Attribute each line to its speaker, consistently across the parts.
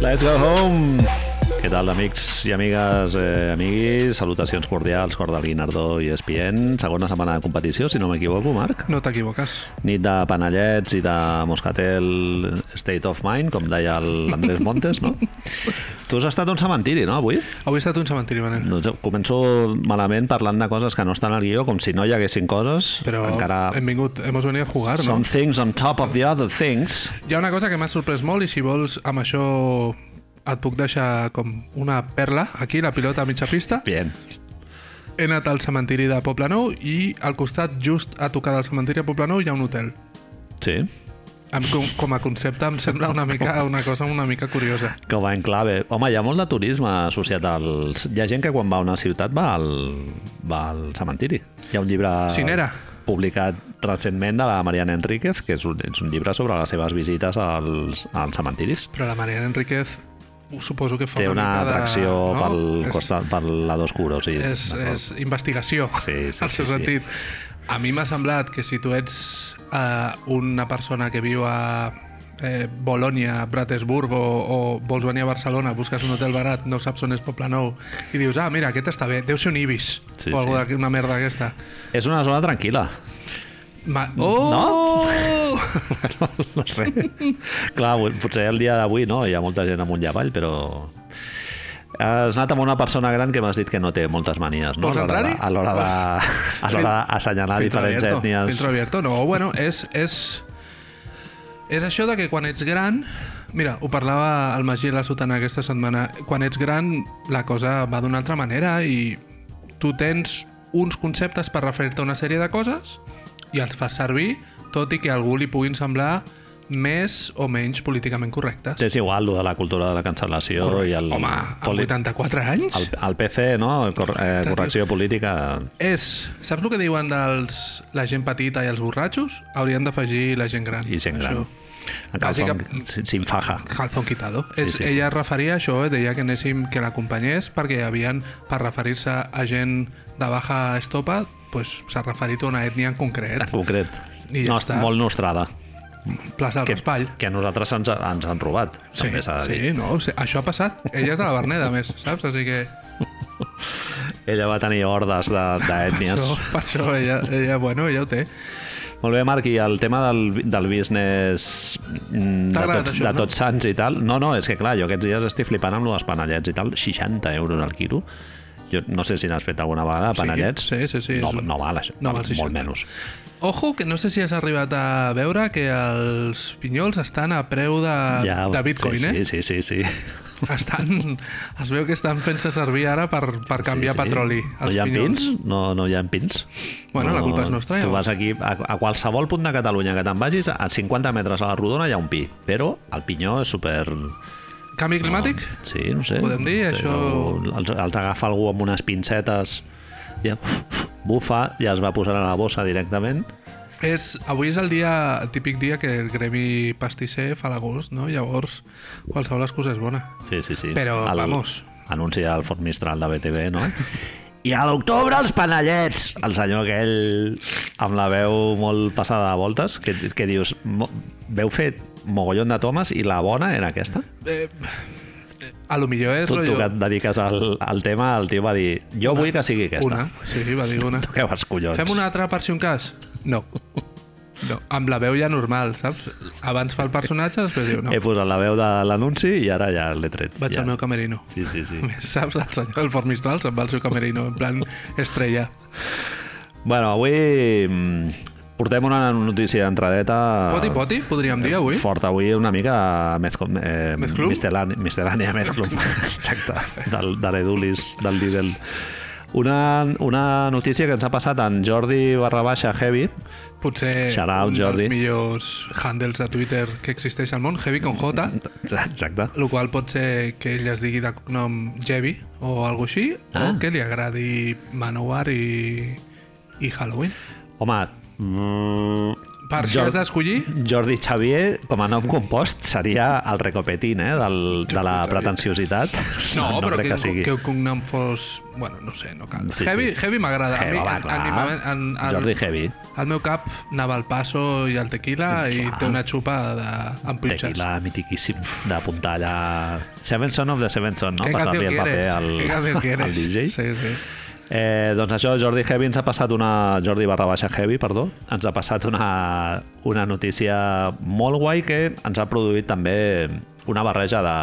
Speaker 1: Let's go home! Què tal, amics i amigues, eh, amiguis? Salutacions cordials, Cordalí, Nardó i Espient. Segona setmana de competició, si no m'equivoco, Marc.
Speaker 2: No t'equivoques.
Speaker 1: Nit de panellets i de moscatel state of mind, com deia l'Andrés Montes, no? Tu has estat a un cementiri, no, avui?
Speaker 2: Avui ha estat un cementiri, Manel.
Speaker 1: Doncs començo malament parlant de coses que no estan al guió, com si no hi haguessin coses.
Speaker 2: Però
Speaker 1: encara
Speaker 2: hem vingut, hemos venido a jugar, no?
Speaker 1: some things on top of the other things.
Speaker 2: Hi ha una cosa que m'ha sorprès molt i si vols amb això et puc deixar com una perla aquí, la pilota a mitja pista.
Speaker 1: Bien.
Speaker 2: He anat al cementiri de Poblenou i al costat, just a tocar del cementiri de Poblenou, hi ha un hotel.
Speaker 1: Sí.
Speaker 2: Em, com, com a concepte em sembla una mica una cosa una mica curiosa.
Speaker 1: Que va en clave. Home, hi ha molt de turisme associat al... Hi ha gent que quan va a una ciutat va al, va al cementiri. Hi ha un llibre...
Speaker 2: Cinera.
Speaker 1: publicat recentment de la Mariana Enríquez, que és un, és un llibre sobre les seves visites als, als cementiris.
Speaker 2: Però la Mariana Enríquez ho suposo que fa
Speaker 1: Té una
Speaker 2: mica de-
Speaker 1: atracció
Speaker 2: no?
Speaker 1: pel,
Speaker 2: És-
Speaker 1: costat, per la dos curos. Sí,
Speaker 2: és,
Speaker 1: d'acord.
Speaker 2: és investigació,
Speaker 1: Sí, sí,
Speaker 2: al seu
Speaker 1: sí, sí.
Speaker 2: sentit. A mi m'ha semblat que si tu ets eh, una persona que viu a eh, Bolònia, Bratesburg o, o vols venir a Barcelona, busques un hotel barat, no saps on és Poblenou i dius, ah, mira, aquest està bé, deu ser un Ibis
Speaker 1: Sí,
Speaker 2: o alguna
Speaker 1: sí.
Speaker 2: una merda aquesta.
Speaker 1: és una zona tranquil·la.
Speaker 2: Ma... Oh! No?
Speaker 1: no sé. Clar, avui- potser el dia d'avui no, hi ha molta gent amunt i avall, però... Has anat amb una persona gran que m'has dit que no té moltes manies, no?
Speaker 2: Vols
Speaker 1: A l'hora de-
Speaker 2: entrar-hi?
Speaker 1: A l'hora de- a l'hora d'assenyalar diferents ètnies.
Speaker 2: Filtro abierto, no, bueno, és... és... És això de que quan ets gran... Mira, ho parlava el Magí i la Sotana aquesta setmana. Quan ets gran, la cosa va d'una altra manera i tu tens uns conceptes per referir-te a una sèrie de coses i els fas servir, tot i que a algú li puguin semblar més o menys políticament correctes.
Speaker 1: És igual, lo de la cultura de la cancel·lació i el...
Speaker 2: Home, amb
Speaker 1: poli-
Speaker 2: 84 anys...
Speaker 1: el, el PC, no? El Cor eh, correcció política...
Speaker 2: És, saps el que diuen dels la gent petita i els borratxos? Haurien d'afegir la gent gran.
Speaker 1: i gent gran.
Speaker 2: Això.
Speaker 1: En calzón,
Speaker 2: Bàsica-
Speaker 1: sin- sin faja.
Speaker 2: Calzón quitado.
Speaker 1: Sí,
Speaker 2: Sí, és,
Speaker 1: sí,
Speaker 2: sí, ella es referia a això, eh? deia que anéssim que l'acompanyés perquè hi havien, per referir-se a gent de baixa estopa, pues, s'ha referit a una ètnia en concret.
Speaker 1: En concret.
Speaker 2: I ja
Speaker 1: no,
Speaker 2: està.
Speaker 1: Molt nostrada.
Speaker 2: Plaça del
Speaker 1: Que,
Speaker 2: Raspall.
Speaker 1: que a nosaltres ens, ens han robat.
Speaker 2: Sí,
Speaker 1: també s'ha de dir.
Speaker 2: sí, no, sí, això ha passat. Ella és de la Berneda, a més, saps? Així que
Speaker 1: Ella va tenir hordes de-
Speaker 2: per
Speaker 1: d'ètnies.
Speaker 2: això, per això ella, ella, bueno, ella ho té.
Speaker 1: Molt bé, Marc, i el tema del, del business mm, de
Speaker 2: T'ha agradat
Speaker 1: tots,
Speaker 2: això,
Speaker 1: de
Speaker 2: no?
Speaker 1: tots sants i tal... No, no, és que clar, jo aquests dies estic flipant amb els panellets i tal, 60 euros al quilo. Jo no sé si n'has fet alguna vegada,
Speaker 2: Sí,
Speaker 1: panellets.
Speaker 2: sí, sí, sí,
Speaker 1: No,
Speaker 2: és un-
Speaker 1: no val això,
Speaker 2: no
Speaker 1: val
Speaker 2: val 60.
Speaker 1: molt menys.
Speaker 2: Ojo, que no sé si has arribat a veure que els pinyols estan a preu de, ja, de bitcoin,
Speaker 1: sí,
Speaker 2: eh?
Speaker 1: Sí, sí, sí. sí.
Speaker 2: Estan, es veu que estan fent-se servir ara per, per canviar sí, sí. petroli.
Speaker 1: No
Speaker 2: als
Speaker 1: hi ha
Speaker 2: pinyols.
Speaker 1: pins? No, no hi ha pins?
Speaker 2: Bueno,
Speaker 1: no,
Speaker 2: la culpa és nostra,
Speaker 1: Tu
Speaker 2: llavors.
Speaker 1: vas aquí, a, a qualsevol punt de Catalunya que te'n vagis, a 50 metres a la rodona hi ha un pi, però el pinyó és super...
Speaker 2: Canvi climàtic?
Speaker 1: Sí, no sé.
Speaker 2: Podem dir,
Speaker 1: no sé,
Speaker 2: això-
Speaker 1: no- Els, els agafa algú amb unes pincetes, ja bufa, ja es va posant a la bossa directament.
Speaker 2: És, avui és el dia el típic dia que el gremi pastisser fa l'agost, no? Llavors, qualsevol excusa és bona.
Speaker 1: Sí, sí, sí.
Speaker 2: Però, vamos.
Speaker 1: Anuncia el Fort Mistral de BTV, no? I a l'octubre els panellets! El senyor aquell amb la veu molt passada de voltes, que, que dius, "Mo- veu fer mogollon de tomes i la bona era aquesta?
Speaker 2: Eh, a lo millor és...
Speaker 1: Tu, tu
Speaker 2: rotllo-
Speaker 1: que et dediques al, al tema, el tio va dir, jo vull que sigui aquesta.
Speaker 2: Una, sí, va dir una.
Speaker 1: Tu que vas, collons.
Speaker 2: Fem una altra per si un cas? No. No, amb la veu ja normal, saps? Abans fa el personatge, després diu no.
Speaker 1: He posat la veu de l'anunci i ara ja l'he tret.
Speaker 2: Vaig
Speaker 1: ja.
Speaker 2: al meu camerino.
Speaker 1: Sí, sí, sí.
Speaker 2: A més, saps, el senyor del Fort Mistral se'n va al seu camerino, en plan estrella.
Speaker 1: Bueno, avui mm, portem una notícia d'entradeta...
Speaker 2: Poti, poti, podríem dir avui.
Speaker 1: Fort avui una mica mezco, eh,
Speaker 2: Mezclum?
Speaker 1: mistelània, mistelània mezclum, exacte, del, de l'Edulis, del Lidl. Una, una notícia que ens ha passat en Jordi barra baixa heavy,
Speaker 2: Potser
Speaker 1: Shout out,
Speaker 2: un
Speaker 1: Jordi.
Speaker 2: dels millors handles de Twitter que existeix al món, Heavy con J,
Speaker 1: exacte,
Speaker 2: el qual pot ser que ell es digui de cognom Jevi o alguna així,
Speaker 1: Ah.
Speaker 2: o que li agradi Manowar i, i Halloween.
Speaker 1: home, mm,
Speaker 2: Per si has d'escollir,
Speaker 1: Jordi Xavier, com a nom compost, seria el recopetín eh, del, de la
Speaker 2: Xavier.
Speaker 1: pretensiositat.
Speaker 2: No, no però
Speaker 1: crec
Speaker 2: que,
Speaker 1: que sigui.
Speaker 2: que el cognom fos... Bueno, no sé, no cal.
Speaker 1: Sí,
Speaker 2: Sí,
Speaker 1: sí.
Speaker 2: heavy sí. heavy m'agrada. A
Speaker 1: Heavy,
Speaker 2: mi,
Speaker 1: home,
Speaker 2: en, en, mi
Speaker 1: clar.
Speaker 2: moment- en, en,
Speaker 1: Jordi Heavy.
Speaker 2: Al meu cap anava el passo i el tequila i
Speaker 1: Clar.
Speaker 2: té una xupa de... amb pitxes.
Speaker 1: Tequila mitiquíssim d'apuntar allà... Seven Son of the Seven Son, no?
Speaker 2: ¿Qué
Speaker 1: Passar-li el
Speaker 2: canción
Speaker 1: paper
Speaker 2: quieres?
Speaker 1: al,
Speaker 2: ¿Qué canción
Speaker 1: al
Speaker 2: quieres?
Speaker 1: DJ.
Speaker 2: Sí, sí.
Speaker 1: Eh, doncs això, Jordi Heavy ens ha passat una... Jordi barra baixa Heavy, perdó. Ens ha passat una, una notícia molt guai que ens ha produït també una barreja de,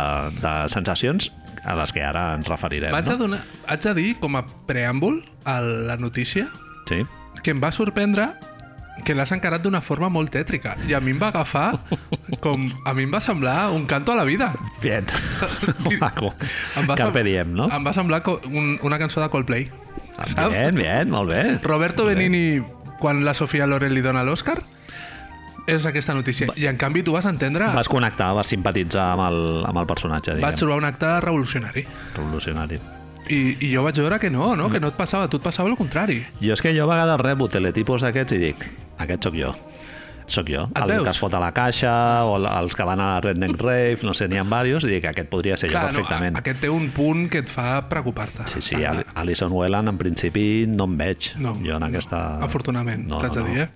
Speaker 1: de sensacions a les que ara ens referirem.
Speaker 2: Vaig a,
Speaker 1: Eh, no?
Speaker 2: donar, vaig a dir, com a preàmbul a la notícia,
Speaker 1: Sí.
Speaker 2: que em va sorprendre que l'has encarat d'una forma molt tètrica. I a mi em va agafar com... A mi em va semblar un canto a la vida.
Speaker 1: Bien. Maco.
Speaker 2: Em va
Speaker 1: Carpe
Speaker 2: sem-
Speaker 1: diem, no?
Speaker 2: Em va semblar co- un, una cançó de Coldplay. Saps?
Speaker 1: Bien, bien, molt bé.
Speaker 2: Roberto Benini, quan la Sofia Loren li dona l'Oscar, és aquesta notícia. I en canvi tu vas entendre...
Speaker 1: Vas connectar, vas simpatitzar amb el, amb el personatge, diguem.
Speaker 2: Vaig trobar un acte revolucionari.
Speaker 1: Revolucionari.
Speaker 2: I, I jo vaig veure que no, no? que no et passava, a tu et passava el contrari.
Speaker 1: Jo és que jo a vegades rebo teletipus d'aquests i dic, aquest sóc jo. Sóc jo.
Speaker 2: Et
Speaker 1: el
Speaker 2: veus?
Speaker 1: que es fot a la caixa, o el- els que van a la Redneck Rave, no sé, n'hi ha diversos, i dic, aquest podria ser jo perfectament.
Speaker 2: No, a- aquest té un punt que et fa preocupar-te.
Speaker 1: Sí, sí, Al- Alison Whelan, en principi, no em veig.
Speaker 2: No,
Speaker 1: jo en
Speaker 2: no.
Speaker 1: aquesta...
Speaker 2: Afortunadament, t'haig de dir, eh?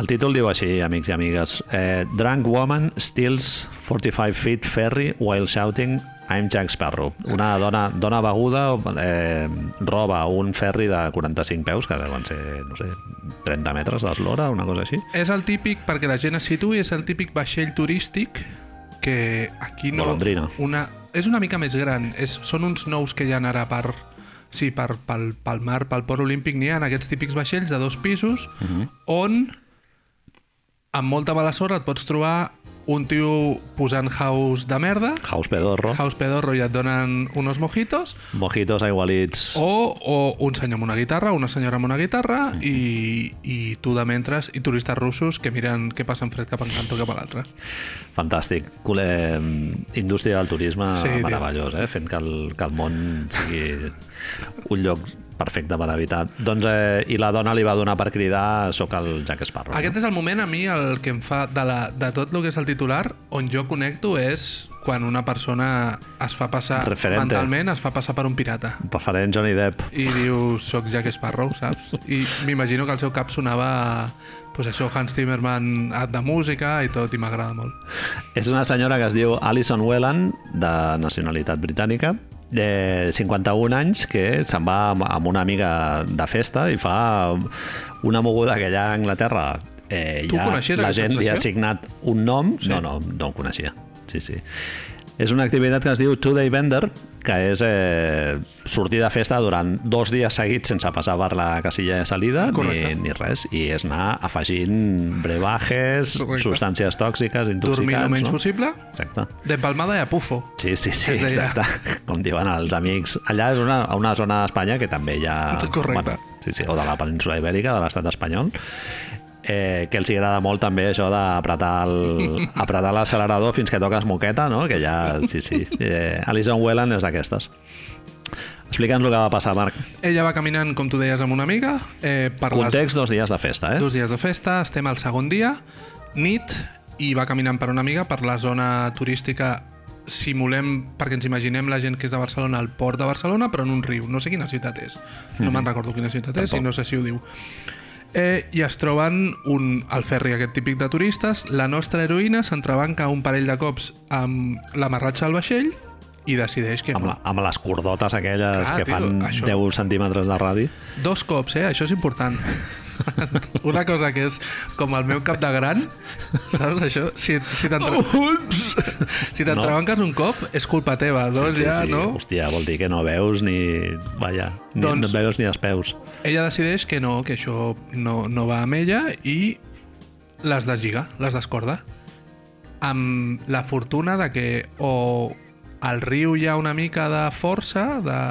Speaker 1: El títol diu així, amics i amigues. Eh, Drunk woman steals 45 feet ferry while shouting I'm Jack Sparrow. Una dona, dona beguda eh, roba un ferri de 45 peus, que deuen ser, no sé, 30 metres d'eslora, una cosa així.
Speaker 2: És el típic, perquè la gent es situi, és el típic vaixell turístic que aquí no...
Speaker 1: Golondrina.
Speaker 2: Una, és una mica més gran. És, són uns nous que hi ha ara per, sí, per, pel, pel mar, pel port olímpic, n'hi ha aquests típics vaixells de dos pisos uh -huh. on amb molta mala sort et pots trobar un tio posant house de merda,
Speaker 1: House Pedorro,
Speaker 2: house pedorro i et donen unos mojitos,
Speaker 1: mojitos aigualits.
Speaker 2: O, o un senyor amb una guitarra, una senyora amb una guitarra
Speaker 1: Mhm.
Speaker 2: i, i tu de mentres i turistes russos que miren què passa en fred cap a un cantó cap a l'altre.
Speaker 1: Fantàstic. Col- Eh, indústria del turisme
Speaker 2: Sí,
Speaker 1: sí,
Speaker 2: tio.
Speaker 1: meravellós, eh? fent que el, que el món sigui un lloc perfecte per habitar. Doncs, eh, I la dona li va donar per cridar «Soc el Jack Sparrow».
Speaker 2: Aquest és el moment a mi el que em fa de, la, de tot el que és el titular on jo connecto és quan una persona es fa passar
Speaker 1: Referente.
Speaker 2: mentalment, es fa passar per un pirata
Speaker 1: Referent Johnny Depp.
Speaker 2: i diu soc Jack Sparrow, saps? I m'imagino que al seu cap sonava pues això, Hans Zimmerman de música i tot, i m'agrada molt.
Speaker 1: És una senyora que es diu Alison Whelan, de nacionalitat britànica, de 51 anys, que se'n va amb- amb una amiga de festa i fa una moguda que allà a Anglaterra eh,
Speaker 2: Tu
Speaker 1: ja
Speaker 2: coneixies
Speaker 1: la
Speaker 2: aquesta
Speaker 1: gent li ha
Speaker 2: actuació?
Speaker 1: assignat un nom. Sí. No, no, no ho coneixia. Sí, sí. És una activitat que es diu Two Day Bender, que és eh, sortir de festa durant dos dies seguits sense passar per la casilla de salida ni,
Speaker 2: Correcte.
Speaker 1: ni res, i és anar afegint brebajes,
Speaker 2: Correcte.
Speaker 1: substàncies tòxiques,
Speaker 2: Dormir
Speaker 1: intoxicants...
Speaker 2: el menys
Speaker 1: no?
Speaker 2: possible,
Speaker 1: Exacte.
Speaker 2: de palmada i a pufo.
Speaker 1: Sí, sí, sí,
Speaker 2: Es deia.
Speaker 1: exacte. Com diuen els amics. Allà és una, una zona d'Espanya que també hi ha...
Speaker 2: Correcte.
Speaker 1: sí, sí, o de la península ibèrica, de l'estat espanyol, eh, que els hi agrada molt també això d'apretar el- apretar l'accelerador fins que toques moqueta, no? Que ja, sí, sí. Eh, Alison Whelan és d'aquestes. Explica'ns el que va passar, Marc.
Speaker 2: Ella va caminant, com tu deies, amb una amiga, eh, per les
Speaker 1: Context, dos dies de festa, eh?
Speaker 2: dos dies de festa, estem al segon dia, nit, i va caminant per una amiga per la zona turística simulem, perquè ens imaginem la gent que és de Barcelona, al port de Barcelona, però en un riu. No sé quina ciutat és. No me'n recordo quina ciutat és i
Speaker 1: Mhm. Tampoc.
Speaker 2: no sé si ho diu. Eh, I es troben un, el ferri aquest típic de turistes. La nostra heroïna s'entrebanca un parell de cops amb la marratxa al vaixell i decideix que
Speaker 1: Amb,
Speaker 2: no.
Speaker 1: la, amb les cordotes aquelles
Speaker 2: Clar,
Speaker 1: que
Speaker 2: tio,
Speaker 1: fan
Speaker 2: això.
Speaker 1: 10 centímetres de radi.
Speaker 2: Dos cops, eh? Això és important. Una cosa que és com el meu cap de gran, saps això? Si, si t'entrebanques si t'entrebanques un cop, és culpa teva. Doncs sí, sí, ja, no?
Speaker 1: Hòstia, vol dir que no veus ni... Vaja, ni,
Speaker 2: Doncs-
Speaker 1: no et veus ni els peus.
Speaker 2: Ella decideix que no, que això no, no va amb ella i les deslliga, les descorda. Amb la fortuna de que o al riu hi ha una mica de força, de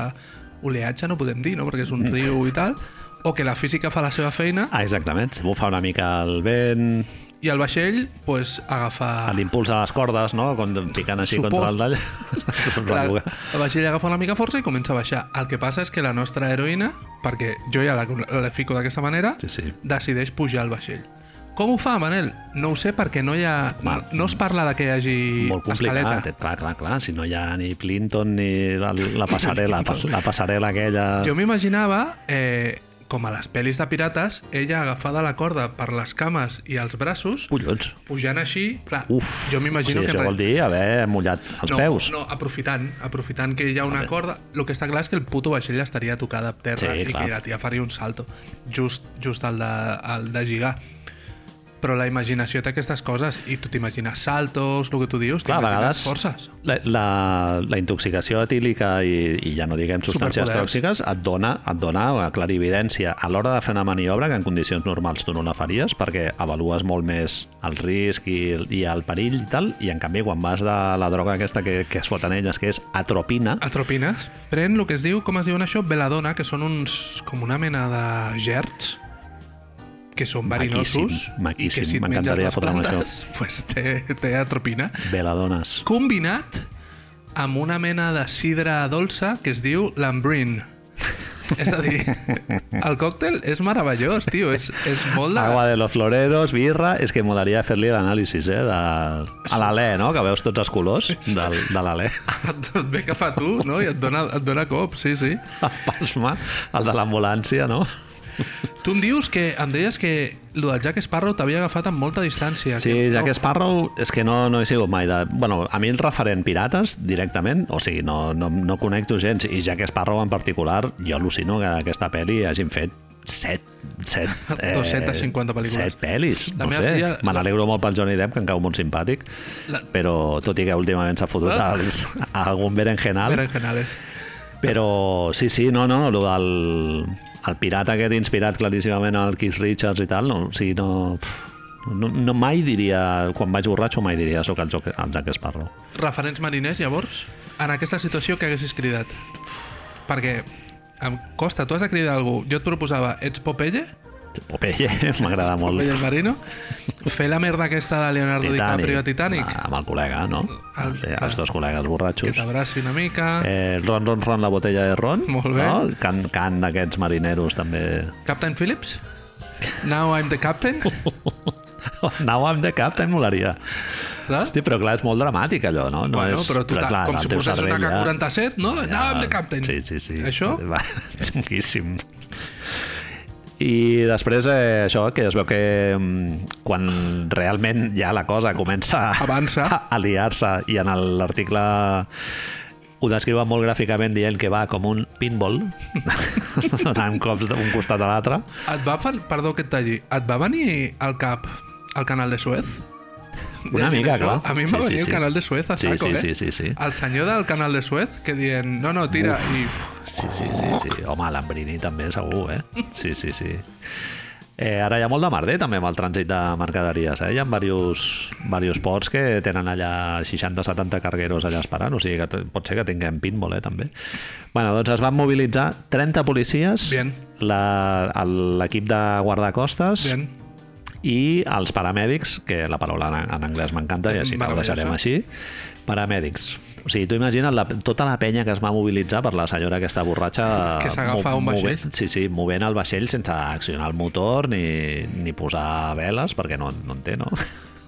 Speaker 2: oleatge no podem dir, no? perquè és un riu i tal, o que la física fa la seva feina
Speaker 1: Ah, exactament. Si bufa una mica el vent,
Speaker 2: i el vaixell pues, agafa...
Speaker 1: l'impuls de les cordes, no? Com picant així
Speaker 2: Supos-
Speaker 1: contra el dall.
Speaker 2: La, el vaixell agafa una mica força i comença a baixar. El que passa és que la nostra heroïna, perquè jo ja la, la fico d'aquesta manera,
Speaker 1: Sí, sí.
Speaker 2: decideix pujar al vaixell. Com ho fa, Manel? No ho sé perquè no hi ha...
Speaker 1: Home,
Speaker 2: no, no es parla de que hi hagi
Speaker 1: Molt complicat, eh?
Speaker 2: escaleta.
Speaker 1: clar, clar, clar, si no hi ha ni Clinton ni la, la passarel·la, pas- la passarel·la aquella...
Speaker 2: Jo m'imaginava, eh, com a les pel·lis de pirates, ella agafada la corda per les cames i els braços,
Speaker 1: Collons,
Speaker 2: pujant així, clar,
Speaker 1: uf,
Speaker 2: jo m'imagino
Speaker 1: o sigui,
Speaker 2: que...
Speaker 1: Això vol dir haver mullat els
Speaker 2: no,
Speaker 1: peus.
Speaker 2: No, aprofitant, aprofitant que hi ha una
Speaker 1: Vale.
Speaker 2: corda, el que està clar és que el puto vaixell estaria tocada a terra
Speaker 1: Sí,
Speaker 2: i
Speaker 1: clar.
Speaker 2: que la tia faria un salto, just, just el, de, el de gigar. Però la imaginació té aquestes coses i tu t'imagines saltos, el que tu dius,
Speaker 1: Clar, a
Speaker 2: t'imagines
Speaker 1: vegades-
Speaker 2: forces.
Speaker 1: La, la, la intoxicació etílica i, i ja no diguem substàncies
Speaker 2: Superpoders.
Speaker 1: tòxiques et dona, et dona una clarividència a l'hora de fer una maniobra que en condicions normals tu no la faries perquè avalues molt més el risc i, i el perill i tal i en canvi quan vas de la droga aquesta que, que es foten elles que és atropina
Speaker 2: Atropines. Pren el que es diu, com es diuen això, veladona, que són uns, com una mena de gerds, que són
Speaker 1: Maquíssim,
Speaker 2: verinosos
Speaker 1: maquíssim.
Speaker 2: i que si et menges
Speaker 1: M'encantaria
Speaker 2: les
Speaker 1: fotre-me això.
Speaker 2: plantes pues té, té atropina
Speaker 1: veladones.
Speaker 2: combinat amb una mena de sidra dolça que es diu l'ambrin és a dir, el còctel és meravellós, tio, és, és molt de...
Speaker 1: Agua de los floreros, birra... És que molaria fer-li l'anàlisi, eh? De... A l'alè, no? Que veus tots els colors del, de l'alè.
Speaker 2: Et ve cap a tu, no? I et dona, et dona cop, sí, sí.
Speaker 1: El pasma, el de l'ambulància, no?
Speaker 2: Tu em dius que, em deies que el del Jack Sparrow t'havia agafat amb molta distància.
Speaker 1: Sí,
Speaker 2: que,
Speaker 1: Jack Sparrow és que no, no he sigut mai de... Bueno, a mi el referent pirates directament, o sigui, no, no, no connecto gens, i Jack Sparrow en particular, jo al·lucino que aquesta pel·li hagin fet set, set, eh,
Speaker 2: 250 pel·lícules.
Speaker 1: Set pel·lis,
Speaker 2: La
Speaker 1: no
Speaker 2: meva
Speaker 1: sé.
Speaker 2: filla-
Speaker 1: Me n'alegro molt pel Johnny Depp, que em cau molt simpàtic,
Speaker 2: La-
Speaker 1: però tot i que últimament s'ha fotut
Speaker 2: Ah.
Speaker 1: als, a algun berenjenal,
Speaker 2: Berenjenales.
Speaker 1: però sí, sí, no, no, lo del, el pirata aquest inspirat claríssimament al Keith Richards i tal, no, o sigui, no, pff, no, no mai diria, quan vaig borratxo mai diria sóc el, joc, el Jack Sparrow.
Speaker 2: Referents mariners, llavors, en aquesta situació que haguessis cridat? Perquè em costa, tu has de cridar algú. Jo et proposava, ets Popeye?
Speaker 1: Popeye, m'agrada molt.
Speaker 2: Popeye el marino? Fer la merda aquesta de Leonardo DiCaprio a Titanic?
Speaker 1: Ah, amb el col·lega, no?
Speaker 2: El-
Speaker 1: El, els dos col·legues
Speaker 2: Que
Speaker 1: borratxos.
Speaker 2: t'abraci una mica... Eh.
Speaker 1: Eh, ron, ron, ron, la botella de ron.
Speaker 2: Molt bé.
Speaker 1: No? Cant, cant d'aquests marineros, també.
Speaker 2: Captain Phillips? Now I'm the captain?
Speaker 1: Now I'm the captain, molaria.
Speaker 2: Saps?
Speaker 1: Hosti, però clar, és molt dramàtic allò, no? no
Speaker 2: bueno,
Speaker 1: és,
Speaker 2: però tu, ta-
Speaker 1: clar,
Speaker 2: com
Speaker 1: el
Speaker 2: si
Speaker 1: teu
Speaker 2: posés una
Speaker 1: cervell ja-
Speaker 2: K-47, no? Now I'm the captain.
Speaker 1: Sí, sí, sí.
Speaker 2: Això?
Speaker 1: Va, xunguíssim. I després eh, això, que es veu que mm, quan realment ja la cosa comença
Speaker 2: Avança.
Speaker 1: a, a liar-se i en el- l'article ho descriuen molt gràficament dient que va com un pinball donant cops d'un costat a l'altre
Speaker 2: Et va, fan- perdó que et talli, et va venir al cap el canal de Suez?
Speaker 1: Una
Speaker 2: Llegint
Speaker 1: mica,
Speaker 2: això,
Speaker 1: clar.
Speaker 2: A mi em va
Speaker 1: Sí, sí,
Speaker 2: venir
Speaker 1: sí.
Speaker 2: el canal de Suez a
Speaker 1: Sí,
Speaker 2: saco,
Speaker 1: sí,
Speaker 2: eh?
Speaker 1: sí, sí, sí.
Speaker 2: El senyor del canal de Suez que dient, no, no, tira, i
Speaker 1: Sí, sí, sí, sí. Home, l'Ambrini també segur, eh? Sí, sí, sí. Eh, ara hi ha molt de merder també amb el trànsit de mercaderies, eh? Hi ha diversos, diversos ports que tenen allà 60-70 cargueros allà esperant, o sigui que t- pot ser que tinguem pinball, eh, també. bueno, doncs es van mobilitzar 30 policies,
Speaker 2: Bien.
Speaker 1: la- el- l'equip de guardacostes
Speaker 2: dient,
Speaker 1: i els paramèdics, que la paraula en, en anglès m'encanta i així que ho
Speaker 2: Meravellosa.
Speaker 1: deixarem així, paramèdics. O sigui, tu imagina't la, tota la penya que es va mobilitzar per la senyora aquesta borratxa... eh,
Speaker 2: Que s'agafa
Speaker 1: mo-
Speaker 2: un
Speaker 1: movent-
Speaker 2: vaixell.
Speaker 1: Sí, sí, movent el vaixell sense accionar el motor ni, ni posar veles, perquè no, no en té, no?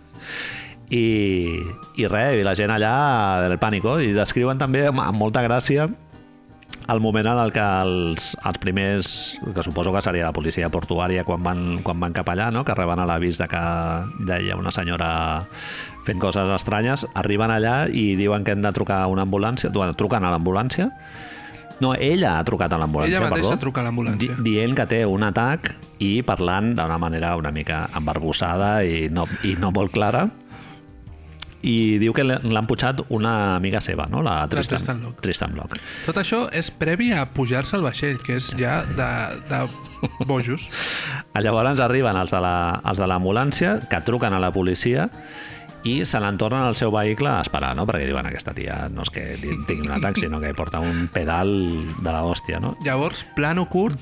Speaker 1: I, i res, i la gent allà del pànico, i descriuen també amb, amb molta gràcia el moment en el que els, els primers, que suposo que seria la policia portuària quan van, quan van cap allà, no? que reben a l'avís de que ja hi ha una senyora fent coses estranyes, arriben allà i diuen que hem de trucar a una ambulància, bueno, truquen a l'ambulància, no, ella ha trucat a l'ambulància,
Speaker 2: Ella mateixa
Speaker 1: perdó.
Speaker 2: truca a l'ambulància.
Speaker 1: Di dient que té un atac i parlant d'una manera una mica embarbussada i no, i no molt clara. I diu que l'han- l'han pujat una amiga seva, no? La Tristan,
Speaker 2: Tristan Locke.
Speaker 1: Tristan Locke.
Speaker 2: Tot això és previ a pujar-se al vaixell, que és ja de, de bojos.
Speaker 1: Llavors arriben els de la- els de l'ambulància, que truquen a la policia i se l'entornen al seu vehicle a esperar, no? Perquè diuen, aquesta tia no és que tingui un atac, sinó que porta un pedal de la hòstia, no?
Speaker 2: Llavors, plano curt,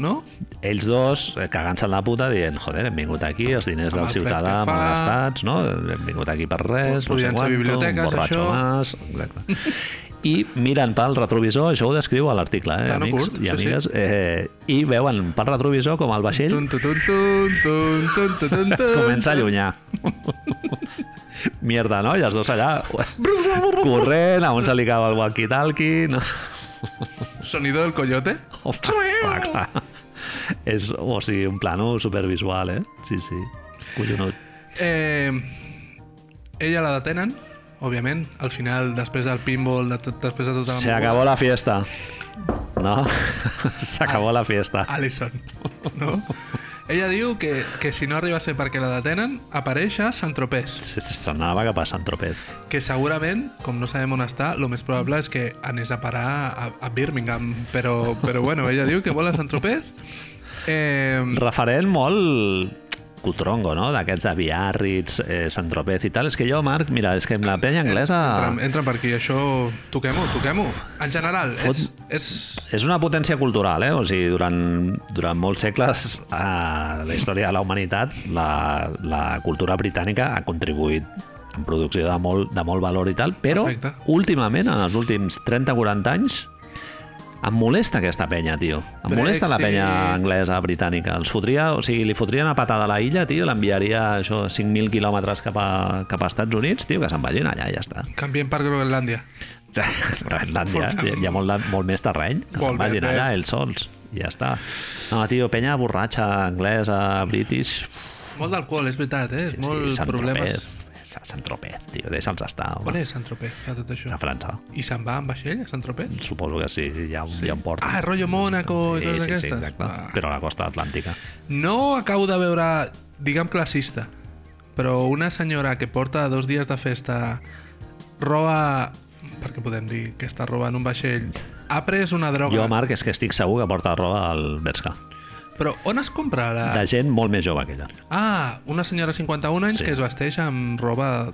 Speaker 2: no?
Speaker 1: ells dos eh, cagant-se en la puta dient, joder, hem vingut aquí, els diners
Speaker 2: Amb
Speaker 1: del
Speaker 2: el fred
Speaker 1: ciutadà
Speaker 2: que fa.
Speaker 1: mal gastats, no? Hem vingut aquí per res, no sé
Speaker 2: Podrien ser
Speaker 1: quanto, un
Speaker 2: biblioteques,
Speaker 1: borratxo
Speaker 2: això.
Speaker 1: mas... Exacte. i miren pel retrovisor, això ho descriu a l'article, eh,
Speaker 2: Plano
Speaker 1: amics
Speaker 2: curt,
Speaker 1: i
Speaker 2: sí,
Speaker 1: amigues,
Speaker 2: sí.
Speaker 1: eh, i veuen pel retrovisor com el vaixell
Speaker 2: Tun, tun, tun, tun, tun, tun, tun, tun,
Speaker 1: es
Speaker 2: tun.
Speaker 1: comença a allunyar. Mierda, no? I els dos allà corrent, a un se li cau el walkie-talkie... No?
Speaker 2: Sonido del coyote.
Speaker 1: Home, va, clar. És, o sigui, oh, un plano supervisual, eh? Sí, sí. Collonut.
Speaker 2: Eh, ella la detenen, òbviament, al final, després del pinball, de tot, després de tota la
Speaker 1: Se
Speaker 2: moguda.
Speaker 1: acabó la fiesta. No? Se acabó la fiesta.
Speaker 2: Allison, no? Ella diu que, que si no arriba a ser perquè la detenen, apareix a Sant Tropez,
Speaker 1: Se- se- S'anava cap a Sant Tropez.
Speaker 2: que segurament, com no sabem on està, el més probable és que anés a parar a, a Birmingham, però, però bueno, ella diu que vol a Sant Tropez. Eh,
Speaker 1: Referent molt cutrongo, no? D'aquests de Biarritz, eh, Sant Tropez i tal. És que jo, Marc, mira, és que amb la penya anglesa...
Speaker 2: entra, entra per aquí, això... Toquem-ho, toquem-ho. En general,
Speaker 1: Fot-
Speaker 2: és, és,
Speaker 1: És una potència cultural, eh? O sigui, durant, durant molts segles a la història de la humanitat la, la cultura britànica ha contribuït en producció de molt, de molt valor i tal, però
Speaker 2: Perfecte.
Speaker 1: últimament, en els últims 30-40 anys, em molesta aquesta penya, tio. Em molesta la
Speaker 2: Brexit.
Speaker 1: penya anglesa, britànica. Els fotria, o sigui, li fotria una patada a la illa, tio, l'enviaria això 5.000 quilòmetres cap a, cap a Estats Units, tio, que se'n vagin allà i ja està.
Speaker 2: canviem per Groenlàndia.
Speaker 1: Ja, Groenlàndia, hi, ha- hi ha molt, de- molt més terreny. Que
Speaker 2: Molt
Speaker 1: se'n vagin
Speaker 2: bé, bé.
Speaker 1: allà, ells sols. I ja està. No, tio, penya borratxa, anglesa, british...
Speaker 2: Molt d'alcohol, és veritat, eh? És molt
Speaker 1: Sant
Speaker 2: problemes.
Speaker 1: Tropez, Sant Tropez, tio, deixa'ls estar.
Speaker 2: On
Speaker 1: Home.
Speaker 2: és Sant Tropez, a tot això?
Speaker 1: A França.
Speaker 2: I se'n va amb vaixell, a Sant Tropez?
Speaker 1: Suposo que sí, hi ha, un- hi ha un port.
Speaker 2: Ah, rotllo Mónaco i
Speaker 1: sí, sí,
Speaker 2: coses
Speaker 1: sí,
Speaker 2: d'aquestes.
Speaker 1: exacte.
Speaker 2: Ah.
Speaker 1: Però a la costa atlàntica.
Speaker 2: No acabo de veure, diguem classista, però una senyora que porta dos dies de festa roba, perquè podem dir que està robant un vaixell, ha pres una droga.
Speaker 1: Jo, Marc, és que estic segur que porta roba al Berska.
Speaker 2: Però on es compra la...
Speaker 1: De gent molt més jove que ella.
Speaker 2: Ah, una senyora de 51 anys
Speaker 1: Sí.
Speaker 2: que es vesteix amb roba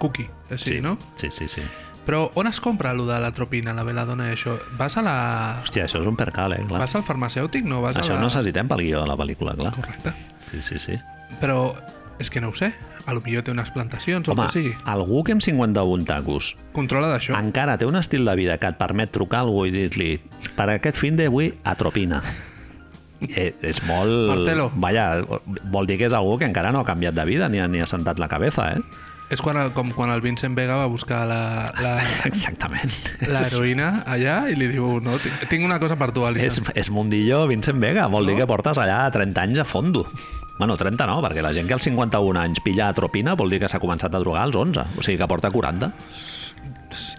Speaker 2: cookie, així, no?
Speaker 1: Sí, sí, sí.
Speaker 2: Però on es compra allò de la tropina, la veladona i això? Vas a la...
Speaker 1: Hòstia, això és un percal, eh? Clar.
Speaker 2: Vas al farmacèutic, no? Vas
Speaker 1: Això
Speaker 2: a
Speaker 1: ho
Speaker 2: la...
Speaker 1: necessitem pel guió de la pel·lícula, clar.
Speaker 2: Correcte.
Speaker 1: Sí, sí, sí.
Speaker 2: Però és que no ho sé. A lo millor té unes plantacions o el
Speaker 1: Home,
Speaker 2: que sigui.
Speaker 1: algú que amb 51 tacos
Speaker 2: Controla d'això.
Speaker 1: encara té un estil de vida que et permet trucar a algú i dir-li per aquest fin de avui, atropina. Eh, és molt...
Speaker 2: Marcelo.
Speaker 1: Vaja, vol dir que és algú que encara no ha canviat de vida ni, ha- ni ha sentat la cabeza, eh?
Speaker 2: És quan el, com quan el Vincent Vega va buscar la, la,
Speaker 1: Exactament.
Speaker 2: la heroïna allà i li diu no, ti- tinc una cosa per tu,
Speaker 1: És,
Speaker 2: Alison.
Speaker 1: és mundillo Vincent Vega, vol dir que portes allà 30 anys a fondo. Bueno, 30 no, perquè la gent que als 51 anys pilla atropina vol dir que s'ha començat a drogar als 11, o sigui que porta 40.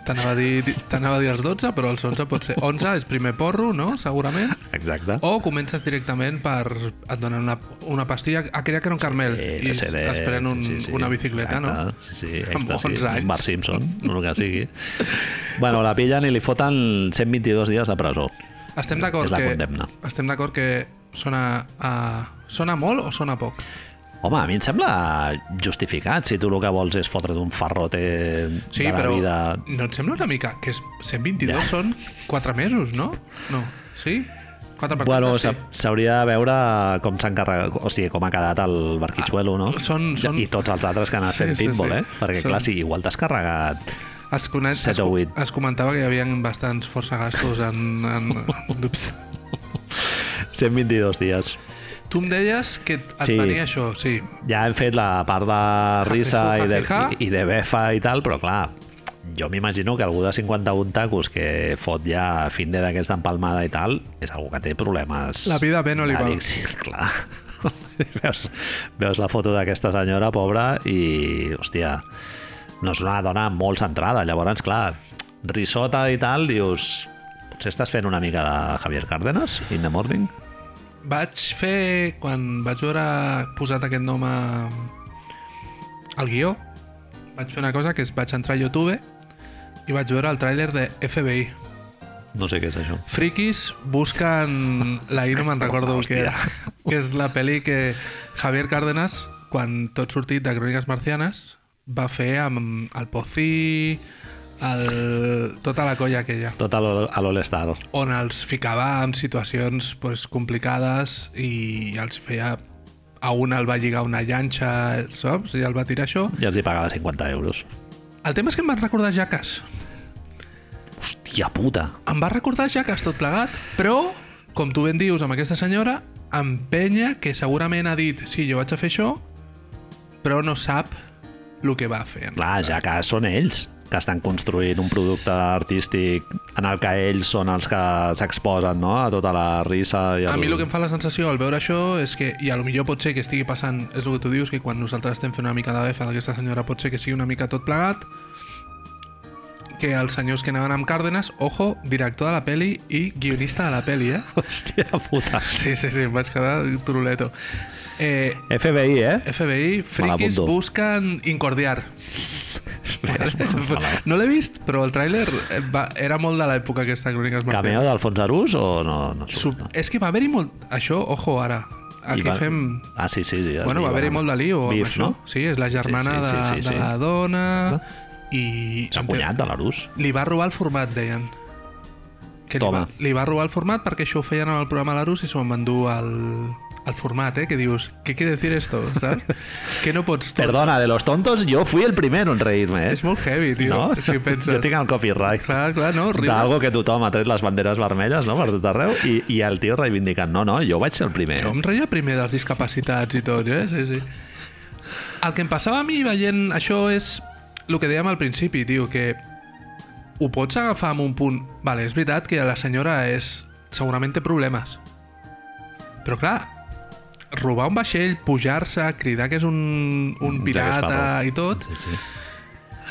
Speaker 2: T'anava a, dir, di- t'anava a dir els 12, però els 11 pot ser. 11 és primer porro, no?, segurament.
Speaker 1: Exacte.
Speaker 2: O comences directament per... et donen una, una pastilla... Ah, creia que era un carmel.
Speaker 1: Sí,
Speaker 2: I es,
Speaker 1: LSD,
Speaker 2: es pren un,
Speaker 1: sí, sí,
Speaker 2: una bicicleta,
Speaker 1: exacte,
Speaker 2: no?
Speaker 1: Sí, sí,
Speaker 2: Amb
Speaker 1: èxtasi,
Speaker 2: 11 anys.
Speaker 1: un Bart Simpson, el que sigui. bueno, la pillen i li foten 122 dies de presó.
Speaker 2: Estem
Speaker 1: És
Speaker 2: d'acord
Speaker 1: la
Speaker 2: que...
Speaker 1: condemna.
Speaker 2: Estem d'acord que sona, a, sona molt o sona poc?
Speaker 1: Home, a mi em sembla justificat si tu el que vols és fotre't un farrote
Speaker 2: Sí,
Speaker 1: de la
Speaker 2: però
Speaker 1: vida...
Speaker 2: no et sembla una mica que és 122 ja. són 4 mesos, no? No, sí? 4 per
Speaker 1: Bueno,
Speaker 2: sí.
Speaker 1: s'ha- s'hauria de veure com s'ha encarregat, o sigui, com ha quedat el Barquichuelo, no?
Speaker 2: Són- són-
Speaker 1: I tots els altres que han anat
Speaker 2: Sí,
Speaker 1: fent
Speaker 2: sí,
Speaker 1: pinball,
Speaker 2: sí.
Speaker 1: eh? Perquè,
Speaker 2: Són-
Speaker 1: clar, sí, igual t'has carregat
Speaker 2: Es, coneix,
Speaker 1: set
Speaker 2: es,
Speaker 1: o
Speaker 2: co-
Speaker 1: vuit.
Speaker 2: es comentava que hi havia bastants força gastos en... en, en ups.
Speaker 1: 122 dies.
Speaker 2: tu em deies que et
Speaker 1: Sí.
Speaker 2: sí. venia això, sí.
Speaker 1: ja hem fet la part de risa
Speaker 2: Jajaja,
Speaker 1: i de,
Speaker 2: jajaja.
Speaker 1: i, i de befa i tal, però clar, jo m'imagino que algú de 51 tacos que fot ja fin de d'aquesta empalmada i tal, és algú que té problemes...
Speaker 2: La vida bé no li va.
Speaker 1: d'addic- Clar. veus, veus la foto d'aquesta senyora, pobra, i, hòstia, no és una dona molt centrada. Llavors, clar, risota i tal, dius... Potser estàs fent una mica de Javier Cárdenas, in the morning?
Speaker 2: Vaig fer, quan vaig veure posat aquest nom a, al guió, vaig fer una cosa que és vaig entrar a YouTube i vaig veure el tràiler de FBI.
Speaker 1: No sé què és això.
Speaker 2: Frikis busquen... La I no me'n recordo què
Speaker 1: Hòstia.
Speaker 2: era. Que és la pel·li que Javier Cárdenas, quan tot sortit de Cròniques Marcianes, va fer amb el Pocí, el... tota la colla aquella
Speaker 1: Tot a l'All- a l'All-Star.
Speaker 2: on els ficava en situacions pues, complicades i els feia... A un el va lligar una llanxa, saps? I el va tirar això.
Speaker 1: I els hi pagava 50 euros.
Speaker 2: El tema és que em van recordar Jackass.
Speaker 1: Hòstia puta.
Speaker 2: Em va recordar Jackass tot plegat, però, com tu ben dius, amb aquesta senyora, amb penya que segurament ha dit sí, jo vaig a fer això, però no sap el que va fer.
Speaker 1: Clar, ja que són ells que estan construint un producte artístic en el que ells són els que s'exposen no? a tota la risa. I
Speaker 2: A mi el que em fa la sensació al veure això és que, i a lo millor pot ser que estigui passant, és el que tu dius, que quan nosaltres estem fent una mica de befa d'aquesta senyora pot ser que sigui una mica tot plegat, que els senyors que anaven amb Cárdenas, ojo, director de la peli i guionista de la peli, eh?
Speaker 1: Hòstia puta.
Speaker 2: Sí, sí, sí, em vaig quedar turuleto. Eh,
Speaker 1: FBI, eh?
Speaker 2: FBI, friquis
Speaker 1: l'apunto.
Speaker 2: busquen incordiar. No l'he vist, però el tràiler eh, va, era molt de l'època aquesta crònica.
Speaker 1: Cameo d'Alfons Arús o no? no surt?
Speaker 2: Sub... És que va haver-hi molt... Això, ojo, ara.
Speaker 1: I
Speaker 2: Eh, Aquí
Speaker 1: va-
Speaker 2: fem...
Speaker 1: Ah, sí, sí. sí
Speaker 2: Bueno, va haver-hi molt de lío amb
Speaker 1: Bif,
Speaker 2: això.
Speaker 1: no?
Speaker 2: Sí, és la germana
Speaker 1: Sí, sí,
Speaker 2: de,
Speaker 1: sí, sí, sí.
Speaker 2: de la dona... I... em
Speaker 1: S'ha cunyat de l'Arús.
Speaker 2: Li va robar el format, deien. Que li
Speaker 1: Toma.
Speaker 2: va, li va robar el format perquè això ho feien en el programa Larus i s'ho van endur al, al format, eh? Que dius, què quiere decir esto, saps? que no pots... tot-
Speaker 1: Perdona, de los tontos, yo fui el primero en reírme, eh?
Speaker 2: És molt heavy, tio,
Speaker 1: no?
Speaker 2: si penses.
Speaker 1: Jo tinc el copyright.
Speaker 2: Clar, clar, no, riure.
Speaker 1: D'algo que tothom ha tret les banderes vermelles, no?, per tot arreu, i, i el tio reivindicant, no, no, jo vaig ser el primer.
Speaker 2: Jo em reia primer dels discapacitats i tot, eh? Sí, sí. El que em passava a mi veient això és el que dèiem al principi, tio, que ho pots agafar amb un punt... Vale, és veritat que la senyora és... segurament té problemes. Però clar, robar un vaixell, pujar-se, cridar que és un, un
Speaker 1: Jack
Speaker 2: pirata
Speaker 1: Sparrow.
Speaker 2: i tot,
Speaker 1: Sí, sí.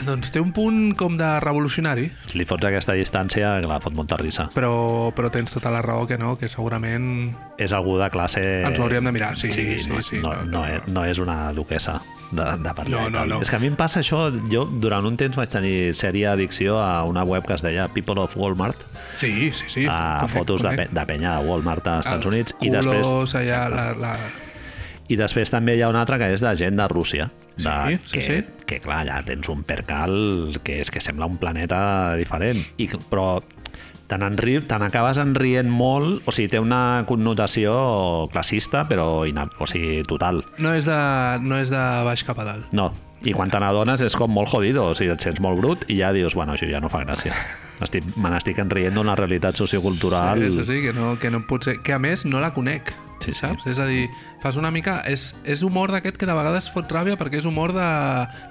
Speaker 2: doncs té un punt com de revolucionari.
Speaker 1: Si li fots aquesta distància, clar, fot molta risa.
Speaker 2: Però, però tens tota la raó que no, que segurament
Speaker 1: És algú de classe...
Speaker 2: ens ho hauríem de mirar. Sí,
Speaker 1: Eh, Sí,
Speaker 2: sí,
Speaker 1: no,
Speaker 2: sí.
Speaker 1: no, no, és, no és una duquesa de, de parlar.
Speaker 2: No,
Speaker 1: i
Speaker 2: no,
Speaker 1: tal.
Speaker 2: no.
Speaker 1: És que a mi em passa això, jo durant un temps vaig tenir sèrie addicció a una web que es deia People of Walmart,
Speaker 2: Sí, sí, sí.
Speaker 1: a
Speaker 2: Conec,
Speaker 1: Ah, fotos de,
Speaker 2: conec.
Speaker 1: pe de penya de Walmart als Estats
Speaker 2: Els
Speaker 1: Units, i
Speaker 2: culos,
Speaker 1: després
Speaker 2: Ah, allà, la, la...
Speaker 1: I després també hi ha una altra que és de gent de Rússia. De,
Speaker 2: Sí, sí,
Speaker 1: que,
Speaker 2: sí.
Speaker 1: que clar, ja tens un percal que és que sembla un planeta diferent. I, que- però te n'enri- te n'acabes enrient molt, o sigui, té una connotació classista, però ina, o sigui, total.
Speaker 2: No, és de, no és de baix cap a dalt.
Speaker 1: No. I quan te n'adones és com molt jodido, o sigui, et sents molt brut i ja dius, bueno, això ja no fa gràcia. Estic, me n'estic enrient d'una realitat sociocultural.
Speaker 2: Això sí, que no, que no potser... Que a més no la conec,
Speaker 1: Sí, sí.
Speaker 2: saps? És a dir, fas una mica... És, és humor d'aquest que de vegades fot ràbia perquè és humor de,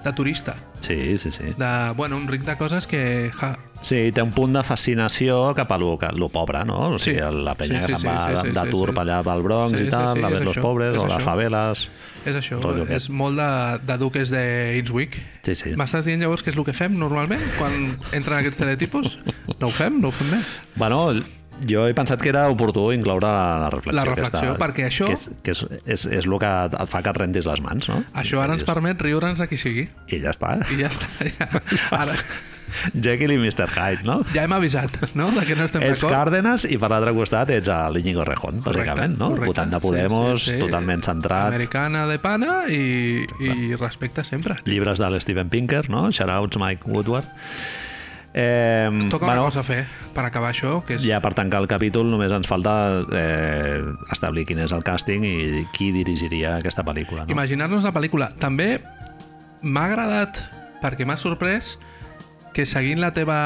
Speaker 2: de turista.
Speaker 1: sí, sí, sí.
Speaker 2: De, bueno, un ric de coses que... Ja,
Speaker 1: Sí, té un punt de fascinació cap a lo, que- lo pobre, no? O sigui,
Speaker 2: Sí.
Speaker 1: sí. la penya sí,
Speaker 2: Sí, sí,
Speaker 1: que se'n
Speaker 2: sí,
Speaker 1: va
Speaker 2: sí,
Speaker 1: sí,
Speaker 2: sí,
Speaker 1: sí,
Speaker 2: sí,
Speaker 1: d'atur
Speaker 2: sí.
Speaker 1: sí, allà pel Bronx
Speaker 2: Sí,
Speaker 1: sí,
Speaker 2: sí,
Speaker 1: i tal,
Speaker 2: sí,
Speaker 1: sí, la
Speaker 2: és
Speaker 1: ves los
Speaker 2: això,
Speaker 1: pobres
Speaker 2: és
Speaker 1: o les
Speaker 2: això.
Speaker 1: faveles...
Speaker 2: és això,
Speaker 1: Rotllo aquest.
Speaker 2: és molt de, de duques d'Innsbruck.
Speaker 1: Sí, sí.
Speaker 2: M'estàs dient llavors què és el que fem normalment quan entren aquests teletipos? No ho fem, no ho fem bé.
Speaker 1: Bueno, jo he pensat que era oportú incloure la, la reflexió.
Speaker 2: La reflexió,
Speaker 1: aquesta,
Speaker 2: perquè això-
Speaker 1: Que és, que és, és, és el que et fa que et rentis les mans, no?
Speaker 2: Això ara ens permet riure'ns a qui sigui.
Speaker 1: I ja està.
Speaker 2: I ja està. Ja. Ara,
Speaker 1: Jekyll i Mr. Hyde, no?
Speaker 2: ja hem avisat, no?, de que no estem
Speaker 1: Ets
Speaker 2: d'acord.
Speaker 1: Cárdenas i per l'altre costat ets a l'Iñigo Rejón, bàsicament, no? Votant de Podemos, totalment centrat.
Speaker 2: Americana de pana i, i respecte sempre.
Speaker 1: llibres de l'Steven Pinker, no? Shoutouts Mike Woodward. Eh,
Speaker 2: Toca una cosa a fer per acabar això, que és...
Speaker 1: ja per tancar el capítol només ens falta eh, establir quin és el càsting i qui dirigiria aquesta pel·lícula. No?
Speaker 2: Imaginar-nos la pel·lícula. També m'ha agradat, perquè m'ha sorprès, que seguint la teva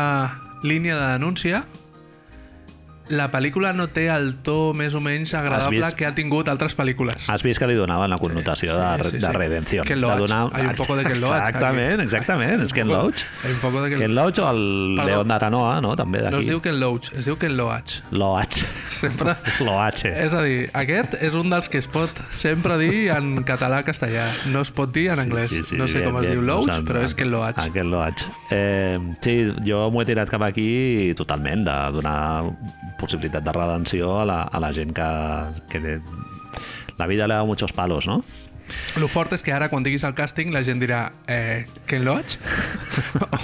Speaker 2: línia de denúncia, la pel·lícula no té el to més o menys agradable
Speaker 1: vist- Ah.
Speaker 2: que ha tingut altres pel·lícules.
Speaker 1: Has vist que li donaven la connotació
Speaker 2: sí,
Speaker 1: de,
Speaker 2: sí,
Speaker 1: de
Speaker 2: sí.
Speaker 1: redenció.
Speaker 2: Ken
Speaker 1: de
Speaker 2: Loach. Hay un poco de Ken Loach aquí.
Speaker 1: Exactament, exactament. És Ken Loach.
Speaker 2: Hay un poco de Ken-
Speaker 1: Ken Loach o el
Speaker 2: Perdó.
Speaker 1: León d'Aranoa, no? També
Speaker 2: No es
Speaker 1: d'aquí.
Speaker 2: diu Ken Loach, es diu Ken Loach.
Speaker 1: Loach.
Speaker 2: Sempre...
Speaker 1: Loach. eh.
Speaker 2: És a dir, aquest és un dels que es pot sempre dir en català-castellà. No es pot dir en anglès. no sé
Speaker 1: bien,
Speaker 2: com es
Speaker 1: bien.
Speaker 2: diu
Speaker 1: No
Speaker 2: Loach,
Speaker 1: sé,
Speaker 2: però és que Loach.
Speaker 1: Aquest Loach. Eh, sí, jo m'ho he tirat cap aquí totalment, de donar possibilitat de redenció a la, a la gent que... que de... La vida le da muchos palos, no?
Speaker 2: Lo fort és que ara, quan diguis el càsting, la gent dirà eh, Ken Loach?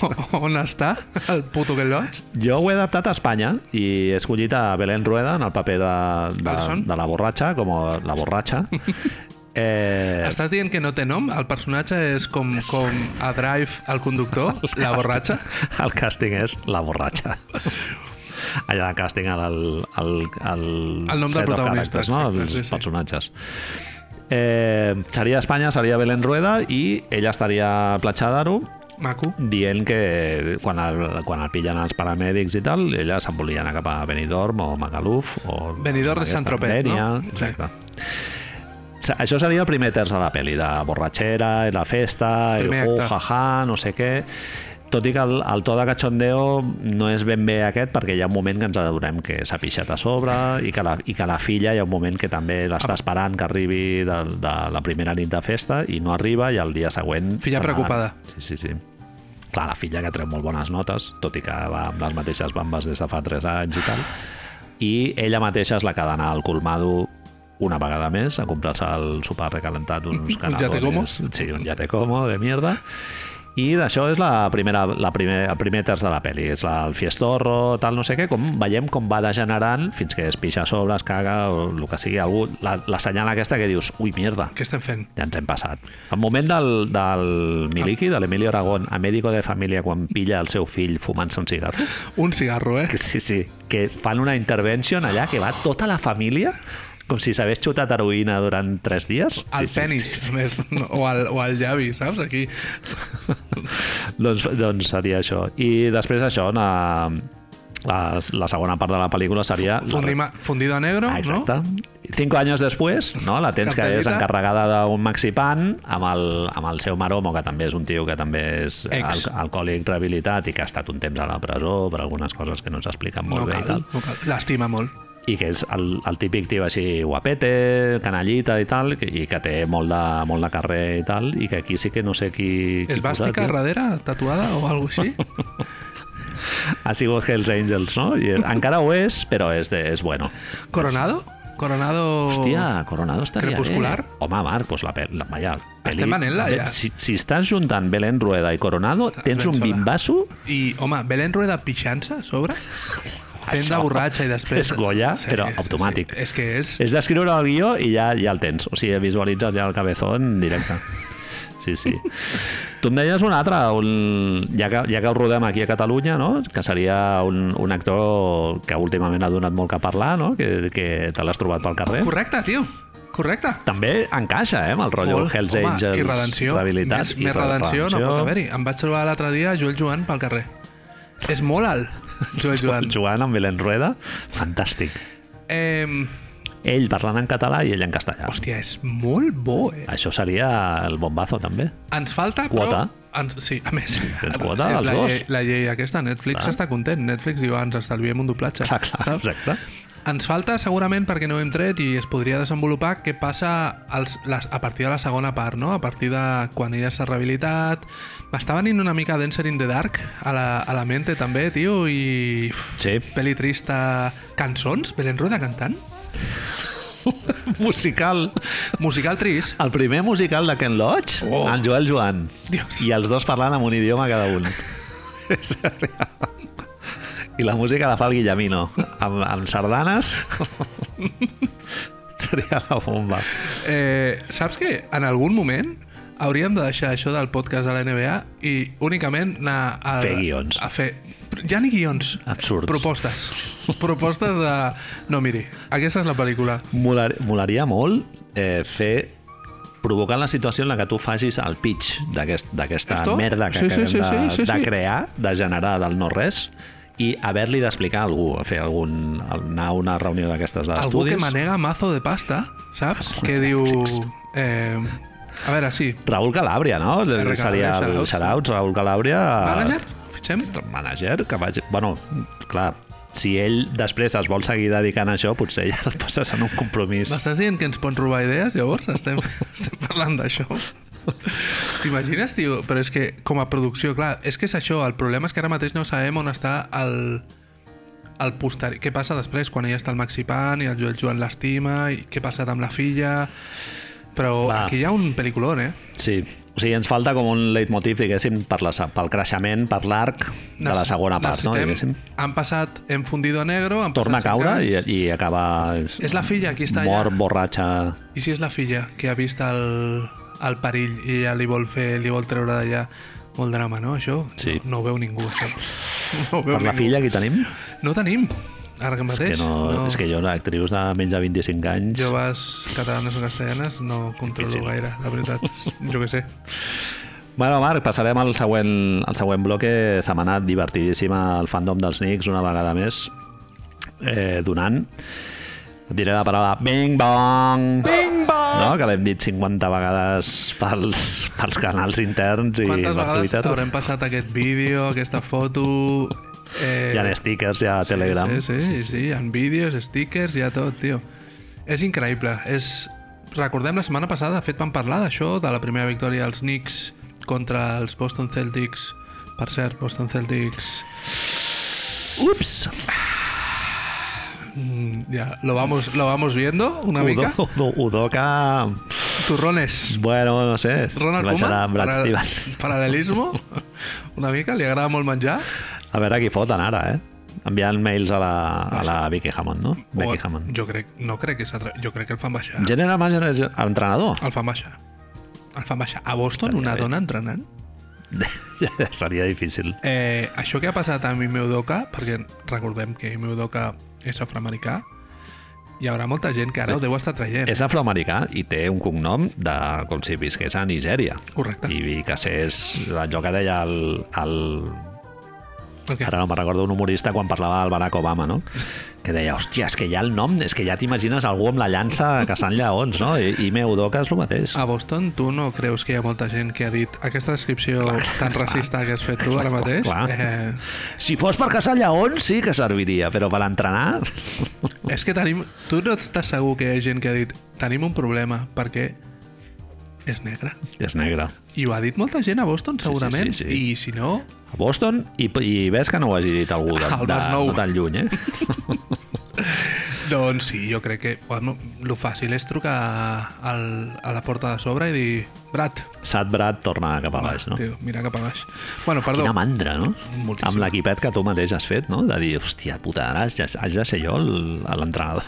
Speaker 2: O- On està el puto Ken Loach?
Speaker 1: Jo ho he adaptat a Espanya i he escollit a Belén Rueda en el paper de, de,
Speaker 2: Alison?
Speaker 1: de la borratxa, com la borratxa. Eh,
Speaker 2: Estàs dient que no té nom? El personatge és com, com a Drive, el conductor, la borratxa?
Speaker 1: El càsting és la borratxa. Allà de càsting el, el, el, el,
Speaker 2: El nom del
Speaker 1: set of
Speaker 2: protagonista,
Speaker 1: characters, no?
Speaker 2: exacte,
Speaker 1: els
Speaker 2: sí, sí.
Speaker 1: personatges. Eh, seria Espanya, seria Belén Rueda i ella estaria a Platja d'Aro
Speaker 2: Maco.
Speaker 1: dient que quan el, quan el pillen els paramèdics i tal, ella s'embolien cap a Benidorm o Magaluf o...
Speaker 2: Benidorm és
Speaker 1: aquesta
Speaker 2: Saint-Tropez, no?
Speaker 1: Dénia,
Speaker 2: Sí.
Speaker 1: Exacte. Sí. Això seria el primer terç de la pel·li, de borratxera, i la festa, el
Speaker 2: Primer
Speaker 1: hu,
Speaker 2: acte.
Speaker 1: jaja, no sé què... Tot i que el, el to de cachondeo no és ben bé aquest perquè hi ha un moment que ens adonem que s'ha pixat a sobre i que, la, i que la filla hi ha un moment que també l'està esperant que arribi de, de la primera nit de festa i no arriba i el dia següent...
Speaker 2: Filla
Speaker 1: Mm-hmm. se n'ha d'anar.
Speaker 2: preocupada.
Speaker 1: Sí, sí, sí. Clar, la filla que treu molt bones notes, tot i que va amb les mateixes bambes des de fa 3 anys i tal. I ella mateixa és la que ha d'anar al colmado una vegada més a comprar-se el sopar recalentat uns canatones.
Speaker 2: yate como.
Speaker 1: Sí, un yate como de mierda. I d'això és la primera, la primer, el primer terç de la pel·li. És la, el fiestorro, tal, no sé què, com veiem com va degenerant fins que es pixa a sobre, es caga, o el que sigui, algú, la, la senyal aquesta que dius, ui, mierda,
Speaker 2: Què estem fent?
Speaker 1: ja ens hem passat. El moment del, del Miliki, de l'Emilio Aragón, a Médico de Família, quan pilla el seu fill fumant-se un cigarro.
Speaker 2: Un cigarro, eh?
Speaker 1: Que Sí, sí, que fan una intervention allà que va tota la família com si s'hagués xutat heroïna durant tres dies.
Speaker 2: Al
Speaker 1: sí,
Speaker 2: penis,
Speaker 1: Sí, sí,
Speaker 2: a més, o al, o al llavi, saps? Aquí.
Speaker 1: doncs, doncs seria això. I després això, la, la, la segona part de la pel·lícula seria... la-
Speaker 2: Fundima, fundido a negro,
Speaker 1: Ah,
Speaker 2: no?
Speaker 1: exacte. Cinco anys després, no? la tens que és
Speaker 2: Cartellita.
Speaker 1: encarregada d'un maxipan amb el, amb el seu maromo, que també és un tio que també és
Speaker 2: Ex.
Speaker 1: al alcohòlic rehabilitat i que ha estat un temps a la presó per algunes coses que no s'expliquen molt
Speaker 2: No
Speaker 1: bé i
Speaker 2: cal,
Speaker 1: tal.
Speaker 2: no cal. L'estima molt.
Speaker 1: I que és el, el típic tio així guapete, canallita i tal, que- i que té molt de, molt de carrer i tal, i que aquí sí que no sé qui... qui
Speaker 2: Es va
Speaker 1: posar,
Speaker 2: esticar
Speaker 1: tio.
Speaker 2: darrere, tatuada o alguna cosa així?
Speaker 1: Ha sigut Hells Angels, no? I és, encara ho és, però és, de, és bueno.
Speaker 2: Coronado? Coronado...
Speaker 1: Hòstia, Coronado estaria
Speaker 2: Crepuscular?
Speaker 1: bé. Home, Marc, doncs la, pel- la, vaja, peli...
Speaker 2: Estem venent-la,
Speaker 1: Bé,
Speaker 2: ja.
Speaker 1: Si, si estàs juntant Belén Rueda i Coronado,
Speaker 2: Estàs
Speaker 1: tens
Speaker 2: ben
Speaker 1: un
Speaker 2: sola.
Speaker 1: bimbasso
Speaker 2: I, home, Belén Rueda pixant-se a sobre, fent de
Speaker 1: Això
Speaker 2: borratxa i després...
Speaker 1: és Goya, però automàtic.
Speaker 2: Sí. És que és...
Speaker 1: És d'escriure el guió i ja, ja el tens. O sigui, visualitzes ja el cabezón directe. Sí, sí. Tu em deies un altre, un, ja, que, ja que el rodem aquí a Catalunya, no? que seria un, un actor que últimament ha donat molt que parlar, no? que, que te l'has trobat pel carrer.
Speaker 2: Correcte, tio. Correcte.
Speaker 1: També encaixa, eh, amb el rotllo
Speaker 2: Molt.
Speaker 1: Hells
Speaker 2: Home,
Speaker 1: Angels
Speaker 2: I redenció.
Speaker 1: rehabilitat.
Speaker 2: Més,
Speaker 1: I
Speaker 2: més redenció, no pot
Speaker 1: redenció.
Speaker 2: haver-hi. Em vaig trobar l'altre dia Joel Joan pel carrer. És molt alt, Joel Joan.
Speaker 1: Joan. Joan amb Belén Rueda, fantàstic.
Speaker 2: Eh,
Speaker 1: Ell parlant en català i ell en castellà. Hòstia.
Speaker 2: hòstia, és molt bo, eh?
Speaker 1: Això seria el bombazo, també.
Speaker 2: Ens falta,
Speaker 1: Quota.
Speaker 2: però... Ens, sí, a més...
Speaker 1: Tens quota,
Speaker 2: és
Speaker 1: els
Speaker 2: la
Speaker 1: dos.
Speaker 2: Llei, la llei aquesta, Netflix
Speaker 1: Clar.
Speaker 2: està content. Netflix diu, "Ah, ens estalviem un doblatge.
Speaker 1: Clar, clar,
Speaker 2: saps?
Speaker 1: exacte.
Speaker 2: Ens falta segurament perquè no ho hem tret i es podria desenvolupar què passa als, les, a partir de la segona part, no? A partir de quan ella s'ha rehabilitat... M'està venint una mica Dancer in the Dark a la, a la mente també, tio, i...
Speaker 1: Sí.
Speaker 2: Peli trista... Cançons? Belén Rueda cantant?
Speaker 1: Musical.
Speaker 2: Musical trist?
Speaker 1: El primer musical de Ken Loach,
Speaker 2: Oh.
Speaker 1: en Joel Joan.
Speaker 2: Dios.
Speaker 1: I els dos parlant amb un idioma cada un. És real. I la música la fa el Guillemino, amb, amb sardanes. seria la bomba.
Speaker 2: Eh, saps que en algun moment hauríem de deixar això del podcast de la NBA i únicament anar a...
Speaker 1: Fer guions.
Speaker 2: A fer... Ja ni guions.
Speaker 1: Absurds.
Speaker 2: Propostes. Propostes de... No, miri, aquesta és la pel·lícula.
Speaker 1: Molar, molaria molt eh, fer provocar la situació en la que tu facis el pitch d'aquest- d'aquesta
Speaker 2: Esto?
Speaker 1: merda que
Speaker 2: Sí, sí,
Speaker 1: acabem
Speaker 2: sí,
Speaker 1: de,
Speaker 2: sí, sí,
Speaker 1: de
Speaker 2: sí.
Speaker 1: crear, de generar del no-res, i haver-li d'explicar a algú, fer algun, anar a una reunió d'aquestes
Speaker 2: Algú
Speaker 1: d'estudis.
Speaker 2: que manega mazo de pasta, saps? Que diu... Eh, a veure, sí.
Speaker 1: Raül Calàbria, no?
Speaker 2: Calàbria,
Speaker 1: Seria el
Speaker 2: shoutouts.
Speaker 1: shoutouts, Raül Calàbria.
Speaker 2: Manager? Fitxem?
Speaker 1: Manager, que vagi... Bueno, clar, si ell després es vol seguir dedicant a això, potser ja el passes en un compromís.
Speaker 2: M'estàs dient que ens pots robar idees, llavors? Estem, estem parlant d'això? T'imagines, tio? Però és que, com a producció, clar, és que és això. El problema és que ara mateix no sabem on està el, el posteri... Què passa després, quan ella està al Maxipan i el Joel Joan l'estima, i què ha passat amb la filla... Però
Speaker 1: Clar.
Speaker 2: aquí hi ha un pel·liculón, eh?
Speaker 1: Sí, o sigui, ens falta com un leitmotiv, diguéssim, per la, pel creixement, per l'arc de la
Speaker 2: Necess-
Speaker 1: segona part, no?
Speaker 2: necessitem-
Speaker 1: Diguéssim.
Speaker 2: Han passat, hem fundido a negro... Han
Speaker 1: Torna a
Speaker 2: passat cinc
Speaker 1: caure i,
Speaker 2: anys.
Speaker 1: i acaba... És,
Speaker 2: És la filla, aquí està
Speaker 1: mort,
Speaker 2: allà.
Speaker 1: borratxa...
Speaker 2: I si és la filla que ha vist el, el perill i ja li vol fer, li vol treure d'allà molt drama, no, això?
Speaker 1: Sí.
Speaker 2: No, no ho veu ningú, això. No ho veu
Speaker 1: Per la
Speaker 2: ningú.
Speaker 1: filla que tenim?
Speaker 2: No ho tenim, ara que
Speaker 1: És
Speaker 2: mateix.
Speaker 1: que, no, és que jo, actrius de menys de 25 anys...
Speaker 2: Joves catalanes o castellanes no controlo
Speaker 1: Difícil.
Speaker 2: gaire, la veritat. Jo què sé.
Speaker 1: Bueno, Marc, passarem al següent, al següent bloque. Setmana divertidíssima al fandom dels Knicks, una vegada més, eh, donant. Et diré la paraula Bing Bong!
Speaker 3: Bing bong!
Speaker 2: Ah.
Speaker 1: No? Que l'hem dit 50 vegades pels, pels canals interns i per
Speaker 2: Quantes vegades
Speaker 1: Twitter.
Speaker 2: haurem passat aquest vídeo, aquesta foto... Eh,
Speaker 1: Hi ha stickers, hi ha
Speaker 2: sí,
Speaker 1: Telegram.
Speaker 2: Sí, sí, sí, sí, hi ha vídeos, stickers, hi ha tot, tio. És increïble. És... Recordem, la setmana passada, de fet, vam parlar d'això, de la primera victòria dels Knicks contra els Boston Celtics. Per cert, Boston Celtics...
Speaker 1: Ups!
Speaker 2: mm, Ja, lo vamos, lo vamos viendo una mica.
Speaker 1: Udo, Udo, Udoka...
Speaker 2: Turrones.
Speaker 1: Bueno, no sé.
Speaker 2: Ronald
Speaker 1: vaig anar
Speaker 2: Koeman,
Speaker 1: amb Brad
Speaker 2: paral-
Speaker 1: Stevens.
Speaker 2: paral·lelismo, una mica, li agrada molt menjar.
Speaker 1: A veure qui foten ara, eh? Enviant mails a la, a la Vicky Hammond, no?
Speaker 2: O-
Speaker 1: Becky Hammond.
Speaker 2: Jo crec, no crec que s'atre... Jo crec que el fan baixar.
Speaker 1: General manager, entrenador.
Speaker 2: El fan baixar. El fan baixar. A Boston, una
Speaker 1: bé.
Speaker 2: dona entrenant.
Speaker 1: Seria difícil.
Speaker 2: Eh, això que ha passat amb Imeu Doka, perquè recordem que Imeu Doka és afroamericà, hi haurà molta gent que ara ho deu estar traient.
Speaker 1: És afroamericà i té un cognom de com si visqués a Nigèria.
Speaker 2: Correcte.
Speaker 1: I, i que és allò que deia el, el
Speaker 2: Okay.
Speaker 1: Ara no me'n recordo un humorista quan parlava del Barack Obama, no? Que deia, hòstia, és que ja el nom, és que ja t'imagines algú amb la llança caçant lleons, no? I, i meu doca és el mateix.
Speaker 2: A Boston, tu no creus que hi ha molta gent que ha dit aquesta descripció tan racista que has fet tu ara
Speaker 1: clar,
Speaker 2: mateix?
Speaker 1: clar.
Speaker 2: Eh,
Speaker 1: Si fos per caçar lleons, sí que serviria, però per entrenar...
Speaker 2: És que tenim... Tu no estàs segur que hi ha gent que ha dit tenim un problema perquè és negre.
Speaker 1: És negre.
Speaker 2: I ho ha dit molta gent a
Speaker 1: Sí,
Speaker 2: Boston,
Speaker 1: sí,
Speaker 2: segurament.
Speaker 1: sí, sí.
Speaker 2: I si no,
Speaker 1: A Boston, i, i ves que no ho hagi dit algú de,
Speaker 2: Al
Speaker 1: de,
Speaker 2: Masnou.
Speaker 1: no tan lluny, eh?
Speaker 2: doncs sí, jo crec que bueno, lo fàcil és trucar al, a la porta de sobre i dir Brat,
Speaker 1: Sad Brad torna cap a baix, no?
Speaker 2: tio, mira cap a baix. Bueno, perdó.
Speaker 1: Quina mandra, no?
Speaker 2: Moltíssim.
Speaker 1: Amb l'equipet que tu mateix has fet, no? De dir, hòstia puta, ara has, has de ser jo el- l'entrenador.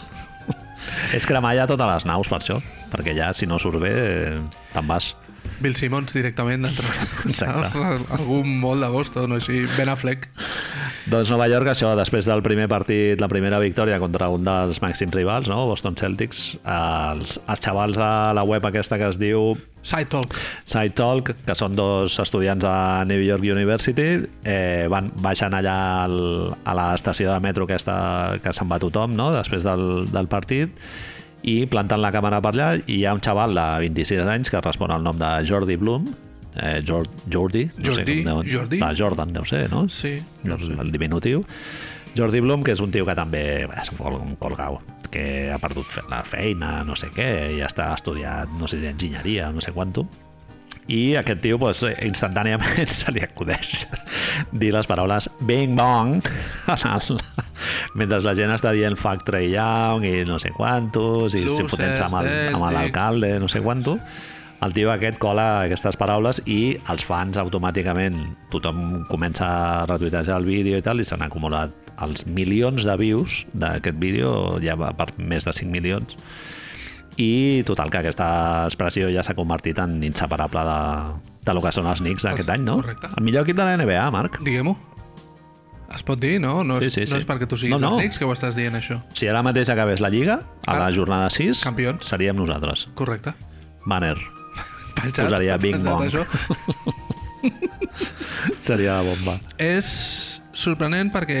Speaker 1: És cremar ja totes les naus, per això. Perquè ja, si no surt bé, eh, te'n vas.
Speaker 2: Bill Simmons directament d'entre...
Speaker 1: Exacte.
Speaker 2: saps? Algú molt de Boston o així, Ben Affleck.
Speaker 1: Doncs Nova York, això, després del primer partit, la primera victòria contra un dels màxims rivals, no? Boston Celtics, els, els xavals de la web aquesta que es diu
Speaker 2: Side Talk.
Speaker 1: Side Talk, que són dos estudiants de New York University, eh, van baixant allà al, a l'estació de metro aquesta, que se'n va tothom no? després del, del partit i plantant la càmera per allà i hi ha un xaval de 26 anys que respon al nom de Jordi Blum eh, Jor Jordi, no
Speaker 2: Jordi,
Speaker 1: sé com deu,
Speaker 2: Jordi.
Speaker 1: de Jordan deu ser, no?
Speaker 2: Sí.
Speaker 1: no sé, el diminutiu Jordi Blum, que és un tio que també bé, és un col- un colgau, que ha perdut fe- la feina, no sé què, i està estudiat, no sé, enginyeria, no sé quantum. I aquest tio, doncs, instantàniament se li acudeix dir les paraules bing bong en el- mentre la gent està dient fuck Trey Young i no sé quantos i se
Speaker 2: Losers,
Speaker 1: fotent amb el- amb
Speaker 2: Celtics.
Speaker 1: l'alcalde, no sé quanto el tio aquest cola aquestes paraules i els fans automàticament tothom comença a retuitejar el vídeo i tal i s'han acumulat els milions de views d'aquest vídeo ja va per més de 5 milions i total que aquesta expressió ja s'ha convertit en inseparable de, de lo que són els Knicks d'aquest
Speaker 2: Els-
Speaker 1: any, no?
Speaker 2: correcte.
Speaker 1: El millor equip de la NBA, Marc.
Speaker 2: Diguem-ho. Es pot dir, no? No és,
Speaker 1: Sí, sí, sí.
Speaker 2: no és perquè tu siguis
Speaker 1: No,
Speaker 2: no,
Speaker 1: no.
Speaker 2: no. que ho estàs dient, això.
Speaker 1: Si ara mateix acabés la Lliga, a la
Speaker 2: Ah.
Speaker 1: jornada 6,
Speaker 2: Campions.
Speaker 1: seríem nosaltres.
Speaker 2: Correcte.
Speaker 1: Banner.
Speaker 2: Pel xat.
Speaker 1: Posaria Big
Speaker 2: Pel xat,
Speaker 1: Bong.
Speaker 2: això.
Speaker 1: Seria la bomba.
Speaker 2: És sorprenent perquè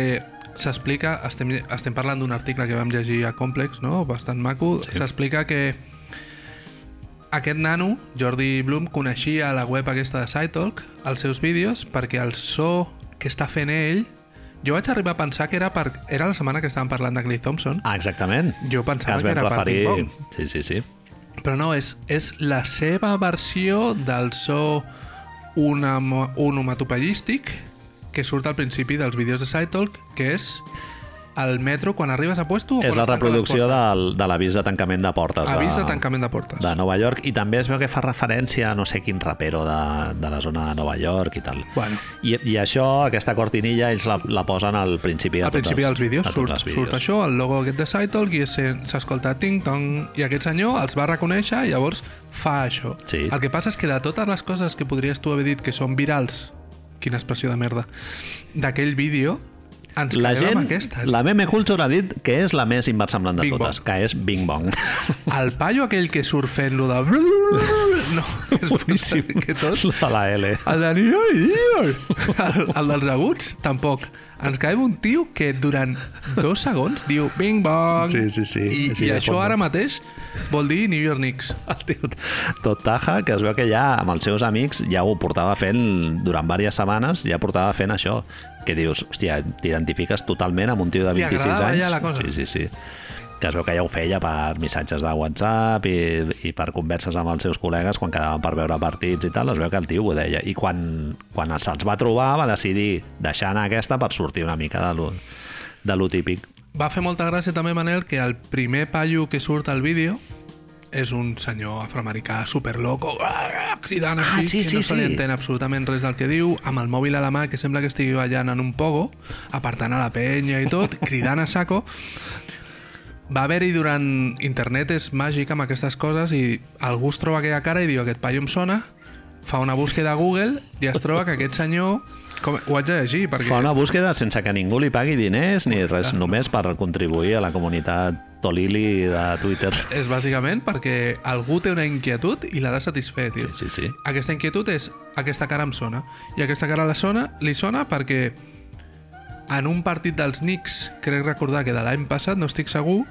Speaker 2: s'explica, estem, estem parlant d'un article que vam llegir a Complex, no? bastant maco, s'explica que aquest nano, Jordi Blum, coneixia la web aquesta de SciTalk, els seus vídeos, perquè el so que està fent ell... Jo vaig arribar a pensar que era per... Era la setmana que estàvem parlant de Clay Thompson,
Speaker 1: Ah, exactament.
Speaker 2: Jo pensava
Speaker 1: es vam
Speaker 2: que era per
Speaker 1: referir-
Speaker 2: ping-pong.
Speaker 1: Sí, sí, sí.
Speaker 2: però no, és, és la seva versió del so una, onomatopellístic que surt al principi dels vídeos de SciTalk, que és el metro quan arribes a puesto... o
Speaker 1: És
Speaker 2: quan
Speaker 1: la
Speaker 2: es tanquen
Speaker 1: reproducció
Speaker 2: les
Speaker 1: del, de l'avís de tancament de portes.
Speaker 2: portes. Avís de tancament de portes.
Speaker 1: de Nova York i també es veu que fa referència a no sé quin rapero de, de la zona de Nova York i tal.
Speaker 2: Bueno.
Speaker 1: I, I això, aquesta cortinilla, ells la, la posen al principi de
Speaker 2: Al
Speaker 1: tots
Speaker 2: principi
Speaker 1: els-
Speaker 2: dels vídeos
Speaker 1: de tots
Speaker 2: surt,
Speaker 1: els vídeos.
Speaker 2: surt això, el logo aquest de SciTalk, i se- s'escolta ting-tong, i aquest senyor els va reconèixer i llavors fa això.
Speaker 1: Sí.
Speaker 2: El que passa és que de totes les coses que podries tu haver dit que són virals, quina expressió de merda, d'aquell vídeo, ens
Speaker 1: La
Speaker 2: quedem
Speaker 1: gent,
Speaker 2: amb aquesta. eh?
Speaker 1: la meme culture ha dit que és la més inversemblant de
Speaker 2: Bing
Speaker 1: totes,
Speaker 2: bong.
Speaker 1: que és Bing Bong.
Speaker 2: El paio aquell que surt fent lo de... No, és
Speaker 1: boníssim.
Speaker 2: que tot.
Speaker 1: Lo de la L.
Speaker 2: El de New York, New York. El, el dels aguts, tampoc. Ens caem un tio que durant dos segons diu bing bong.
Speaker 1: Sí, sí, sí.
Speaker 2: I,
Speaker 1: Així
Speaker 2: i
Speaker 1: de
Speaker 2: això
Speaker 1: fondo.
Speaker 2: ara mateix vol dir New York Knicks.
Speaker 1: El tio tot taja, que es veu que ja amb els seus amics ja ho portava fent durant diverses setmanes, ja portava fent això. Que dius, hòstia, t'identifiques totalment amb un tio de
Speaker 2: Li
Speaker 1: 26
Speaker 2: agradava
Speaker 1: anys.
Speaker 2: ja la cosa.
Speaker 1: Sí, sí, sí. Que es veu que ja ho feia per missatges de WhatsApp i, i per converses amb els seus col·legues quan quedaven per veure partits i tal, es veu que el tio ho deia. I quan, quan se'ls va trobar va decidir deixar anar aquesta per sortir una mica de lo, de lo típic.
Speaker 2: Va fer molta gràcia també, Manel, que el primer paio que surt al vídeo és un senyor afroamericà superloco, ah, cridant
Speaker 1: Ah, sí,
Speaker 2: així, que
Speaker 1: sí,
Speaker 2: no se li
Speaker 1: sí.
Speaker 2: entén absolutament res del que diu, amb el mòbil a la mà, que sembla que estigui ballant en un pogo, apartant a la penya i tot, cridant a saco. Va haver-hi durant... Internet és màgic amb aquestes coses i algú es troba aquella cara i diu aquest paio em sona, fa una búsqueda a Google i es troba que aquest senyor... Com, ho haig de llegir, perquè...
Speaker 1: Fa una búsqueda sense que ningú li pagui diners ni
Speaker 2: Ah.
Speaker 1: res, només per contribuir a la comunitat Tolili de Twitter.
Speaker 2: És bàsicament perquè algú té una inquietud i l'ha de satisfer, tio.
Speaker 1: Sí, sí, sí.
Speaker 2: Aquesta inquietud és aquesta cara em sona. I aquesta cara la sona, li sona perquè en un partit dels Knicks, crec recordar que de l'any passat, no estic segur,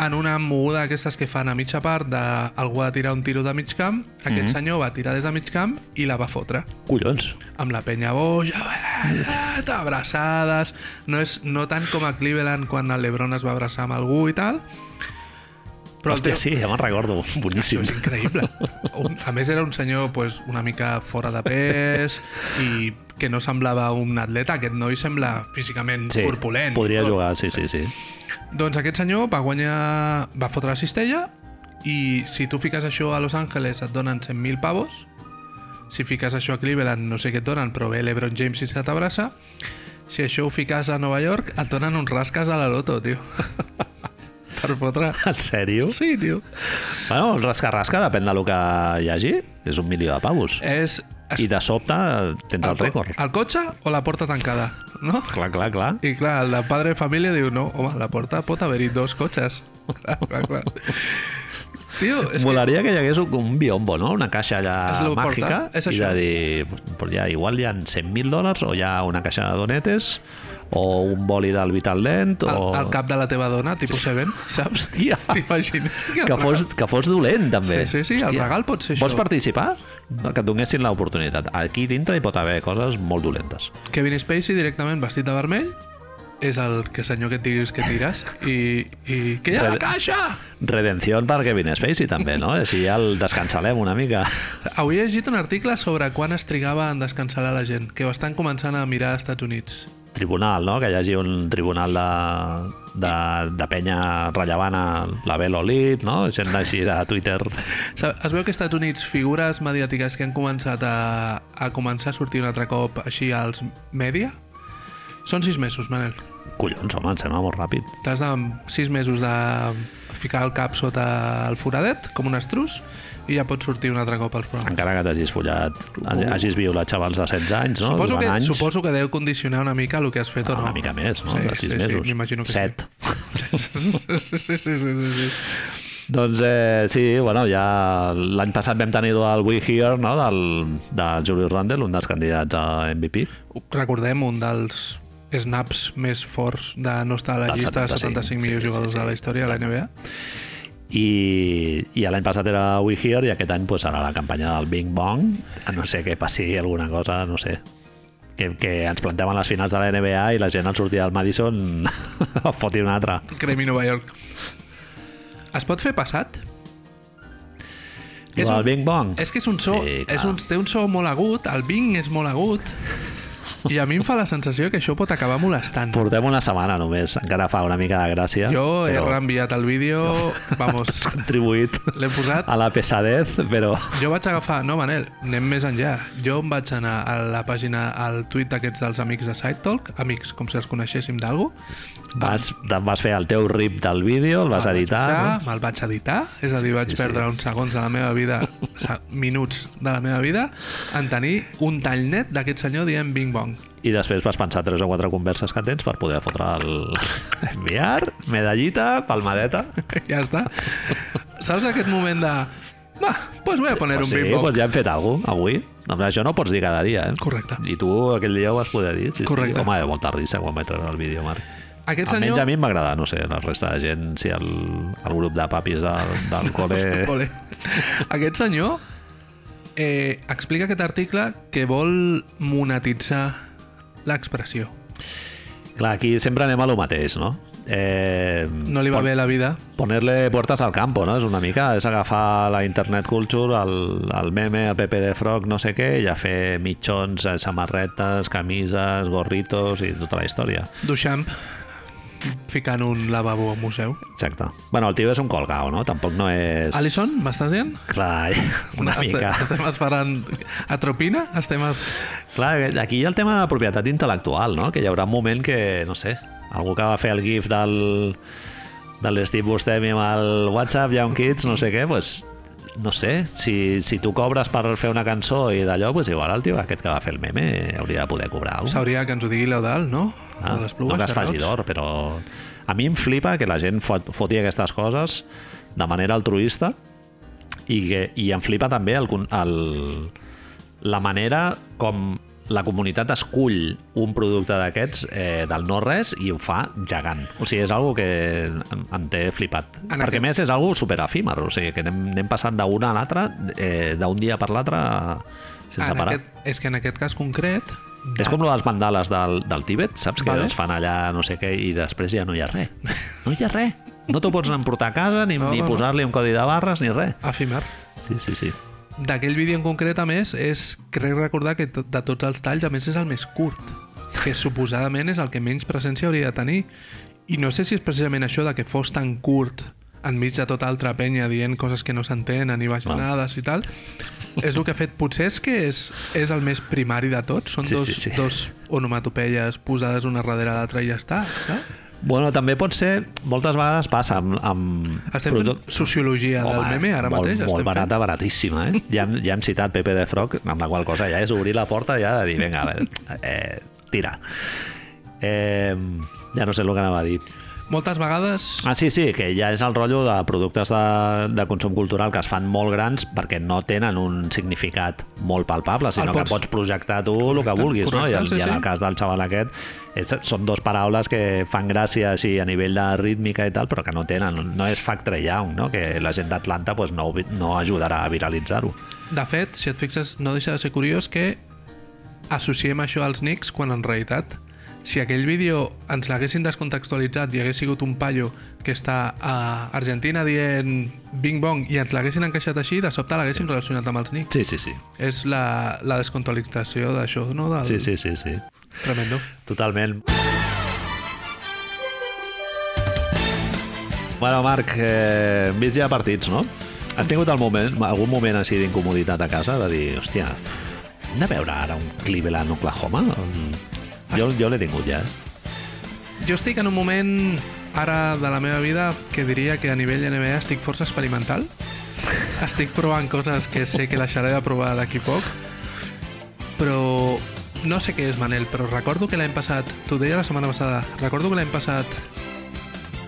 Speaker 2: en una moguda d'aquestes que fan a mitja part de algú ha de tirar un tiro de mig camp, aquest senyor va tirar des de mig camp i la va fotre
Speaker 1: Collons.
Speaker 2: amb la penya boja,
Speaker 1: Ah.
Speaker 2: abraçades, no, és, no tant com a Cleveland quan el Lebron es va abraçar amb algú i tal,
Speaker 1: Però Hòstia,
Speaker 2: però el teu...
Speaker 1: sí, ja me'n recordo.
Speaker 2: Això
Speaker 1: Boníssim.
Speaker 2: és increïble. Un, a més, era un senyor pues, una mica fora de pes i que no semblava un atleta. Aquest noi sembla físicament
Speaker 1: Sí,
Speaker 2: corpulent. i
Speaker 1: podria
Speaker 2: tot.
Speaker 1: jugar, sí, sí, sí.
Speaker 2: Doncs aquest senyor va guanyar... va fotre la cistella i si tu fiques això a Los Angeles et donen 100.000 pavos si fiques això a Cleveland no sé què et donen però ve l'Ebron James i se t'abraça si això ho fiques a Nova York et donen uns rasques a la loto, tio per fotre
Speaker 1: En sèrio?
Speaker 2: sí, tio
Speaker 1: Bueno, el rasca-rasca depèn del que hi hagi. És un milió de pavos.
Speaker 2: és
Speaker 1: I de sobte tens el
Speaker 2: co-
Speaker 1: rècord.
Speaker 2: el cotxe o la porta tancada no?
Speaker 1: Clar, clar, clar.
Speaker 2: I clar, el de padre de família diu, no, home, a la porta pot haver-hi dos cotxes. Clar, clar, clar. Tio, és que
Speaker 1: Molaria que hi hagués un- un biombo, no? Una caixa
Speaker 2: És
Speaker 1: allà
Speaker 2: lo
Speaker 1: màgica
Speaker 2: important, és
Speaker 1: i de
Speaker 2: això.
Speaker 1: dir, pues ja, igual hi ha 100.000 dòlars o hi ha una caixa de donetes o un boli del Vital Lent o...
Speaker 2: al, al cap de la teva dona, tipus Seven, saps?
Speaker 1: Oh. Hòstia!
Speaker 2: T'imagines
Speaker 1: Que fos, que fos dolent, també.
Speaker 2: Sí, sí, sí, el regal pot ser
Speaker 1: Vols
Speaker 2: això.
Speaker 1: participar? No, Que et donessin l'oportunitat. Aquí dintre hi pot haver coses molt dolentes.
Speaker 2: Kevin Spacey directament vestit de vermell és el que senyor que et diguis que tires i, i que hi ha la caixa!
Speaker 1: Redenció per Kevin Spacey, també, no? Així ja el descansalem una mica.
Speaker 2: Avui he llegit un article sobre quan es trigava en descansar la gent, que ho estan començant a mirar als Estats Units.
Speaker 1: Tribunal, no? Que hi hagi un tribunal de, de, de penya rellevant a la Belo Lit, no? Gent així de Twitter.
Speaker 2: Sa- Es veu que als Estats Units figures mediàtiques que han començat a, a començar a sortir un altre cop així als mèdia són sis mesos, Manel.
Speaker 1: Collons, home, em sembla molt ràpid.
Speaker 2: T'has de sis mesos de ficar el cap sota el foradet, com un estrus, i ja pots sortir un altre cop als programes.
Speaker 1: Encara que t'hagis follat, hagi- hagis violat xavals de 16 anys, no?
Speaker 2: Suposo
Speaker 1: Durant
Speaker 2: que,
Speaker 1: anys. Ah,
Speaker 2: suposo que deu condicionar una mica el que has fet o no.
Speaker 1: Una mica més, no?
Speaker 2: Sí,
Speaker 1: de 6
Speaker 2: sí, sí,
Speaker 1: mesos.
Speaker 2: m'imagino que sí.
Speaker 1: 7.
Speaker 2: sí, sí, sí, sí, sí.
Speaker 1: Doncs eh, sí, bueno, ja l'any passat vam tenir el We Here, no?, del, de Julius Randle, un dels candidats a MVP.
Speaker 2: Recordem un dels snaps més forts de no estar a la
Speaker 1: Del
Speaker 2: llista de
Speaker 1: 75,
Speaker 2: 75 millors
Speaker 1: sí, sí,
Speaker 2: jugadors
Speaker 1: sí.
Speaker 2: de la història de la NBA.
Speaker 1: I, i l'any passat era We Here i aquest any pues, serà la campanya del Bing Bong, a no sé que passi alguna cosa, no sé que, que ens plantem a les finals de la NBA i la gent al sortir del Madison foti una altra.
Speaker 2: Gremi Nova York. Es pot fer passat?
Speaker 1: És el Bing Bong.
Speaker 2: és que és un so,
Speaker 1: Sí,
Speaker 2: sí,
Speaker 1: clar.
Speaker 2: és un, té un so molt agut, el bing és molt agut, i a mi em fa la sensació que això pot acabar molestant.
Speaker 1: Portem una setmana només, encara fa una mica de gràcia.
Speaker 2: Jo he reenviat el vídeo, vamos,
Speaker 1: contribuït
Speaker 2: l'he posat...
Speaker 1: a la pesadez, però...
Speaker 2: Jo vaig agafar... No, Manel, anem més enllà. Jo em vaig anar a la pàgina, al tuit d'aquests dels amics de SideTalk, amics, com si els coneixéssim d'algú,
Speaker 1: Vas, vas fer el teu rip del vídeo, el vas
Speaker 2: Ah,
Speaker 1: editar... No?
Speaker 2: Me'l vaig editar, és a dir, vaig
Speaker 1: sí,
Speaker 2: sí,
Speaker 1: sí.
Speaker 2: perdre uns segons de la meva vida, se- minuts de la meva vida, en tenir un tall net d'aquest senyor dient Bing Bong.
Speaker 1: I després vas pensar tres o quatre converses que tens per poder fotre el... enviar, medallita, palmadeta...
Speaker 2: Ja està. Saps aquest moment de... Va, pues voy a poner
Speaker 1: Pues
Speaker 2: un
Speaker 1: sí,
Speaker 2: beatbox.
Speaker 1: pues ja hem fet alguna cosa, avui. No, però això no ho pots dir cada dia, eh?
Speaker 2: Correcte.
Speaker 1: I tu aquell dia ho vas poder dir. Sí,
Speaker 2: Correcte.
Speaker 1: Sí. Home, de molta risa quan vaig treure el vídeo, Marc.
Speaker 2: Aquest
Speaker 1: Almenys
Speaker 2: senyor...
Speaker 1: a mi em va agradar, no sé, la resta de gent, si el, el grup de papis del, del col·le...
Speaker 2: Ole. Aquest senyor eh, explica aquest article que vol monetitzar l'expressió.
Speaker 1: Clar, aquí sempre anem a lo mateix, no? Eh,
Speaker 2: No li va bé la vida.
Speaker 1: Ponerle puertas al campo, ¿no? És una mica, és agafar la internet culture, el, el meme, el PP de Frog, no sé què, i a fer mitjons, eh, samarretes, camises, gorritos i tota la història.
Speaker 2: Duchamp ficant un lavabo al museu.
Speaker 1: Exacte. Bueno, el tio és un colgao, no? Tampoc no és...
Speaker 2: Alison, m'estàs dient?
Speaker 1: Clar, una
Speaker 2: Este-
Speaker 1: mica.
Speaker 2: Estem esperant... Atropina? Estem... Es...
Speaker 1: Clar, aquí hi ha el tema de propietat intel·lectual, no? Que hi haurà un moment que, no sé, algú que va fer el gif del, de l'Steve Buscemi amb el WhatsApp, Young Kids, no sé què, doncs, no sé, si, si tu cobres per fer una cançó i d'allò, doncs igual el tio aquest que va fer el meme hauria de poder cobrar. alguna cosa.
Speaker 2: S'hauria que ens ho digui l'Eudal, no?
Speaker 1: Uh. Ah,
Speaker 2: De les
Speaker 1: no
Speaker 2: pluges,
Speaker 1: que es faci
Speaker 2: xarrots.
Speaker 1: d'or, però... A mi em flipa que la gent fot, foti aquestes coses de manera altruista i, que, i em flipa també el, con- el, la manera com la comunitat escull un producte d'aquests eh, del no-res i ho fa gegant. O sigui, és algo que em, em té flipat.
Speaker 2: En
Speaker 1: Perquè,
Speaker 2: aquest-
Speaker 1: a més, és algo superefímer. O sigui, que anem, anem passant d'un a l'altre, eh, d'un dia per l'altre, eh, sense
Speaker 2: en
Speaker 1: parar.
Speaker 2: Aquest, és que en aquest cas concret...
Speaker 1: És com lo dels mandales del, del Tíbet, saps? Que
Speaker 2: Vale.
Speaker 1: vale. els fan allà no sé què i després ja no hi ha res. No hi ha res. No t'ho pots emportar a casa, ni,
Speaker 2: No,
Speaker 1: no, ni
Speaker 2: no, no.
Speaker 1: no, posar-li un codi de barres, ni res.
Speaker 2: Efímer.
Speaker 1: Sí, sí, sí.
Speaker 2: D'aquell vídeo en concret, a més, és, crec recordar que to- de tots els talls, a més, és el més curt, que suposadament és el que menys presència hauria de tenir. I no sé si és precisament això de que fos tan curt enmig de tota altra penya dient coses que no s'entenen i vaginades i tal, és el que ha fet. Potser és que és, és el més primari de tots, són
Speaker 1: Sí,
Speaker 2: dos,
Speaker 1: sí, sí.
Speaker 2: dos onomatopeies posades una darrere l'altra i ja està, saps?
Speaker 1: Bueno, també pot ser... Moltes vegades passa amb... amb
Speaker 2: Estem fent
Speaker 1: produc-
Speaker 2: sociologia del
Speaker 1: Home,
Speaker 2: meme ara
Speaker 1: molt,
Speaker 2: mateix.
Speaker 1: Molt
Speaker 2: estem
Speaker 1: barata, baratíssima, eh? Ja, hem- ja hem citat Pepe de Frog, amb la qual cosa ja és obrir la porta ja de dir, vinga, a veure, eh, tira. Eh, ja no sé el que anava a dir.
Speaker 2: Fent. Moltes vegades...
Speaker 1: Ah, sí, sí, que ja és el rotllo de productes de, de consum cultural que es fan molt grans perquè no tenen un significat molt palpable, sinó
Speaker 2: Ah, pots-
Speaker 1: que pots projectar tu el que vulguis, no? I,
Speaker 2: correcte,
Speaker 1: el,
Speaker 2: sí,
Speaker 1: i en
Speaker 2: sí.
Speaker 1: el cas del xaval aquest és, són dos paraules que fan gràcia així a nivell de rítmica i tal, però que no tenen, no és Factory Young, no? Que la gent d'Atlanta pues, no, ho vi- no ajudarà a viralitzar-ho.
Speaker 2: De fet, si et fixes, no deixa de ser curiós que associem això als Knicks quan en realitat si aquell vídeo ens l'haguessin descontextualitzat i hagués sigut un paio que està a Argentina dient bing bong i ens l'haguessin encaixat així, de sobte l'haguéssim relacionat amb els Knicks.
Speaker 1: Sí, sí, sí.
Speaker 2: És la, la descontextualització d'això, no? Del...
Speaker 1: Sí, sí, sí, sí.
Speaker 2: Tremendo.
Speaker 1: Totalment. Bueno, Marc, eh, hem vist ja partits, no? Has tingut el moment, algun moment així d'incomoditat a casa de dir, hòstia, hem de veure ara un Cleveland Oklahoma? Mm. Jo, jo l'he tingut ja. eh?
Speaker 2: Jo estic en un moment ara de la meva vida que diria que a nivell NBA estic força experimental. Estic provant coses que sé que deixaré de provar d'aquí poc. Però no sé què és, Manel, però recordo que l'any passat, t'ho deia la setmana passada, recordo que l'any passat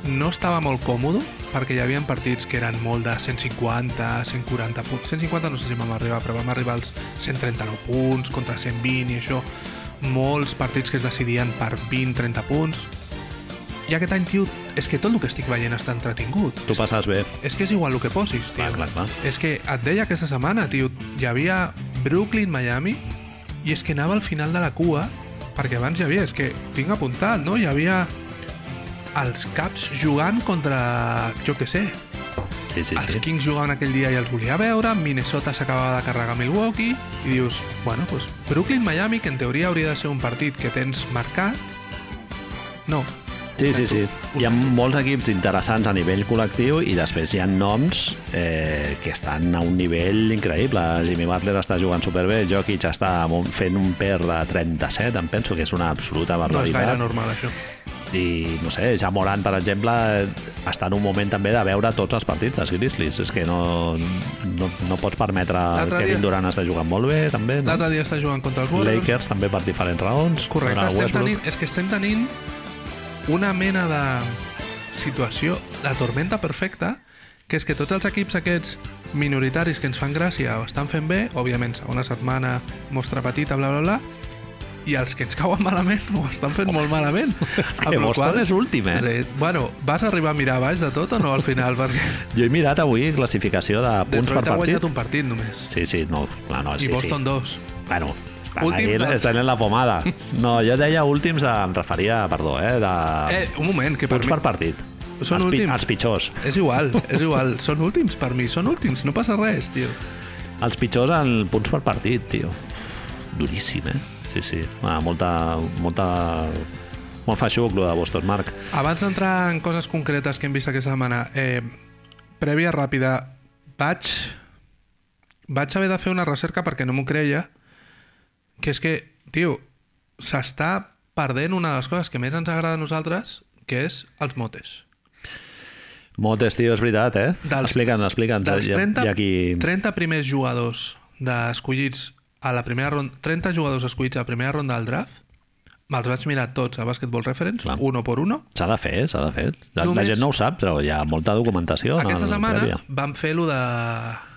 Speaker 2: no estava molt còmode perquè hi havia partits que eren molt de 150, 140 punts. 150 no sé si vam arribar, però vam arribar als 139 punts contra 120 i això. Molts partits que es decidien per 20-30 punts. I aquest any, tio, és que tot el que estic veient està entretingut.
Speaker 1: Tu passes bé.
Speaker 2: És que és igual el que posis, tio.
Speaker 1: Clar, clar, clar.
Speaker 2: És que et deia aquesta setmana, tio, hi havia Brooklyn-Miami i és que anava al final de la cua perquè abans hi havia, és que tinc apuntat, no? Hi havia els Caps jugant contra, jo que sé, sí,
Speaker 1: Sí, sí,
Speaker 2: els
Speaker 1: sí.
Speaker 2: Kings jugaven aquell dia i els volia veure, Minnesota s'acabava de carregar Milwaukee i dius, bueno, doncs Brooklyn-Miami, que en teoria hauria de ser un partit que tens marcat, no,
Speaker 1: Sí, sí, sí. Hi ha molts equips interessants a nivell col·lectiu i després hi ha noms eh, que estan a un nivell increïble. Jimmy Butler està jugant superbé, Jokic està amb un- fent un per de 37, em penso que és una absoluta
Speaker 2: no és gaire
Speaker 1: barbaritat.
Speaker 2: normal això.
Speaker 1: I, no sé, ja Morant, per exemple, està en un moment també de veure tots els partits dels Grizzlies. És que no, no, no pots permetre...
Speaker 2: L'altre dia-
Speaker 1: Kevin Durant està jugant molt bé, també. No?
Speaker 2: L'altre dia està jugant contra els Warriors,
Speaker 1: Lakers també per diferents raons.
Speaker 2: Correcte,
Speaker 1: Ara
Speaker 2: estem
Speaker 1: Westbrook.
Speaker 2: tenint, és que estem tenint una mena de situació, la tormenta perfecta, que és que tots els equips aquests minoritaris que ens fan gràcia o estan fent bé, òbviament, segona setmana, mostra petita, bla, bla, bla, i els que ens cauen malament ho estan fent molt malament.
Speaker 1: És que
Speaker 2: Amb la
Speaker 1: Boston
Speaker 2: qual-
Speaker 1: és últim, eh?
Speaker 2: Sí. Bueno, vas arribar a mirar a baix de tot o no al final? Perquè
Speaker 1: Jo he mirat avui classificació de punts
Speaker 2: Detroit ha
Speaker 1: per
Speaker 2: guanyat
Speaker 1: partit.
Speaker 2: un partit només.
Speaker 1: Sí, sí, no, clar, no,
Speaker 2: I
Speaker 1: sí,
Speaker 2: Boston
Speaker 1: sí.
Speaker 2: dos.
Speaker 1: Bueno, estan,
Speaker 2: Últims
Speaker 1: ahí,
Speaker 2: dels-
Speaker 1: estan en la pomada. No, jo deia últims, de, em referia, perdó, eh, de
Speaker 2: Eh, un moment, que per
Speaker 1: punts
Speaker 2: mi...
Speaker 1: per partit.
Speaker 2: Són
Speaker 1: els, pi-
Speaker 2: últims.
Speaker 1: els pitjors.
Speaker 2: És igual, és igual. Són últims per mi, són últims, no passa res, tio.
Speaker 1: Els pitjors en punts per partit, tio. Duríssim, eh? Sí, sí. Ah, molta, molta... Molt feixuc, lo de Boston, Marc.
Speaker 2: Abans d'entrar en coses concretes que hem vist aquesta setmana, eh, prèvia ràpida, vaig, vaig haver de fer una recerca perquè no m'ho creia, que és que, tio, s'està perdent una de les coses que més ens agrada a nosaltres, que és els motes.
Speaker 1: Moltes, tio, és veritat, eh?
Speaker 2: Dels-
Speaker 1: Explica'ns, explica'ns. Doncs
Speaker 2: Dels
Speaker 1: Hi ha-
Speaker 2: 30,
Speaker 1: hi ha qui-
Speaker 2: 30 primers jugadors d'escollits a la primera ronda, 30 jugadors escollits a la primera ronda del draft, me'ls vaig mirar tots a Basketball Reference,
Speaker 1: Clar.
Speaker 2: uno por uno,
Speaker 1: S'ha de fer, eh? s'ha de fer. La, la
Speaker 2: Només-
Speaker 1: gent no ho sap, però hi ha molta documentació. en
Speaker 2: Aquesta
Speaker 1: el
Speaker 2: setmana
Speaker 1: prèvia.
Speaker 2: vam fer lo de...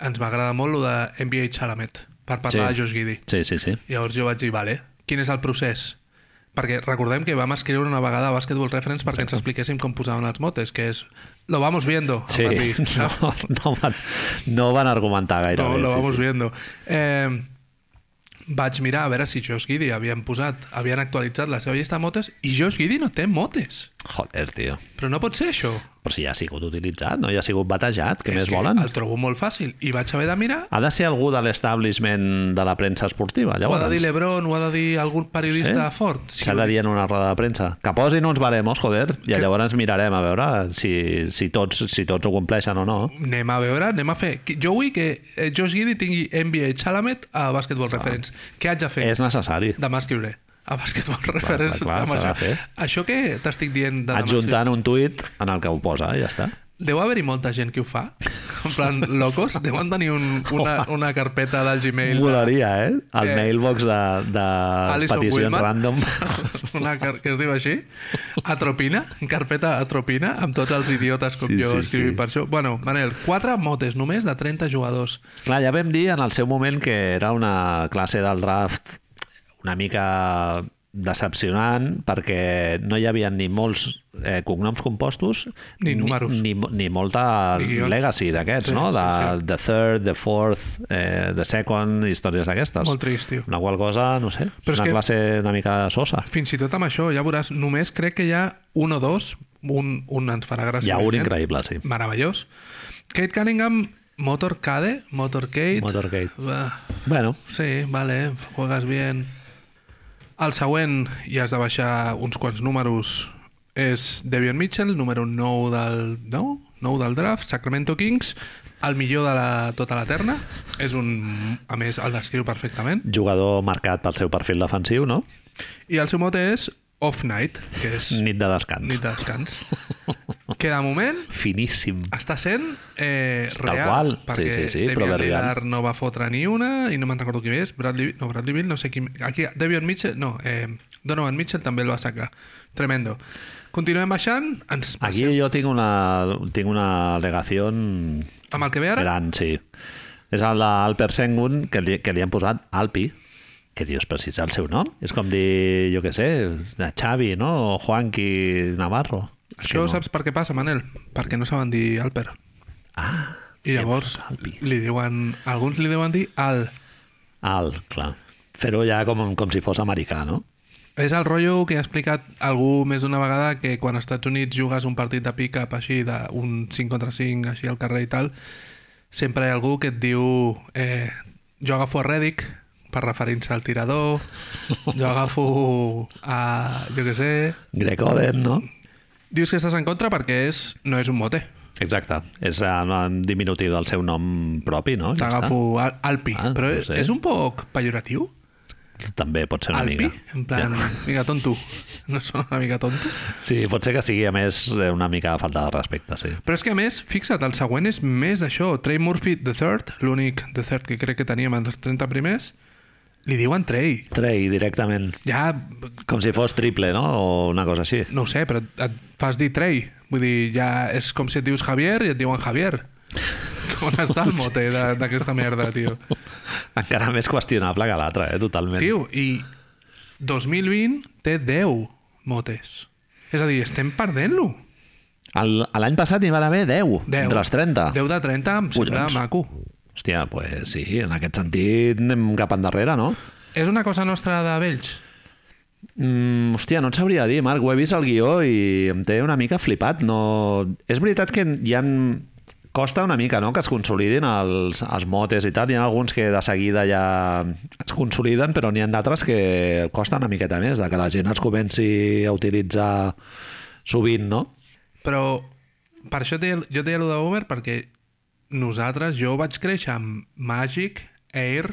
Speaker 2: Ens va agradar molt lo de NBA Chalamet, per parlar
Speaker 1: Sí.
Speaker 2: de Josh Giddy.
Speaker 1: Sí, sí, sí.
Speaker 2: Llavors jo vaig dir, vale, quin és el procés? Perquè recordem que vam escriure una vegada a Basketball Reference perquè ens expliquéssim com posaven els motes, que és lo vamos viendo, em
Speaker 1: Sí,
Speaker 2: van dir, saps?
Speaker 1: no, no, van, no van argumentar gaire
Speaker 2: no,
Speaker 1: bé.
Speaker 2: lo
Speaker 1: sí,
Speaker 2: vamos
Speaker 1: sí.
Speaker 2: viendo. Eh, vaig mirar a veure si Josh Giddy havien posat, havien actualitzat la seva llista de motes i Josh Giddy no té motes.
Speaker 1: Joder, tio.
Speaker 2: Però no pot ser això.
Speaker 1: Però si ja ha sigut utilitzat, no? Ja ha sigut batejat, què
Speaker 2: És
Speaker 1: més
Speaker 2: que
Speaker 1: volen?
Speaker 2: El trobo molt fàcil. I vaig haver de mirar
Speaker 1: Ha de ser algú de l'establishment de la premsa esportiva,
Speaker 2: Ho ha
Speaker 1: llavors.
Speaker 2: de dir Lebron, ho ha de dir algun periodista
Speaker 1: Ah, Sí.
Speaker 2: fort.
Speaker 1: S'ha de dir en una roda de premsa. Que posin uns baremos, joder, i
Speaker 2: Que-
Speaker 1: llavors mirarem a veure si, si, tots, si tots ho compleixen o no.
Speaker 2: Anem a veure, anem a fer... Qui- Jo vull que eh, Josh Giddy tingui NBA Chalamet a Basketball Reference. Què haig de fer?
Speaker 1: És necessari.
Speaker 2: Demà escriuré a Basketball Reference.
Speaker 1: clar,
Speaker 2: amb
Speaker 1: s'ha de
Speaker 2: això.
Speaker 1: fer.
Speaker 2: Això que t'estic dient de demà escriuré.
Speaker 1: Adjuntant un tuit en el que ho posa, i ja està.
Speaker 2: Deu haver-hi molta gent que ho fa. En plan, locos, deuen tenir un, una, una carpeta del Gmail.
Speaker 1: Volaria, eh? El
Speaker 2: Eh,
Speaker 1: mailbox de, de
Speaker 2: Alison
Speaker 1: peticions
Speaker 2: Wilman.
Speaker 1: random.
Speaker 2: una car- que es diu així Atropina, carpeta Atropina amb tots els idiotes com
Speaker 1: Sí,
Speaker 2: jo
Speaker 1: sí,
Speaker 2: escrivint
Speaker 1: sí.
Speaker 2: per això bueno, Manel, quatre motes només de 30 jugadors
Speaker 1: Clar, ja vam dir en el seu moment que era una classe del draft una mica decepcionant perquè no hi havia ni molts eh, cognoms compostos
Speaker 2: Ni números.
Speaker 1: ni, ni, ni molta
Speaker 2: Ni guions.
Speaker 1: legacy d'aquests,
Speaker 2: Sí,
Speaker 1: no? De,
Speaker 2: sí,
Speaker 1: The third, the fourth, eh, the second, històries d'aquestes.
Speaker 2: Molt trist, tio.
Speaker 1: Una qual cosa, no sé,
Speaker 2: Però
Speaker 1: Però
Speaker 2: és
Speaker 1: una
Speaker 2: que-
Speaker 1: que... classe una mica sosa.
Speaker 2: fins i tot amb això, ja veuràs, només crec que hi ha un o dos, un, un ens farà gràcia
Speaker 1: Hi ha un
Speaker 2: evidentment.
Speaker 1: increïble, sí.
Speaker 2: meravellós Kate Cunningham, Motorcade Motorcade eh,
Speaker 1: Motorcade.
Speaker 2: Va,
Speaker 1: Bueno,
Speaker 2: sí, vale, juegas bien el següent ja has de baixar uns quants números és Devion Mitchell, número 9 del, 9? 9 del draft, Sacramento Kings, el millor de la, tota la terna. És un... A més, el descriu perfectament.
Speaker 1: jugador marcat pel seu perfil defensiu, no?
Speaker 2: I el seu mote és Off Night, que és
Speaker 1: Nit de descans.
Speaker 2: nit de descans. que de moment
Speaker 1: Finíssim.
Speaker 2: està sent eh,
Speaker 1: Tal
Speaker 2: real,
Speaker 1: qual. Sí,
Speaker 2: perquè
Speaker 1: sí, sí, però
Speaker 2: Damian
Speaker 1: de real.
Speaker 2: Lillard no va fotre ni una, i no me'n recordo qui és, Bradley, no, Bradley Bill, no sé qui... Aquí, Devion Mitchell, no, eh, Donovan Mitchell també el va sacar. Tremendo. Continuem baixant, ens
Speaker 1: Aquí
Speaker 2: passem
Speaker 1: jo tinc una, tinc una al·legació
Speaker 2: amb el que ve ara.
Speaker 1: gran, sí. És el d'Alper Sengun, que li, que li han posat Alpi, que dius, però si és el seu nom? És com dir, jo què sé, de Xavi, no? O Juanqui Navarro. És que
Speaker 2: Això
Speaker 1: no.
Speaker 2: saps per què passa, Manel? Perquè no saben dir Alper.
Speaker 1: Ah,
Speaker 2: I llavors
Speaker 1: posat Alpi.
Speaker 2: li diuen... Alguns li deuen dir Al.
Speaker 1: Al, clar. Fer-ho ja com, com si fos americà, no?
Speaker 2: És el rotllo que ha explicat algú més d'una vegada que quan als Estats Units jugues un partit de pick-up així, d'un 5 contra 5, així al carrer i tal, sempre hi ha algú que et diu eh, jo agafo a Reddick per referir-se al tirador, jo agafo a... jo què sé...
Speaker 1: Greg Oden, no?
Speaker 2: Dius que estàs en contra perquè és, no és un mote.
Speaker 1: Exacte. És en, en diminutiu del seu nom propi, no? Oh, Ja està.
Speaker 2: T'agafo al, Alpi.
Speaker 1: Ah,
Speaker 2: Però
Speaker 1: no
Speaker 2: és,
Speaker 1: sé.
Speaker 2: és un poc pejoratiu,
Speaker 1: També pot ser una
Speaker 2: Alpi.
Speaker 1: mica.
Speaker 2: En plan, una mica tonto. No sona una mica tonto?
Speaker 1: Sí, pot ser que sigui, a més, una mica de falta de respecte, sí.
Speaker 2: Però és que, a més, fixa't, el següent és més d'això. Trey Murphy, The Third, l'únic The Third que crec que teníem en els 30 primers, li diuen Trey.
Speaker 1: Trey, directament.
Speaker 2: Ja,
Speaker 1: Com si fos triple, no? O una cosa així.
Speaker 2: no ho sé, però et, et fas dir Trey. Vull dir, ja és com si et dius Javier i et diuen Javier. On està el mote de- d'aquesta merda, tio?
Speaker 1: Encara més qüestionable que l'altre, eh? Totalment.
Speaker 2: Tio, i 2020 té 10 motes. És a dir, estem perdent-lo.
Speaker 1: El- L'any passat hi van haver 10,
Speaker 2: 10.
Speaker 1: entre els 30.
Speaker 2: 10 de 30 em sembla
Speaker 1: Collons.
Speaker 2: maco.
Speaker 1: Hòstia, doncs pues sí, en aquest sentit anem cap endarrere, no?
Speaker 2: És una cosa nostra de vells.
Speaker 1: Mm, hòstia, no et sabria dir, Marc, ho he vist al guió i em té una mica flipat. No... És veritat que hi ha... Costa una mica no? que es consolidin els, els motes i tal. Hi ha alguns que de seguida ja es consoliden, però n'hi ha d'altres que costa una miqueta més, de que la gent els comenci a utilitzar sovint, no?
Speaker 2: Però per això té, jo deia allò d'Uber perquè nosaltres, jo vaig créixer amb Magic, Air,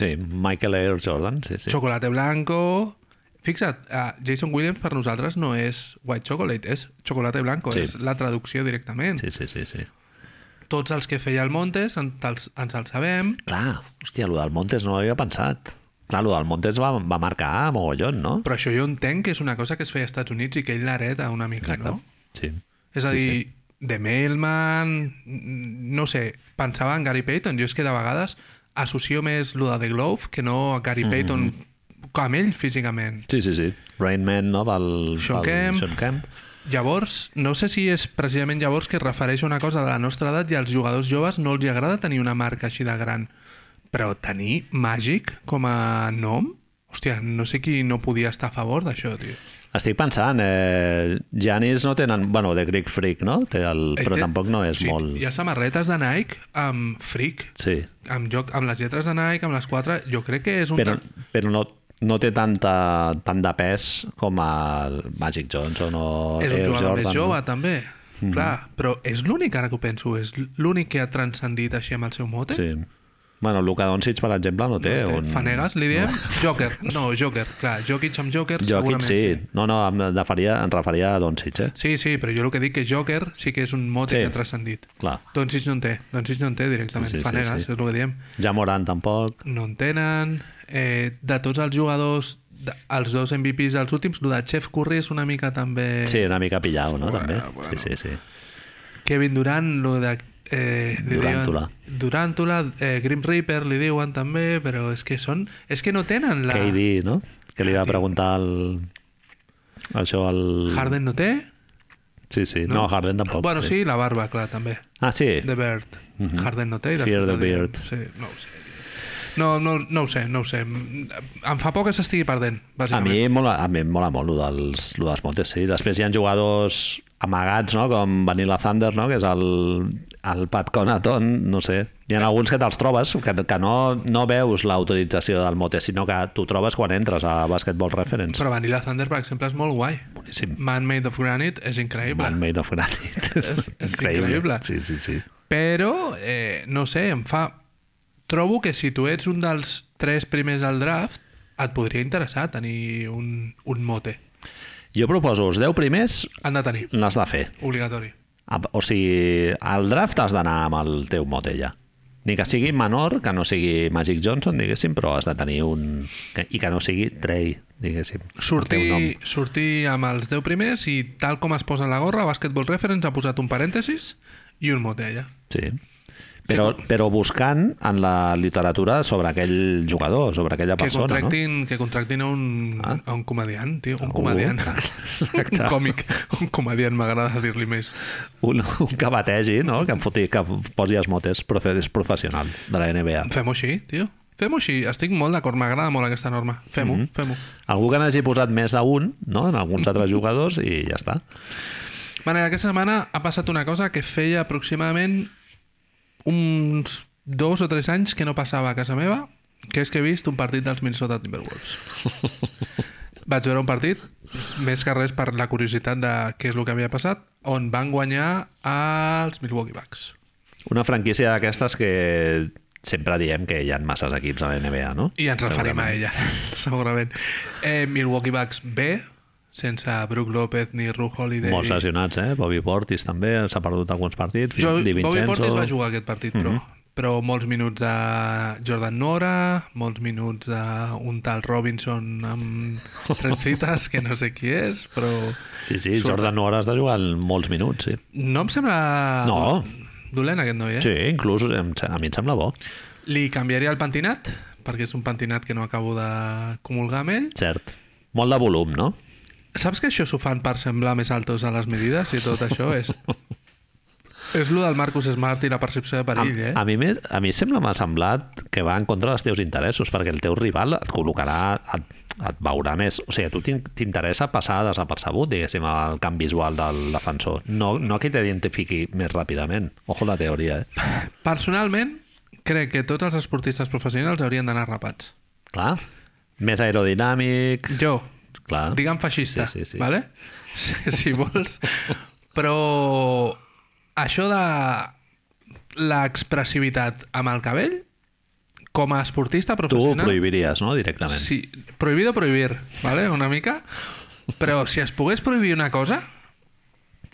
Speaker 1: Sí, Michael Air Jordan, sí, sí.
Speaker 2: Chocolate Blanco... Fixa't, uh, Jason Williams per nosaltres no és White Chocolate, és Chocolate Blanco,
Speaker 1: Sí.
Speaker 2: és la traducció directament.
Speaker 1: Sí, sí, sí, sí.
Speaker 2: Tots els que feia el Montes en- te'ls- ens els sabem.
Speaker 1: Clar, hòstia, allò del Montes no ho havia pensat. Clar, allò del Montes va, va marcar mogollon, no?
Speaker 2: Però això jo entenc que és una cosa que es feia als Estats Units i que ell l'hereta una mica, no?
Speaker 1: Sí.
Speaker 2: És a
Speaker 1: Sí,
Speaker 2: dir, The Mailman... mm, No sé, pensava en Gary Payton. Jo és que de vegades associo més lo de The Glove que no a Gary Payton
Speaker 1: Mm-hmm.
Speaker 2: com ell físicament.
Speaker 1: Sí, sí, sí. Rain Man, no? Pel,
Speaker 2: Sean
Speaker 1: pel
Speaker 2: Kemp.
Speaker 1: Sean Kemp.
Speaker 2: Llavors, no sé si és precisament llavors que es refereix a una cosa de la nostra edat i als jugadors joves no els hi agrada tenir una marca així de gran. Però tenir màgic com a nom? Hòstia, no sé qui no podia estar a favor d'això, tio.
Speaker 1: Estic pensant, eh, Janis no tenen... Bueno, de Greek Freak, no? Té el,
Speaker 2: Ell
Speaker 1: però
Speaker 2: té-
Speaker 1: tampoc no és
Speaker 2: sí,
Speaker 1: molt...
Speaker 2: Hi ha samarretes de Nike amb Freak,
Speaker 1: Sí,
Speaker 2: amb, joc, amb les lletres de Nike, amb les quatre, jo crec que és un...
Speaker 1: però,
Speaker 2: ta-
Speaker 1: però no, no té tanta, tant de pes com el Magic Johnson o
Speaker 2: és un
Speaker 1: Air
Speaker 2: jugador
Speaker 1: oh, Jordan, Mhm.
Speaker 2: més jove, també. Clar, però és l'únic, ara que ho penso, és l'únic que ha transcendit així amb el seu
Speaker 1: No?
Speaker 2: mote.
Speaker 1: Sí. Bueno, Luka Doncic, per exemple, no té.
Speaker 2: Eh,
Speaker 1: un...
Speaker 2: Fanegas, li diem? Joker. No, Joker, clar. Jokic amb Joker,
Speaker 1: Jokic,
Speaker 2: segurament
Speaker 1: sí. No, no, em referia, em referia a Doncic, eh?
Speaker 2: sí. Sí, sí, però jo el que dic que Joker sí que és un mote
Speaker 1: Sí.
Speaker 2: que ha transcendit.
Speaker 1: Clar.
Speaker 2: Doncs ells no en té, doncs ells no en té directament.
Speaker 1: Sí, sí,
Speaker 2: Sí,
Speaker 1: sí,
Speaker 2: Fanegas,
Speaker 1: sí.
Speaker 2: és el que diem.
Speaker 1: Ja Morant tampoc.
Speaker 2: No en tenen. Eh, de tots els jugadors, de, els dos MVPs dels últims, el de Chef Curry és una mica també...
Speaker 1: Sí, una mica pillau, no?
Speaker 2: Bueno,
Speaker 1: també.
Speaker 2: bueno.
Speaker 1: Sí, sí, sí.
Speaker 2: Kevin Durant, lo de... Eh, li
Speaker 1: Durantula.
Speaker 2: Diuen, Durantula, eh, Grim Reaper li diuen també, però és que són... És que no tenen la...
Speaker 1: KD, no? Que li va preguntar el... Això al...
Speaker 2: Harden no té?
Speaker 1: Sí, sí. No, Harden tampoc.
Speaker 2: Bueno, sí, la barba, clar, també.
Speaker 1: Ah, sí? Mhm.
Speaker 2: The Bird. Harden no té. i
Speaker 1: Fear the
Speaker 2: després no
Speaker 1: Beard.
Speaker 2: diem. Sí, no ho sé. No, no, no ho sé, no ho sé. Em em fa por que s'estigui perdent,
Speaker 1: A mi,
Speaker 2: bàsicament.
Speaker 1: em mola, a mi em mola molt el dels, lo dels motes, sí. Després hi ha jugadors amagats, no? com Vanilla Thunder, no? que és el, el Pat Conaton, no sé. Hi ha alguns que te'ls trobes, que, que no, no veus l'autorització del mote, sinó que t'ho trobes quan entres a Basketball Reference.
Speaker 2: Però Vanilla Thunder, per exemple, és molt guai.
Speaker 1: Boníssim.
Speaker 2: Man Made of Granite és increïble.
Speaker 1: Man made of granite.
Speaker 2: és increïble.
Speaker 1: Sí, sí, sí.
Speaker 2: Però, eh, no sé, em fa... Trobo que si tu ets un dels tres primers al draft, et podria interessar tenir un, un mote.
Speaker 1: Jo proposo, els 10 primers
Speaker 2: Han de tenir,
Speaker 1: n'has de fer.
Speaker 2: obligatori.
Speaker 1: A- O sigui, al draft has d'anar amb el teu mote ja. Ni que sigui menor, que no sigui Magic Johnson, diguéssim, però has de tenir un... que- I que no sigui Trey, diguéssim. el teu nom.
Speaker 2: Sortir, sortir amb els 10 primers i tal com es posa en la gorra, Basketball Reference ha posat un parèntesis i un mot d'ella.
Speaker 1: Sí. Però, però buscant en la literatura sobre aquell jugador, sobre aquella
Speaker 2: Que
Speaker 1: persona, no?
Speaker 2: contractin, que contractin a, un,
Speaker 1: Ah.
Speaker 2: a un comediant, tio. Un
Speaker 1: Uh,
Speaker 2: comediant.
Speaker 1: exacte.
Speaker 2: un còmic. Un comediant, m'agrada dir-li més.
Speaker 1: Un, un que bategi, no? Que, em foti, que posi els motes, però és professional de la NBA.
Speaker 2: Fem-ho així, tio. Fem-ho així. Estic molt d'acord, m'agrada molt aquesta norma. Fem-ho,
Speaker 1: Mhm.
Speaker 2: mm -hmm. fem-ho.
Speaker 1: Algú que n'hagi posat més d'un, no? En alguns altres jugadors i ja està.
Speaker 2: Bueno, aquesta setmana ha passat una cosa que feia aproximadament uns dos o tres anys que no passava a casa meva, que és que he vist un partit dels Minnesota Timberwolves. Vaig veure un partit, més que res per la curiositat de què és el que havia passat, on van guanyar els Milwaukee Bucks.
Speaker 1: Una franquícia d'aquestes que sempre diem que hi ha masses equips a la NBA, no?
Speaker 2: I ens referim a ella, segurament. Eh, Milwaukee Bucks B, sense Brook López ni Ru Holiday.
Speaker 1: Molts lesionats, eh? Bobby Portis també s'ha perdut alguns partits.
Speaker 2: Jo,
Speaker 1: Di
Speaker 2: Bobby
Speaker 1: Vincenzo.
Speaker 2: Portis va jugar aquest partit, però, però molts minuts de Jordan Nora, molts minuts d'un tal Robinson amb trencites, que no sé qui és, però
Speaker 1: Sí, sí,
Speaker 2: Surt-
Speaker 1: Jordan Nora has de jugar en molts minuts, sí.
Speaker 2: no em sembla...
Speaker 1: No,
Speaker 2: dolent, aquest noi, eh?
Speaker 1: Sí, inclús em, se- a mi em sembla bo.
Speaker 2: Li canviaria el pentinat, perquè és un pentinat que no acabo de comulgar amb ell.
Speaker 1: Cert. Molt de volum, no?
Speaker 2: Saps que això s'ho fan per semblar més altos a les medides i tot això és... és lo del Marcus Smart i la percepció de perill, eh?
Speaker 1: a, a, mi més, a mi sembla m'ha semblat que va en contra dels teus interessos, perquè el teu rival et col·locarà, et, et veurà més. O sigui, a tu t'in- t'interessa passar desapercebut, diguéssim, al camp visual del defensor. No, no que t'identifiqui més ràpidament. Ojo la teoria, eh?
Speaker 2: Personalment, crec que tots els esportistes professionals haurien d'anar rapats.
Speaker 1: Clar. Més aerodinàmic...
Speaker 2: Jo,
Speaker 1: Clar.
Speaker 2: digue'm feixista,
Speaker 1: Sí, sí, sí.
Speaker 2: vale? Si, si vols. Però això de l'expressivitat amb el cabell, com a esportista
Speaker 1: Tu ho
Speaker 2: professional...
Speaker 1: prohibiries, no?, directament.
Speaker 2: Sí, prohibido prohibir, ¿vale? Una mica. Però si es pogués prohibir una cosa,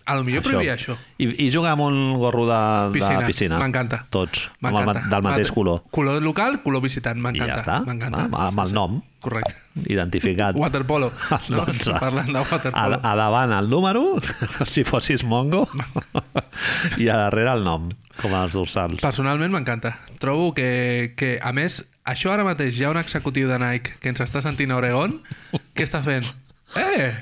Speaker 2: a lo millor prohibir això.
Speaker 1: I, I jugar amb un gorro de piscina.
Speaker 2: Piscina.
Speaker 1: De piscina.
Speaker 2: M'encanta.
Speaker 1: Tots. Amb el, ma- del mateix
Speaker 2: Mate-
Speaker 1: color.
Speaker 2: Color local, color visitant,
Speaker 1: I
Speaker 2: m'encanta.
Speaker 1: ja està.
Speaker 2: M'encanta.
Speaker 1: Amb, amb el nom
Speaker 2: Correcte.
Speaker 1: identificat.
Speaker 2: Waterpolo. No?
Speaker 1: Doncs,
Speaker 2: Estem parlant de
Speaker 1: a,
Speaker 2: waterpolo.
Speaker 1: a davant el número, si fossis mongo, i a darrere el nom, com els dorsals.
Speaker 2: Personalment m'encanta. Trobo que, que, a més, això ara mateix hi ha un executiu de Nike que ens està sentint a Oregon que està fent... Eh!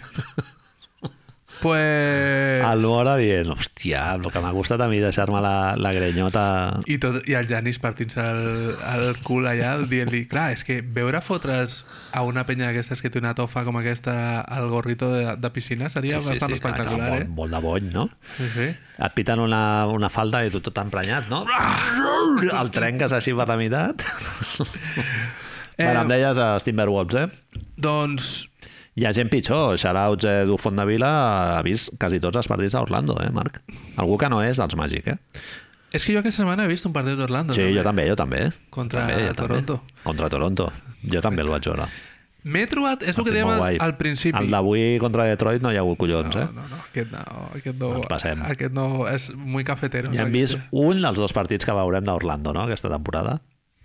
Speaker 2: Pues...
Speaker 1: El Mora dient, hòstia, el que m'ha gustat a mi deixar-me la, la grenyota...
Speaker 2: I, tot, i el Janis partint-se el, el cul allà dient-li, clar, és que veure fotre's a una penya d'aquestes que té una tofa com aquesta al gorrito de, de piscina seria sí, bastant sí,
Speaker 1: clar,
Speaker 2: espectacular,
Speaker 1: clar,
Speaker 2: eh?
Speaker 1: molt, molt de bony, no?
Speaker 2: Sí, sí.
Speaker 1: Et piten una, una falda i tu tot emprenyat, no? El trenques així per la meitat. Eh, bueno, em deies a Timberwolves, eh?
Speaker 2: Doncs
Speaker 1: Hi ha gent pitjor. Xarauts eh, d'Ufont de Vila ha vist quasi tots els partits a Orlando, eh, Marc? Algú que no és dels Màgic, eh?
Speaker 2: és que jo aquesta setmana he vist un partit d'Orlando.
Speaker 1: Sí, jo també, jo també.
Speaker 2: Contra
Speaker 1: també, jo
Speaker 2: Toronto.
Speaker 1: També. Contra Toronto. Jo també el vaig veure.
Speaker 2: M'he trobat, és el que
Speaker 1: Partit
Speaker 2: dèiem
Speaker 1: molt
Speaker 2: al,
Speaker 1: guai.
Speaker 2: al principi.
Speaker 1: El d'avui contra Detroit no hi ha hagut collons,
Speaker 2: no,
Speaker 1: eh?
Speaker 2: no, no, aquest no, aquest no,
Speaker 1: Ens passem.
Speaker 2: aquest no és muy cafetero.
Speaker 1: Ja hem
Speaker 2: aquest.
Speaker 1: vist un dels dos partits que veurem d'Orlando, no?, aquesta temporada.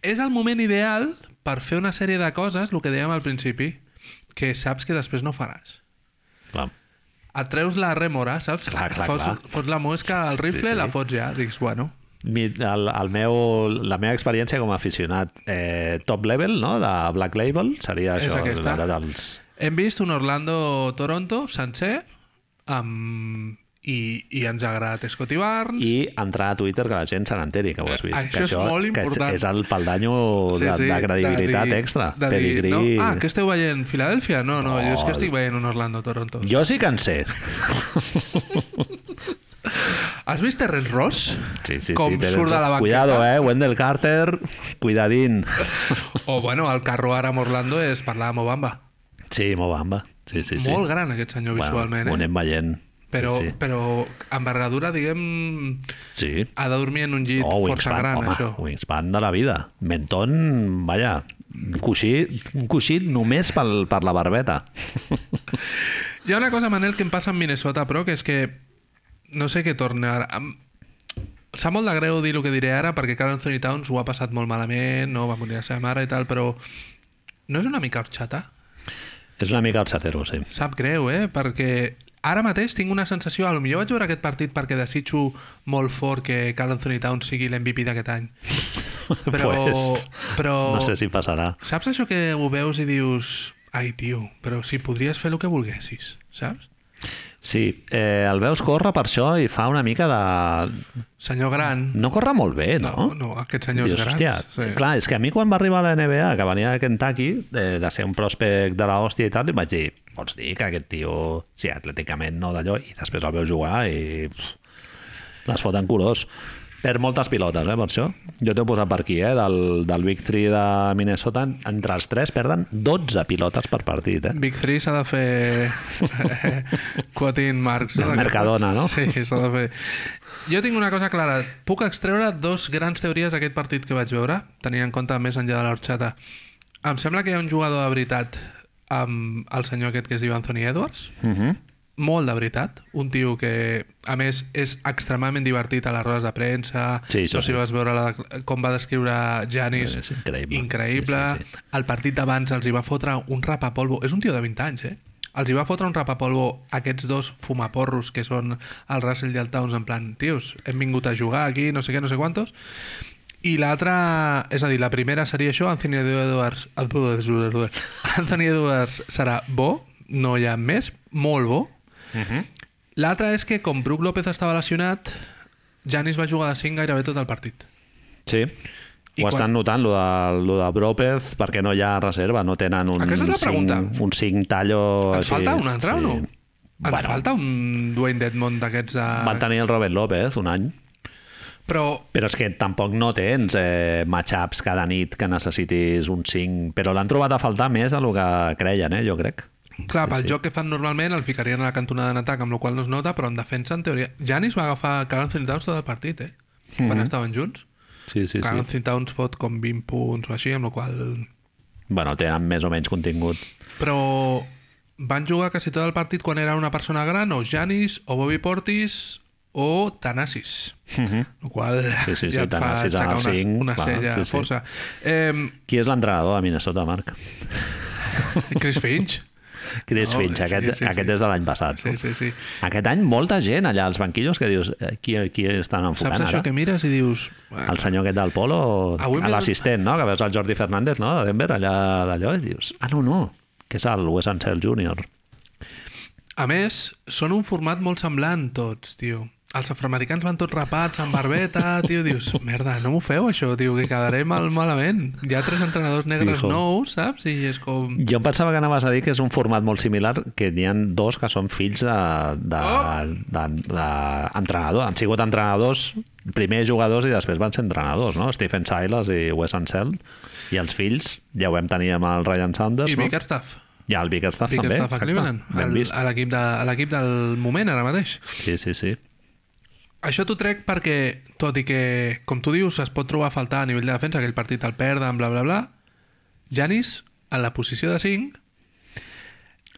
Speaker 2: és el moment ideal per fer una sèrie de coses, el que dèiem al principi, que saps que després no faràs.
Speaker 1: Clar.
Speaker 2: et treus la rèmora, saps?
Speaker 1: Clar, clar,
Speaker 2: fots,
Speaker 1: clar.
Speaker 2: fots la mosca al
Speaker 1: Sí,
Speaker 2: rifle, sí,
Speaker 1: sí.
Speaker 2: sí. la fots ja. Dics, bueno,
Speaker 1: Mi, el, el meu, la meva experiència com a aficionat eh, top level, no?, de Black Label, seria
Speaker 2: És
Speaker 1: això.
Speaker 2: aquesta.
Speaker 1: veure dels...
Speaker 2: hem vist un Orlando-Toronto sencer amb... I, i ens ha agradat Scotty Barnes. I...
Speaker 1: I entrar a Twitter que la gent se n'enteri, que ho has vist.
Speaker 2: Eh, Això
Speaker 1: que
Speaker 2: és molt
Speaker 1: que
Speaker 2: important.
Speaker 1: És, és el paldanyo de, de credibilitat extra.
Speaker 2: De dir,
Speaker 1: pedigrí.
Speaker 2: no, ah, que esteu veient Filadèlfia? No, no, jo és que estic veient un Orlando-Toronto.
Speaker 1: Jo sí que en sé.
Speaker 2: Has vist Terrence Ross?
Speaker 1: Sí, sí,
Speaker 2: Com
Speaker 1: sí, té-
Speaker 2: surt de la banqueta.
Speaker 1: Cuidado, eh? Wendell Carter, cuidadín.
Speaker 2: O, bueno, el carro ara amb Orlando és parlar amb Obamba.
Speaker 1: Sí, Mobamba. Sí, sí, sí.
Speaker 2: Molt gran aquest senyor visualment,
Speaker 1: Ho
Speaker 2: eh?
Speaker 1: anem veient.
Speaker 2: Però,
Speaker 1: Sí,
Speaker 2: però envergadura, diguem,
Speaker 1: sí. sí.
Speaker 2: ha de dormir en un llit
Speaker 1: Oh,
Speaker 2: força
Speaker 1: wingspan,
Speaker 2: gran,
Speaker 1: home,
Speaker 2: això.
Speaker 1: wingspan de la vida. Menton, vaja, un coixí, un coixí només pel, per la barbeta.
Speaker 2: Hi ha una cosa, Manel, que em passa amb Minnesota, però, que és que no sé què torna ara. Em... Sap molt de greu dir el que diré ara, perquè Carl Anthony Towns ho ha passat molt malament, no va morir la seva mare i tal, però no és una mica orxata?
Speaker 1: És una mica el satero, sí.
Speaker 2: Sap greu, eh? Perquè ara mateix tinc una sensació, a lo millor vaig veure aquest partit perquè desitjo molt fort que Carl Anthony Towns sigui l'MVP d'aquest any. Però,
Speaker 1: Pues,
Speaker 2: però
Speaker 1: No sé si passarà.
Speaker 2: saps això que ho veus i dius ai, tio, però si podries fer el que volguessis, saps?
Speaker 1: Sí, eh, el veus córrer per això i fa una mica de...
Speaker 2: Senyor gran,
Speaker 1: No corre molt bé, no?
Speaker 2: No, no, aquests senyors
Speaker 1: Dius,
Speaker 2: grans.
Speaker 1: hòstia, sí. clar, és que a mi quan va arribar a la NBA, que venia de Kentucky, eh, de ser un pròspect de la hòstia i tal, vaig dir, pots dir que aquest tio, sí, atlèticament no d'allò, i després el veus jugar i pff, les foten colors. Perd moltes pilotes, eh, per això. Jo t'ho he posat per aquí, eh, del, del Big 3 de Minnesota, entre els tres perden 12 pilotes per partit, eh?
Speaker 2: Big 3 s'ha de fer quoting marks.
Speaker 1: Del Mercadona, no?
Speaker 2: Sí, s'ha de fer. Jo tinc una cosa clara. Puc extreure dos grans teories d'aquest partit que vaig veure, tenint en compte més enllà de l'orxata. Em sembla que hi ha un jugador de veritat amb el senyor aquest que es diu Anthony Edwards,
Speaker 1: Uh -huh.
Speaker 2: molt de veritat, un tio que, a més, és extremadament divertit a les rodes de premsa,
Speaker 1: Sí, això
Speaker 2: no sé si
Speaker 1: sí.
Speaker 2: vas veure la, com va descriure Janis,
Speaker 1: És increïble.
Speaker 2: increïble.
Speaker 1: Sí, sí,
Speaker 2: El partit d'abans els hi va fotre un rapapolvo, és un tio de 20 anys, eh? els hi va fotre un rapapolvo a aquests dos fumaporros que són el Russell i el Towns en plan, tios, hem vingut a jugar aquí, no sé què, no sé quantos. I l'altra, és a dir, la primera seria això, Anthony Edwards, Edwards, Anthony Edwards serà bo, no hi ha més, molt bo.
Speaker 1: Uh -huh.
Speaker 2: L'altra és que com Brook López estava lesionat, Janis va jugar de 5 gairebé tot el partit.
Speaker 1: Sí.
Speaker 2: I
Speaker 1: I ho
Speaker 2: quan-
Speaker 1: estan notant, lo de, lo de Brópez, perquè no hi ha reserva, no tenen un,
Speaker 2: Aquesta és la pregunta.
Speaker 1: cinc, un cinc tallo... així.
Speaker 2: Ens falta un altre o no? Ens
Speaker 1: Bueno.
Speaker 2: falta un Dwayne Dedmon d'aquests...
Speaker 1: Van
Speaker 2: De...
Speaker 1: tenir el Robert López un any,
Speaker 2: Però
Speaker 1: però és que tampoc no tens eh, matchups cada nit que necessitis un 5, però l'han trobat a faltar més a lo que creien, eh, jo crec.
Speaker 2: Clar, pel
Speaker 1: Sí, sí.
Speaker 2: joc que fan normalment el ficarien a la cantonada en atac, amb la qual cosa no es nota, però en defensa, en teoria... Janis va agafar Carl Anthony Towns tot el partit, eh? Quan estaven junts.
Speaker 1: Sí, Mhm. sí,
Speaker 2: Sí, Carl
Speaker 1: sí.
Speaker 2: Anthony Towns fot com 20 punts o així, amb la qual cosa...
Speaker 1: Bueno, tenen més o menys contingut.
Speaker 2: Però van jugar quasi tot el partit quan era una persona gran, o Janis, o Bobby Portis, o Tanasis. El qual
Speaker 1: Mhm. Sí, sí, sí,
Speaker 2: ja et fa
Speaker 1: Thanasis en
Speaker 2: aixecar
Speaker 1: el
Speaker 2: una,
Speaker 1: cinc,
Speaker 2: una
Speaker 1: clar,
Speaker 2: sella
Speaker 1: sí, sí.
Speaker 2: força. Eh,
Speaker 1: Qui és l'entrenador de Minnesota, Marc?
Speaker 2: Chris Finch?
Speaker 1: Chris
Speaker 2: No,
Speaker 1: no, Finch,
Speaker 2: Oh,
Speaker 1: aquest,
Speaker 2: sí, sí,
Speaker 1: sí,
Speaker 2: sí.
Speaker 1: sí, aquest és de l'any passat.
Speaker 2: Sí, sí, sí.
Speaker 1: Aquest any molta gent allà als banquillos que dius eh, qui, qui estan
Speaker 2: Saps
Speaker 1: enfocant
Speaker 2: això
Speaker 1: ara?
Speaker 2: que mires i dius... "Bueno,
Speaker 1: El senyor aquest del polo,
Speaker 2: Avui
Speaker 1: a
Speaker 2: m'he-
Speaker 1: l'assistent, no? Que veus el Jordi Fernández, no? De Denver, allà d'allò, i dius, ah, no, no, que és el Wes Ansel Jr.
Speaker 2: A més, són un format molt semblant tots, tio. Els afroamericans van tots rapats, amb barbeta, tio, dius, merda, no m'ho feu això, tio, que quedaré mal, malament. Hi ha tres entrenadors negres
Speaker 1: Hijo.
Speaker 2: nous, saps? I és com...
Speaker 1: Jo em pensava que anaves a dir que és un format molt similar, que n'hi ha dos que són fills
Speaker 2: Oh!
Speaker 1: d'entrenador. De, de, de, entrenador. Han sigut entrenadors, primer jugadors i després van ser entrenadors, no? Stephen Silas i Wes Ansel. I els fills, ja ho vam tenir amb el Ryan Sanders,
Speaker 2: I
Speaker 1: no?
Speaker 2: Bickerstaff.
Speaker 1: I el Bickerstaff, també.
Speaker 2: Bickerstaff a
Speaker 1: exacte.
Speaker 2: Cleveland,
Speaker 1: Ben
Speaker 2: al-
Speaker 1: vist.
Speaker 2: a l'equip de, a l'equip del moment, ara mateix.
Speaker 1: Sí, sí, sí.
Speaker 2: Això t'ho trec perquè, tot i que, com tu dius, es pot trobar a faltar a nivell de defensa, aquell partit el perden, bla, bla, bla, Janis, en la posició de 5,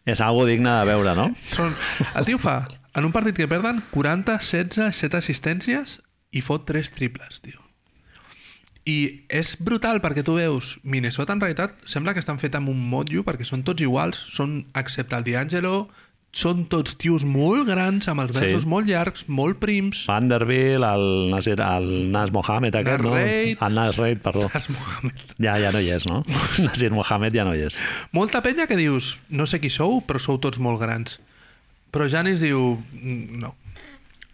Speaker 1: És algo digne de veure, no?
Speaker 2: Són... El tio fa, en un partit que perden, 40, 16, 7 assistències i fot 3 triples, tio. I és brutal perquè tu veus Minnesota en realitat sembla que estan fet amb un motllo perquè són tots iguals, són excepte el D'Angelo, són tots tios molt grans, amb els
Speaker 1: Sí.
Speaker 2: braços molt llargs, molt prims.
Speaker 1: Vanderbilt, el, Nasir, el Nas Mohamed aquest,
Speaker 2: Nas
Speaker 1: no?
Speaker 2: Reid.
Speaker 1: El Nas Reid, perdó.
Speaker 2: Es Mohamed.
Speaker 1: Ja, ja no hi és, no? Nasir Mohamed ja no hi és.
Speaker 2: Molta penya que dius, no sé qui sou, però sou tots molt grans. Però Janis diu, "Mm, no,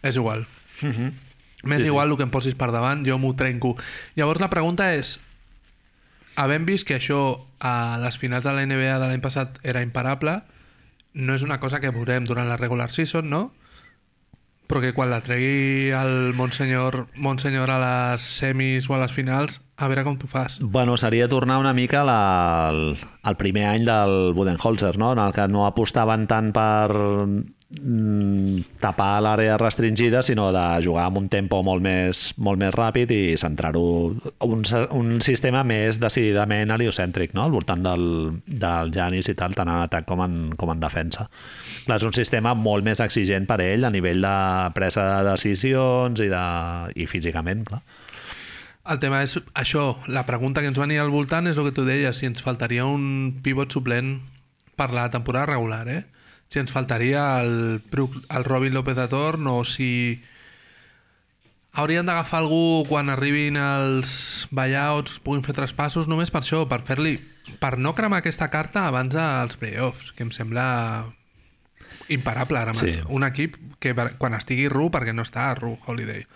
Speaker 2: és igual, M'és Mhm. sí, igual el que em posis per davant, jo m'ho trenco. Llavors la pregunta és, havent vist que això a les finals de la NBA de l'any passat era imparable, no és una cosa que veurem durant la regular season, no? Però que quan la tregui el Monsenyor, Monsenyor a les semis o a les finals, a veure com tu fas.
Speaker 1: Bueno, seria tornar una mica a la, al, al primer any del Budenholzer, no? en el que no apostaven tant per mm, tapar l'àrea restringida, sinó de jugar amb un tempo molt més, molt més ràpid i centrar-ho un, se- un sistema més decididament heliocèntric, no? al voltant del, del Janis i tal, tant en atac com en, com en defensa. Clar, és un sistema molt més exigent per ell a nivell de presa de decisions i, de, i físicament, clar.
Speaker 2: El tema és això, la pregunta que ens venia al voltant és el que tu deies, si ens faltaria un pivot suplent per la temporada regular, eh? Si ens faltaria el, Brook- el Robin López de torn o si haurien d'agafar algú quan arribin els buyouts, puguin fer traspassos, només per això, per fer-li per no cremar aquesta carta abans dels playoffs, que em sembla imparable ara
Speaker 1: Sí.
Speaker 2: mateix. Sí. Un equip que per- quan estigui Ru, perquè no està Ru Holiday,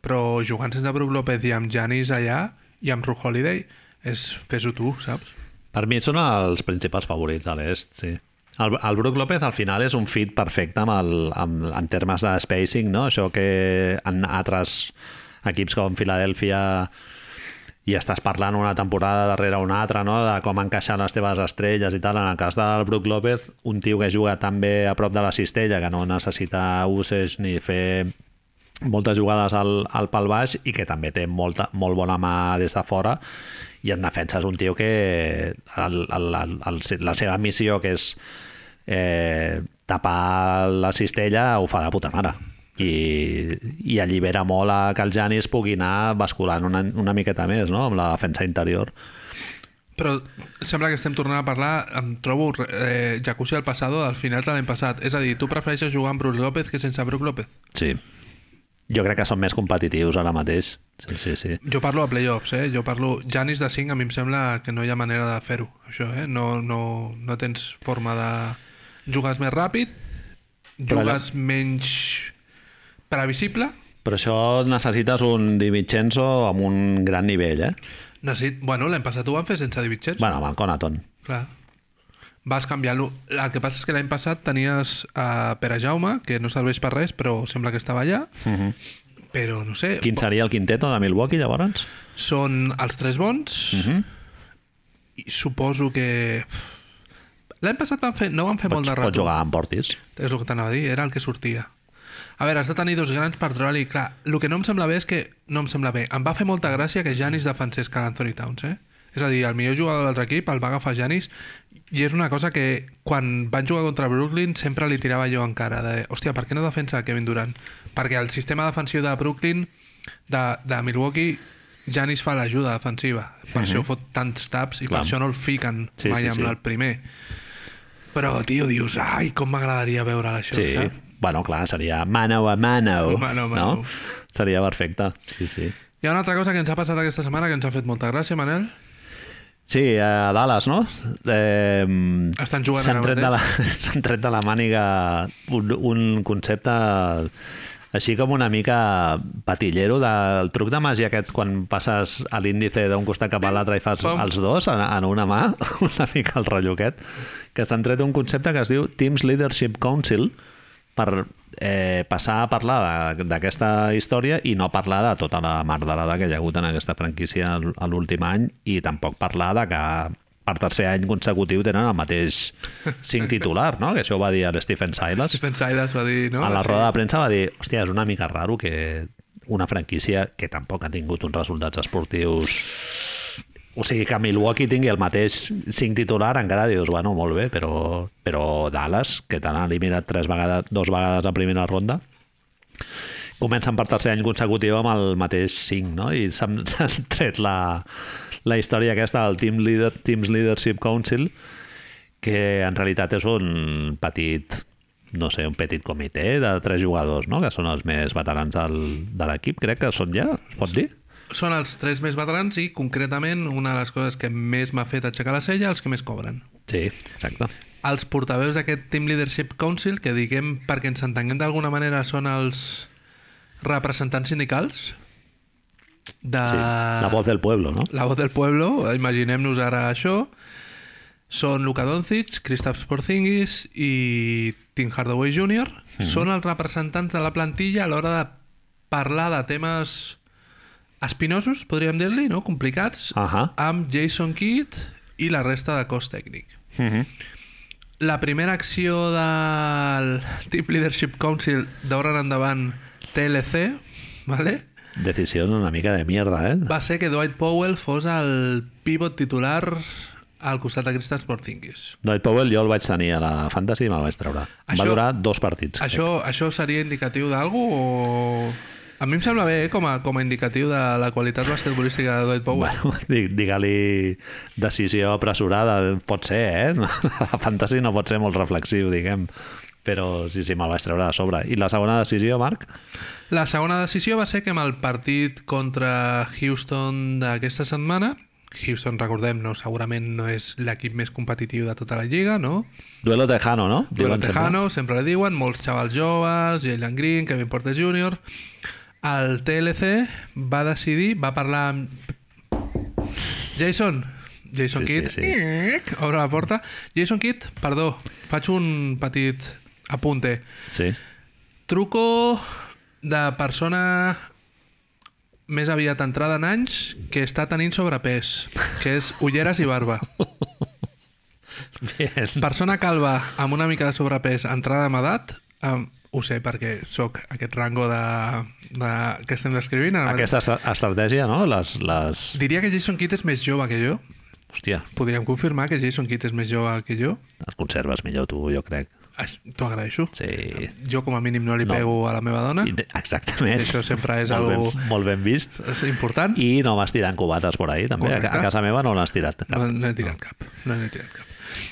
Speaker 2: però jugant sense Brook López i amb Janis allà i amb Ru Holiday, és fes-ho tu, saps?
Speaker 1: Per mi són els principals favorits a l'est, sí. El, el Brook López al final és un fit perfecte amb el, amb, en termes de spacing, no? Això que en altres equips com Filadèlfia i estàs parlant una temporada darrere una altra, no? de com encaixar les teves estrelles i tal. En el cas del Brook López, un tio que juga tan bé a prop de la cistella, que no necessita usage ni fer moltes jugades al, al pal baix i que també té molta, molt bona mà des de fora i en defensa és un tio que el, el, el, el, la seva missió que és eh, tapar la cistella ho fa de puta mare i, i allibera molt a que el Janis pugui anar basculant una, una miqueta més no? amb la defensa interior
Speaker 2: Però sembla que estem tornant a parlar, em trobo eh, Jacuzzi al passado al final de l'any passat. És a dir, tu prefereixes jugar amb Bruce López que sense Brook López.
Speaker 1: Sí. Jo crec que són més competitius ara mateix. Sí, sí, sí.
Speaker 2: Jo parlo a playoffs, eh? Jo parlo... Janis de 5 a mi em sembla que no hi ha manera de fer-ho, això, eh? No, no, no tens forma de... Jugues més ràpid,
Speaker 1: Però la-
Speaker 2: jugues menys previsible,
Speaker 1: Però això necessites un Di Vincenzo amb un gran nivell, eh?
Speaker 2: necessit... Bueno, l'any passat ho van fer sense Divichers.
Speaker 1: Bueno, amb el Conaton.
Speaker 2: Clar. Vas canviant-lo. El que passa és que l'any passat tenies a Pere Jaume, que no serveix per res, però sembla que estava allà. Uh
Speaker 1: Mhm.
Speaker 2: -huh. Però no sé,
Speaker 1: Quin seria el quinteto de Milwaukee, llavors?
Speaker 2: són els tres bons.
Speaker 1: Mhm.
Speaker 2: Uh -huh. I suposo que... L'any passat van fer, no van fer molt
Speaker 1: Pots,
Speaker 2: de
Speaker 1: pots
Speaker 2: rato.
Speaker 1: jugar amb Portis.
Speaker 2: És el que t'anava a dir, era el que sortia. A veure, has de tenir dos grans per trobar-li... Clar, el que no em sembla bé és que... No em sembla bé. Em va fer molta gràcia que Janis defensés Carl Anthony Towns, eh? És a dir, el millor jugador de l'altre equip el va agafar Janis i és una cosa que quan van jugar contra Brooklyn sempre li tirava jo en cara de, hòstia, per què no defensa Kevin Durant? Perquè el sistema defensiu de Brooklyn, de, de Milwaukee, Janis fa l'ajuda defensiva. Per això fot tants taps i
Speaker 1: Mhm. Clar.
Speaker 2: per això no el fiquen
Speaker 1: Sí,
Speaker 2: mai
Speaker 1: sí,
Speaker 2: amb
Speaker 1: sí.
Speaker 2: el primer. Però, tio, dius, ai, com m'agradaria veure això,
Speaker 1: Sí.
Speaker 2: saps?
Speaker 1: Bueno, clar, seria mano a mano.
Speaker 2: Mano
Speaker 1: No?
Speaker 2: a mano.
Speaker 1: Seria perfecte. Sí, sí.
Speaker 2: Hi ha una altra cosa que ens ha passat aquesta setmana que ens ha fet molta gràcia, Manel.
Speaker 1: Sí, a Dallas, no? Eh,
Speaker 2: Estan jugant
Speaker 1: s'han
Speaker 2: ara
Speaker 1: tret, de la,
Speaker 2: mateix.
Speaker 1: s'han tret de la màniga un, un concepte així com una mica patillero del truc de màgia aquest quan passes a l'índice d'un costat cap a l'altre i fas
Speaker 2: Pam.
Speaker 1: els dos en, en una mà, una mica el rotllo aquest, que s'han tret un concepte que es diu Teams Leadership Council per eh, passar a parlar de- d'aquesta història i no parlar de tota la mardelada que hi ha hagut en aquesta franquícia l- a l'últim any i tampoc parlar de que per tercer any consecutiu tenen el mateix cinc titular, no? que això ho va dir el Stephen Silas
Speaker 2: Stephen Silas va dir, no?
Speaker 1: a la
Speaker 2: Sí.
Speaker 1: roda de premsa va dir hòstia, és una mica raro que una franquícia que tampoc ha tingut uns resultats esportius o sigui que Milwaukee tingui el mateix cinc titular encara dius, bueno, molt bé però, però Dallas, que t'han eliminat tres vegades, dos vegades a primera ronda comencen per tercer any consecutiu amb el mateix 5, no? I s'han s'han tret la, la història aquesta del Team Leader, Teams Leadership Council, que en realitat és un petit no sé, un petit comitè de tres jugadors, no? que són els més veterans del, de l'equip, crec que són ja, es pot dir?
Speaker 2: Són els tres més veterans i, concretament, una de les coses que més m'ha fet aixecar la sella, els que més cobren.
Speaker 1: Sí, exacte.
Speaker 2: Els portaveus d'aquest Team Leadership Council, que diguem, perquè ens entenguem d'alguna manera, són els representants sindicals de...
Speaker 1: Sí. La voz del pueblo, no?
Speaker 2: La voz del pueblo, imaginem-nos ara això. Són Luka Doncic, Kristaps Porzingis i Tim Hardaway Jr. Són els representants de la plantilla a l'hora de parlar de temes espinosos, podríem dir-li, no? complicats,
Speaker 1: Ahà.
Speaker 2: amb Jason Kidd i la resta de cos tècnic. Mhm. La primera acció del Team Leadership Council d'hora en endavant TLC, ¿vale?
Speaker 1: Decisió una mica de mierda, eh?
Speaker 2: va ser que Dwight Powell fos el pivot titular al costat de Christian Porzingis.
Speaker 1: Dwight Powell jo el vaig tenir a la Fantasy i me'l vaig treure. Em
Speaker 2: Això-
Speaker 1: Va durar dos partits.
Speaker 2: Això, això seria indicatiu d'algú o... A mi em sembla bé eh, com, a, com a indicatiu de la qualitat basquetbolística de Dwight Powell.
Speaker 1: Bueno, di- digue-li decisió apressurada, pot ser, eh? La fantasy no pot ser molt reflexiu, diguem. Però sí, sí, me'l vaig treure de sobre. I la segona decisió, Marc?
Speaker 2: La segona decisió va ser que amb el partit contra Houston d'aquesta setmana, Houston, recordem, no, segurament no és l'equip més competitiu de tota la lliga, no?
Speaker 1: Duelo Tejano, no?
Speaker 2: Duelo
Speaker 1: Diuen sempre.
Speaker 2: Tejano, sempre li diuen, molts xavals joves, Jalen Green, Kevin Porter Jr. El TLC va decidir, va parlar amb... Jason, Jason
Speaker 1: Sí, sí,
Speaker 2: Kidd,
Speaker 1: sí.
Speaker 2: Iiic, obre la porta. Jason Kidd, perdó, faig un petit apunte.
Speaker 1: Sí.
Speaker 2: Truco de persona més aviat entrada en anys que està tenint sobrepès, que és ulleres i barba.
Speaker 1: Bien.
Speaker 2: Persona calva amb una mica de sobrepès, entrada amb edat, um, ho sé perquè sóc aquest rango de, de, que estem descrivint. Ara mateix.
Speaker 1: Aquesta estra- estratègia, no? Les, les...
Speaker 2: Diria que Jason Kidd és més jove que jo.
Speaker 1: Hòstia,
Speaker 2: Podríem confirmar que Jason Kidd és més jove que jo.
Speaker 1: les conserves millor tu, jo crec.
Speaker 2: Aix- T'ho agraeixo.
Speaker 1: Sí.
Speaker 2: Jo, com a mínim, no li
Speaker 1: No.
Speaker 2: pego a la meva dona.
Speaker 1: Inte- Exactament.
Speaker 2: Això sempre és
Speaker 1: molt
Speaker 2: algo-
Speaker 1: ben, molt ben vist.
Speaker 2: És important. I...
Speaker 1: I no m'has tirat cubates por ahí, també. A,
Speaker 2: Correcte. Doncs
Speaker 1: a casa meva no l'has tirat. Cap.
Speaker 2: No n'he tirat cap. No n'he tirat cap.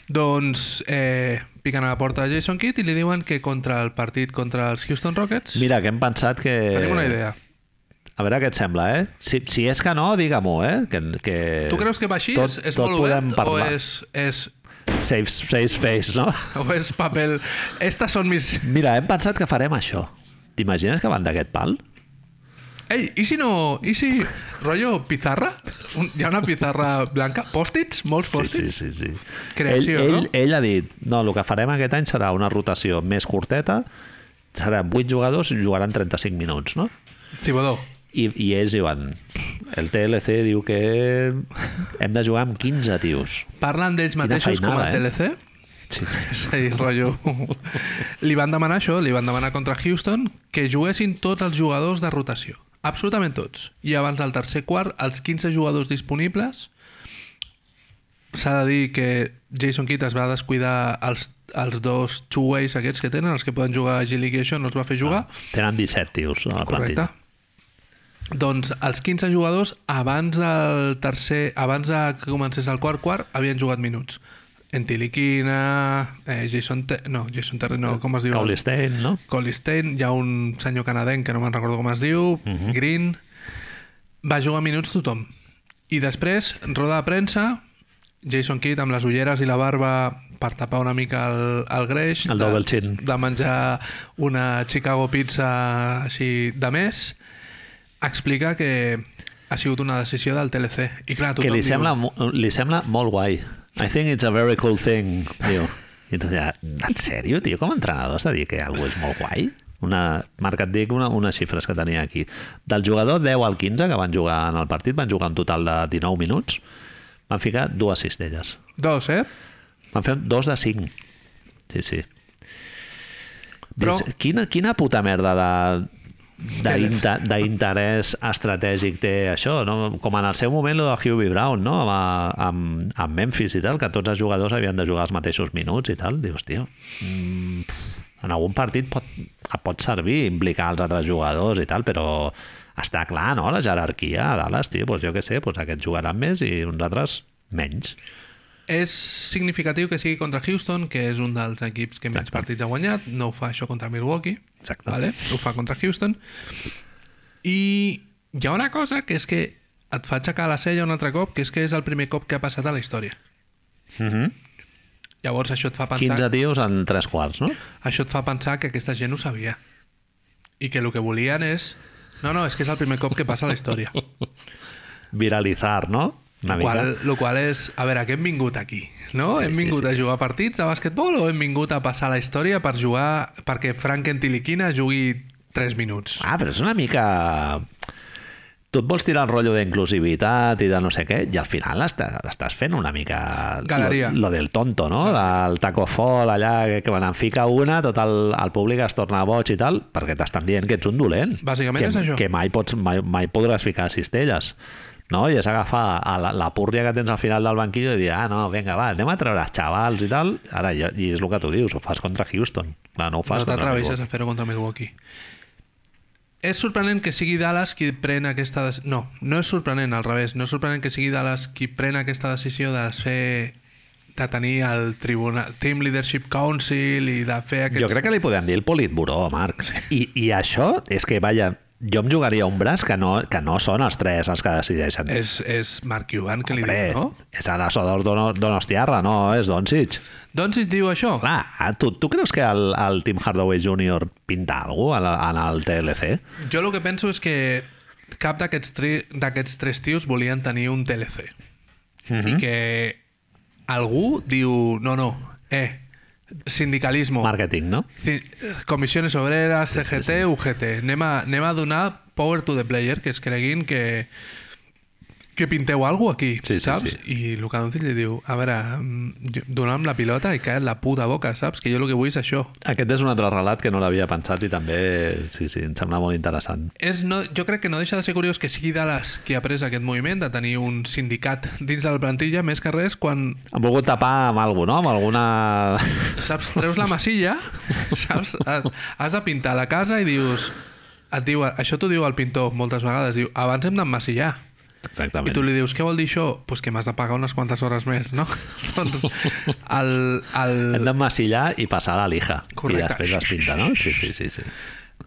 Speaker 2: Doncs eh, piquen a la porta de Jason Kidd i li diuen que contra el partit contra els Houston Rockets
Speaker 1: Mira, que hem pensat que...
Speaker 2: tenim una idea.
Speaker 1: A veure què et sembla, eh? Si, si és que no, digue-m'ho, eh? Que, que...
Speaker 2: Tu creus que va així?
Speaker 1: tot,
Speaker 2: és, és
Speaker 1: tot
Speaker 2: molt
Speaker 1: podem
Speaker 2: obert o
Speaker 1: parlar.
Speaker 2: és, és,
Speaker 1: Safe, safe space, no?
Speaker 2: o és paper... Estas són mis...
Speaker 1: Mira, hem pensat que farem això. T'imagines que van d'aquest pal?
Speaker 2: Ei, i si no... I si... Rollo pizarra? Un, hi ha una pizarra blanca? Pòstits? Molts
Speaker 1: Sí,
Speaker 2: pòstits?
Speaker 1: sí, sí. sí.
Speaker 2: Creació,
Speaker 1: ell, ell,
Speaker 2: no?
Speaker 1: ell ha dit, no, el que farem aquest any serà una rotació més curteta, seran 8 jugadors i jugaran 35 minuts, no?
Speaker 2: Tibodó.
Speaker 1: I, I ells diuen, el TLC diu que hem de jugar amb 15 tios.
Speaker 2: Parlen d'ells mateixos com a
Speaker 1: feinada, eh?
Speaker 2: TLC?
Speaker 1: Sí, sí.
Speaker 2: És a dir, rotllo... li van demanar això, li van demanar contra Houston que juguessin tots els jugadors de rotació. Absolutament tots. I abans del tercer quart, els 15 jugadors disponibles... S'ha de dir que Jason Kidd es va descuidar els, els dos two-ways aquests que tenen, els que poden jugar a G-League i això, no els va fer jugar.
Speaker 1: Tenen 17 tios a la
Speaker 2: Correcte.
Speaker 1: plantilla.
Speaker 2: Doncs els 15 jugadors abans del tercer, abans de que comencés el quart quart havien jugat minuts. Entiliquina, eh, Jason Te no, Jason Terry no, com es diu?
Speaker 1: Cole Stein, no?
Speaker 2: Cole Stein, hi ha un senyor canadenc que no me'n recordo com es diu,
Speaker 1: Mhm.
Speaker 2: Green. Va jugar minuts tothom. I després, roda de premsa, Jason Kidd amb les ulleres i la barba per tapar una mica el, el greix.
Speaker 1: El
Speaker 2: de-
Speaker 1: double chin.
Speaker 2: De menjar una Chicago pizza així de més. Explica que ha sigut una decisió del TLC. I clar,
Speaker 1: Que
Speaker 2: tothom
Speaker 1: li
Speaker 2: diu,
Speaker 1: sembla, mo- li sembla molt guai. I think it's a very cool thing, diu. I tu ja, en sèrio, tio, com a entrenador has de dir que algú és molt guai? Una, Marc, et dic una, unes xifres que tenia aquí. Del jugador 10 al 15 que van jugar en el partit, van jugar un total de 19 minuts, van ficar dues cistelles.
Speaker 2: Dos, eh?
Speaker 1: Van fer dos de cinc. Sí, sí.
Speaker 2: Però-
Speaker 1: Però... Quina, quina puta merda de d'inte- d'interès estratègic té això, no? com en el seu moment lo de Hubie Brown, no? amb, amb, amb Memphis i tal, que tots els jugadors havien de jugar els mateixos minuts i tal, dius, tio mm, pf, en algun partit pot, et pot servir implicar els altres jugadors i tal, però està clar, no?, la jerarquia a Dallas, tio, doncs jo què sé, doncs aquests jugaran més i uns altres menys.
Speaker 2: És significatiu que sigui contra Houston, que és un dels equips que menys partits ha guanyat. No ho fa això contra Milwaukee,
Speaker 1: Exacte.
Speaker 2: vale? ho fa contra Houston. I hi ha una cosa que és que et fa aixecar la cella un altre cop, que és que és el primer cop que ha passat a la història.
Speaker 1: Mm
Speaker 2: Llavors això et fa pensar,
Speaker 1: 15 tios en tres quarts, no?
Speaker 2: això et fa pensar que aquesta gent ho sabia. I que el que volien és... No, no, és que és el primer cop que passa a la història.
Speaker 1: Viralitzar, no? Una
Speaker 2: Lo
Speaker 1: mica.
Speaker 2: qual, lo qual és... A veure, que hem vingut aquí, no?
Speaker 1: Sí,
Speaker 2: Sí, hem
Speaker 1: sí,
Speaker 2: vingut
Speaker 1: sí.
Speaker 2: sí, sí. a jugar partits de bàsquetbol o hem vingut a passar la història per jugar... perquè Frank Entiliquina jugui 3 minuts?
Speaker 1: Ah, però és una mica... Tu et vols tirar el rotllo d'inclusivitat i de no sé què, i al final està- estàs fent una mica...
Speaker 2: Galeria.
Speaker 1: Lo, lo del tonto, no? Del taco fall, allà, que, que quan en fica una, tot el, el públic es torna boig i tal, perquè t'estan dient que ets un dolent.
Speaker 2: Bàsicament
Speaker 1: que,
Speaker 2: és això.
Speaker 1: Que mai, pots, mai, mai podràs ficar cistelles. No? I és agafar a la, la púrria que tens al final del banquillo i dir, ah, no, vinga, va, anem a treure els xavals i tal. Ara, i, i és el que tu dius, ho fas contra Houston. Clar, no ho fas
Speaker 2: no
Speaker 1: contra
Speaker 2: t'atreveixes
Speaker 1: Milwaukee.
Speaker 2: a fer-ho contra Milwaukee. És sorprenent que sigui Dallas qui pren aquesta... Des... No, no és sorprenent, al revés. No és sorprenent que sigui Dallas qui pren aquesta decisió de fer de tenir el tribunal, Team Leadership Council i de fer aquests...
Speaker 1: Jo crec que li podem dir el Politburó, Marc. I, I això és que, vaja, jo em jugaria un braç que no, que no són els tres els que decideixen.
Speaker 2: És, és Mark Cuban que li
Speaker 1: Hombre,
Speaker 2: diu, Eh, no?
Speaker 1: és a la Sodor Dono- Donostiarra, no? És Doncic.
Speaker 2: Doncs es diu això.
Speaker 1: Clar, ah, tu, tu creus que el, el Tim Hardaway Jr. pinta alguna cosa en el TLC?
Speaker 2: Jo el que penso és que cap d'aquests tri- d'aquests tres tios volien tenir un TLC.
Speaker 1: Mhm.
Speaker 2: I que algú diu, no, no, eh, sindicalisme,
Speaker 1: Màrqueting, no?
Speaker 2: ci- comissiones obreres, CGT, UGT, anem a, anem a donar power to the player, que es creguin que que pinteu alguna aquí,
Speaker 1: Sí, sí,
Speaker 2: saps?
Speaker 1: sí.
Speaker 2: I Luka Doncic li diu, a veure, mm, dona'm la pilota i cae la puta boca, saps? Que jo el que vull és això.
Speaker 1: Aquest és un altre relat que no l'havia pensat i també, sí, sí, em sembla molt interessant.
Speaker 2: És no, jo crec que no deixa de ser curiós que sigui Dallas qui ha pres aquest moviment de tenir un sindicat dins de la plantilla, més que res, quan,
Speaker 1: Han volgut tapar amb alguna no? Amb alguna...
Speaker 2: saps, treus la massilla, saps, Ha- has de pintar la casa i dius... Et diu, això t'ho diu el pintor moltes vegades, diu, abans hem d'emmassillar. I
Speaker 1: Exactament.
Speaker 2: tu li dius, què vol dir això? Doncs pues que m'has de pagar unes quantes hores més, no? doncs el,
Speaker 1: Hem
Speaker 2: el,
Speaker 1: d'emmassillar i passar la lija.
Speaker 2: Correcte.
Speaker 1: I després es pinta, no? Sí, sí, sí. sí.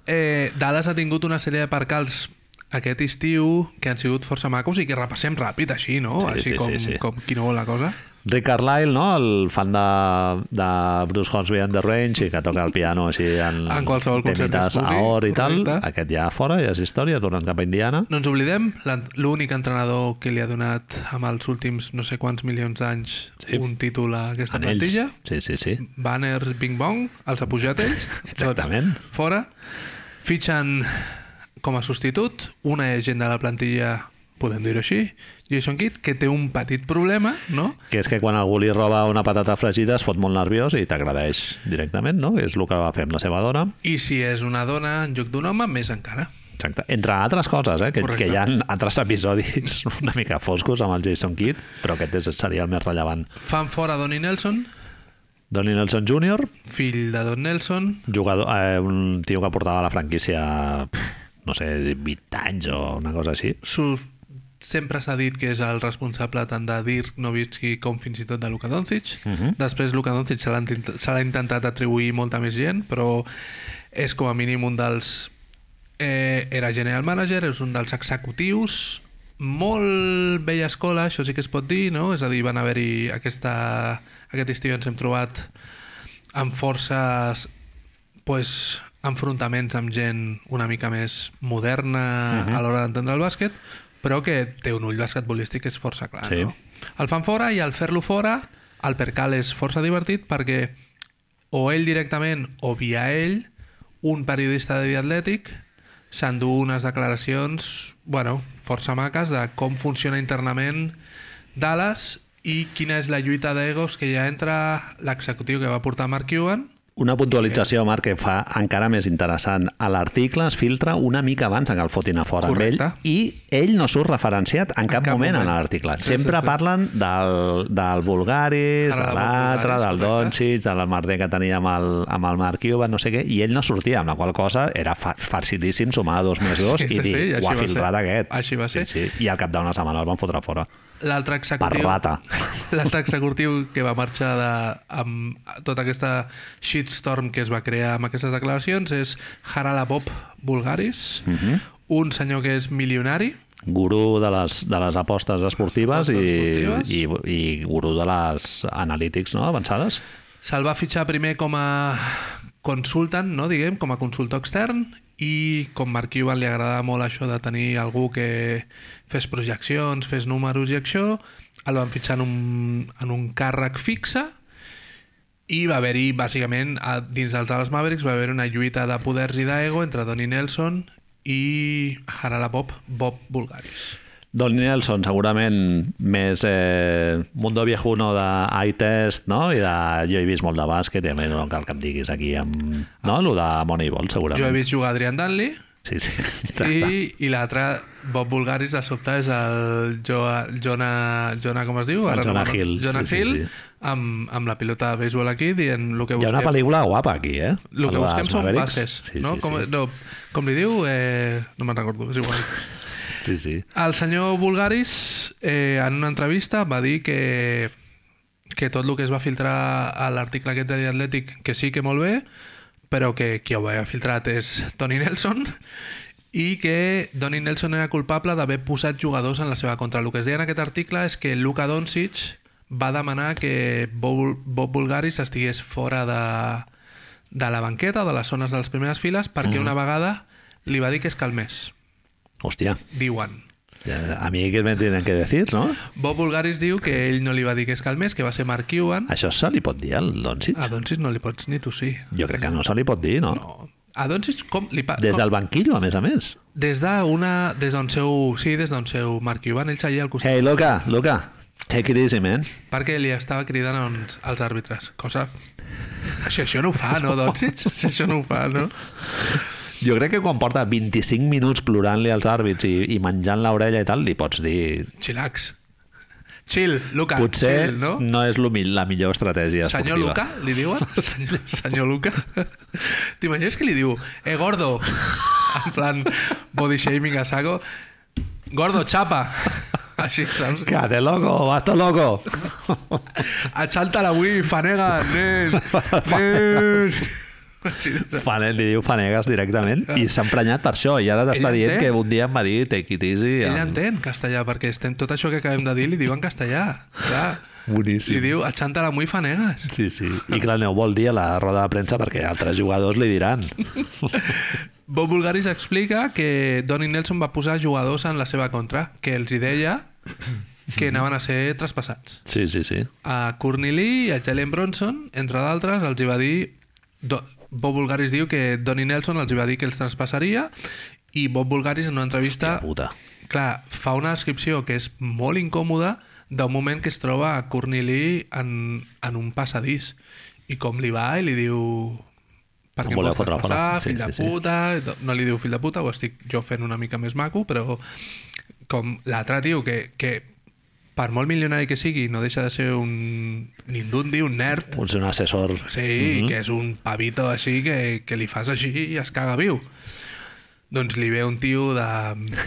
Speaker 2: eh, Dallas ha tingut una sèrie de percals aquest estiu que han sigut força macos i que repassem ràpid així, no?
Speaker 1: Sí,
Speaker 2: així
Speaker 1: sí,
Speaker 2: com,
Speaker 1: sí, sí.
Speaker 2: com qui no vol la cosa.
Speaker 1: Rick Carlisle, no? el fan de, de Bruce Hornsby and the Range i que toca el piano així en,
Speaker 2: En qualsevol concert
Speaker 1: temites
Speaker 2: que es
Speaker 1: a
Speaker 2: pugui,
Speaker 1: or i tal,
Speaker 2: correcte.
Speaker 1: aquest ja fora, ja és història, tornen cap a Indiana.
Speaker 2: No ens oblidem, l'en- l'únic entrenador que li ha donat amb els últims no sé quants milions d'anys
Speaker 1: Sí.
Speaker 2: un títol a aquesta
Speaker 1: En ells.
Speaker 2: plantilla.
Speaker 1: Sí, sí, sí.
Speaker 2: Banners, Bing Bong, els ha pujat ells.
Speaker 1: Exactament.
Speaker 2: Tots fora. Fitxen com a substitut una gent de la plantilla, podem dir-ho així, Jason Kidd, que té un petit problema, no?
Speaker 1: Que és que quan algú li roba una patata fregida es fot molt nerviós i t'agradeix directament, no? És el que va fer amb la seva dona.
Speaker 2: I si és una dona en lloc d'un home, més encara.
Speaker 1: Exacte. Entre altres coses, eh? que,
Speaker 2: Correcte.
Speaker 1: que hi ha altres episodis una mica foscos amb el Jason Kidd, però aquest és, seria el més rellevant.
Speaker 2: Fan fora Donnie Nelson,
Speaker 1: Donnie Nelson Jr.,
Speaker 2: fill de Don Nelson,
Speaker 1: jugador, eh, un tio que portava la franquícia pf, no sé, 20 anys o una cosa així.
Speaker 2: Sur sempre s'ha dit que és el responsable tant de Dirk Nowitzki com fins i tot de Luka Doncic. Després Luka Doncic se l'ha intent- se l'ha intentat atribuir molta més gent, però és com a mínim un dels... Eh, era general manager, és un dels executius, molt vella escola, això sí que es pot dir, no? És a dir, van haver-hi aquesta... Aquest estiu ens hem trobat amb forces pues, enfrontaments amb gent una mica més moderna uh -huh. a l'hora d'entendre el bàsquet, però que té un ull basquetbolístic que és força clar,
Speaker 1: Sí.
Speaker 2: no? El fan fora i al fer-lo fora el percal és força divertit perquè o ell directament o via ell, un periodista de The Athletic s'endú unes declaracions, bueno, força maques de com funciona internament Dallas i quina és la lluita d'egos que hi ha entre l'executiu que va portar Mark Cuban
Speaker 1: Una puntualització, Marc, que fa encara més interessant. A l'article es filtra una mica abans que el fotin a fora amb ell
Speaker 2: Correcte.
Speaker 1: i ell no surt referenciat en cap,
Speaker 2: cap
Speaker 1: moment, en
Speaker 2: moment.
Speaker 1: l'article.
Speaker 2: Sí, sí,
Speaker 1: Sempre
Speaker 2: sí.
Speaker 1: parlen del, del Bulgaris,
Speaker 2: Ara
Speaker 1: de
Speaker 2: del
Speaker 1: l'altre,
Speaker 2: Bulgaris,
Speaker 1: del
Speaker 2: correcte.
Speaker 1: Doncic, de l'emmerder que tenia amb el, amb el Mark Cuban, no sé què, i ell no sortia, amb la qual cosa era fa, facilíssim sumar dos més dos
Speaker 2: Sí,
Speaker 1: i
Speaker 2: sí,
Speaker 1: dir,
Speaker 2: sí, i així
Speaker 1: ho ha
Speaker 2: va ser.
Speaker 1: filtrat aquest.
Speaker 2: Així va ser.
Speaker 1: Sí, sí. I al cap d'una setmana el van fotre fora.
Speaker 2: L'altre
Speaker 1: Per
Speaker 2: executiu...
Speaker 1: rata.
Speaker 2: L'altre executiu que va marxar de, amb tota aquesta shitstorm que es va crear amb aquestes declaracions és Harala Bob Bulgaris,
Speaker 1: Mm.
Speaker 2: un senyor que és milionari,
Speaker 1: gurú de les, de les apostes esportives,
Speaker 2: Apostes
Speaker 1: i, i,
Speaker 2: esportives.
Speaker 1: i gurú de les analítics no? avançades.
Speaker 2: se'l va fitxar primer com a consultant, no, diguem, com a consultor extern, i com Mark Cuban li agradava molt això de tenir algú que fes projeccions, fes números i això, el van fitxar en un, en un càrrec fixe, I va haver-hi, bàsicament, a, dins dels Dallas Mavericks, va haver una lluita de poders i d'ego entre Donnie Nelson i Harala Bob, Bob Bulgaris.
Speaker 1: Don Nelson, segurament més eh, Mundo Viejuno de iTest, no? I de, jo he vist molt de bàsquet, i a més no cal que em diguis aquí amb... No? Lo de Moneyball, segurament.
Speaker 2: Jo he vist jugar Adrian Danley
Speaker 1: Sí, sí, exacte.
Speaker 2: i, i l'altre, Bob Bulgaris, de sobte, és el jo, Jonah, Jonah, com es diu?
Speaker 1: El Jonah
Speaker 2: no-
Speaker 1: Hill,
Speaker 2: Jonah
Speaker 1: sí, sí,
Speaker 2: Hill,
Speaker 1: sí.
Speaker 2: Amb, amb la pilota de béisbol aquí, dient el
Speaker 1: Hi
Speaker 2: que
Speaker 1: ha una
Speaker 2: busquem.
Speaker 1: pel·lícula guapa aquí, eh?
Speaker 2: El que
Speaker 1: Lo dels
Speaker 2: busquem són
Speaker 1: Mavericks.
Speaker 2: bases,
Speaker 1: Sí,
Speaker 2: no?
Speaker 1: sí,
Speaker 2: com,
Speaker 1: sí.
Speaker 2: no, com li diu? Eh, no me'n recordo, és igual.
Speaker 1: sí, sí.
Speaker 2: El senyor Bulgaris, eh, en una entrevista, va dir que, que tot el que es va filtrar a l'article aquest de The Athletic, que sí que molt bé, però que qui ho havia filtrat és Tony Nelson, i que Donny Nelson era culpable d'haver posat jugadors en la seva contra. El que es deia en aquest article és que Luka Doncic va demanar que Bob, Bob Bulgaris estigués fora de, de la banqueta, de les zones de les primeres files, perquè una vegada li va dir que es calmés,
Speaker 1: Hòstia,
Speaker 2: diuen.
Speaker 1: ja, a mi què me tenen que decir, no?
Speaker 2: Bob Bulgaris diu que ell no li va dir que es calmés, que va ser Mark Cuban.
Speaker 1: Això se li pot dir al Doncic?
Speaker 2: A Doncic no li pots ni tu sí.
Speaker 1: Jo crec que no se li pot dir, no?
Speaker 2: No, A Doncic com li pa...
Speaker 1: Des
Speaker 2: com...
Speaker 1: del banquillo, a més a més.
Speaker 2: Des d'una... Des d'on seu... Sí, des d'on seu Mark Cuban, ells allà al costat.
Speaker 1: Hey, loca, loca, take it easy, man.
Speaker 2: Perquè li estava cridant als, als àrbitres. Cosa... Això, això no ho fa, no, Doncic? Això, això no ho fa, no?
Speaker 1: Jo crec que quan porta 25 minuts plorant-li als àrbits i, i menjant l'orella i tal, li pots dir...
Speaker 2: Chillax. Chill, Luca.
Speaker 1: Potser
Speaker 2: Chill,
Speaker 1: no,
Speaker 2: no?
Speaker 1: no és lo mi- la millor estratègia esportiva.
Speaker 2: Senyor Luca, li diuen? Senyor, senyor Luca? T'imagines que li diu, eh, gordo, en plan body shaming a saco, gordo, xapa. Així, saps?
Speaker 1: Cate loco, basta loco.
Speaker 2: Aixanta la Wii, fanega, nen, nen. Així,
Speaker 1: Fanet, li diu Fanegas directament i s'ha emprenyat per això i ara t'està
Speaker 2: Ell
Speaker 1: dient
Speaker 2: entén.
Speaker 1: que un dia em va dir take it easy
Speaker 2: Ell
Speaker 1: amb...
Speaker 2: entén castellà, perquè estem, tot això que acabem de dir li diu en castellà. Clar.
Speaker 1: Boníssim.
Speaker 2: Li diu, aixanta la Wii, fanegas.
Speaker 1: Sí, sí. I clar, aneu vol dir a la roda de premsa perquè altres jugadors li diran.
Speaker 2: Bob Bulgaris explica que Donny Nelson va posar jugadors en la seva contra, que els hi deia que anaven a ser traspassats.
Speaker 1: Sí, sí, sí.
Speaker 2: A Courtney Lee i a Jalen Bronson, entre d'altres, els hi va dir... Do... Bob Bulgaris diu que Donny Nelson els hi va dir que els traspassaria i Bob Bulgaris en una entrevista...
Speaker 1: Puta.
Speaker 2: clar, fa una descripció que és molt incòmoda d'un moment que es troba a Courtney Lee en, en un passadís i com li va i li diu per
Speaker 1: Em
Speaker 2: què em
Speaker 1: voleu
Speaker 2: vols
Speaker 1: fotre fora?"
Speaker 2: passar,
Speaker 1: Sí,
Speaker 2: fill de
Speaker 1: sí, sí.
Speaker 2: puta i to- no li diu fill de puta, ho estic jo fent una mica més maco, però com l'altre tio que, que per molt milionari que sigui no deixa de ser un nindundi, un nerd
Speaker 1: Potser un assessor...
Speaker 2: Sí, mm -hmm. que és un pavito així que, que li fas així i es caga viu. Doncs li ve un tio de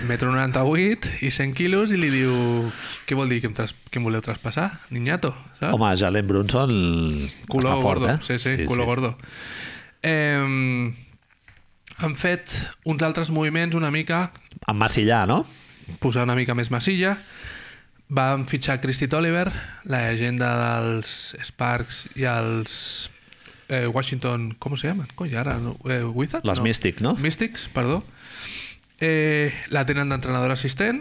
Speaker 2: metro 98 i 100 quilos i li diu què vol dir que em, tras que em voleu traspassar, niñato? Saps?
Speaker 1: Home, Jalen Brunson
Speaker 2: Color
Speaker 1: està fort,
Speaker 2: gordo.
Speaker 1: eh?
Speaker 2: Sí, sí, sí color sí, gordo. Eh, han fet uns altres moviments una mica,
Speaker 1: Amb Massillà, no?
Speaker 2: posar una mica més massilla. Van fitxar Christy Tolliver, la llegenda dels Sparks i els eh, Washington... Com se llaman? Coi, ara no, eh, Wizards?
Speaker 1: Les
Speaker 2: no.
Speaker 1: Mystic, no?
Speaker 2: Mystics, perdó. Eh, la tenen d'entrenador assistent.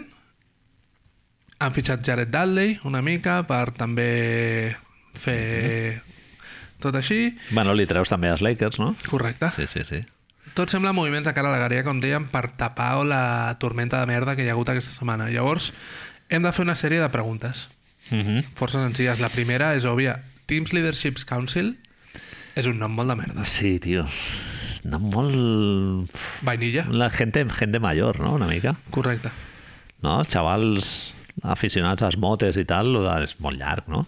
Speaker 2: Han fitxat Jared Dudley una mica per també fer tot així.
Speaker 1: Bueno, li treus també als Lakers, no?
Speaker 2: Correcte.
Speaker 1: Sí, sí, sí.
Speaker 2: Tot sembla moviments de cara a la galeria, com dèiem, per tapar la tormenta de merda que hi ha hagut aquesta setmana. Llavors, hem de fer una sèrie de preguntes.
Speaker 1: Uh -huh.
Speaker 2: Força senzilles. La primera és òbvia. Teams Leaderships Council és un nom molt de merda.
Speaker 1: Sí, tio. No molt...
Speaker 2: Vainilla.
Speaker 1: La gente, gente mayor, no? Una mica.
Speaker 2: Correcte.
Speaker 1: No? Els xavals aficionats als motes i tal, lo de... és molt llarg, no?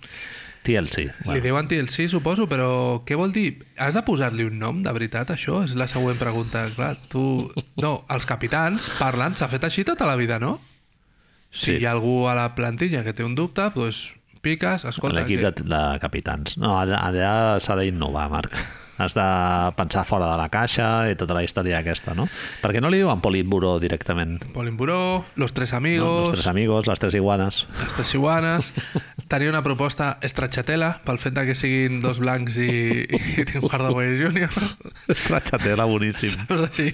Speaker 1: TLC.
Speaker 2: Bueno. Li
Speaker 1: Bueno,
Speaker 2: deuen TLC, suposo, però què vol dir? Has de posar-li un nom, de veritat, això? És la següent pregunta. Clar, tu... No, els capitans parlen, s'ha fet així tota la vida, no? Si
Speaker 1: Sí.
Speaker 2: sí. hi ha algú a la plantilla que té un dubte, doncs piques, escolta...
Speaker 1: L'equip
Speaker 2: que-
Speaker 1: de, de capitans. No, allà, allà s'ha d'innovar, Marc. Has de pensar fora de la caixa i tota la història aquesta, no? Per què no li diuen Politburó directament?
Speaker 2: Polimburó, Los Tres
Speaker 1: No?
Speaker 2: Amigos,
Speaker 1: Los tres amigos, les tres iguanes.
Speaker 2: Les Tres Iguanes... Tenia una proposta estratxatela pel fet de que siguin dos blancs i, i Tim Hardaway Jr.
Speaker 1: Estratxatela, boníssim.
Speaker 2: Saps així?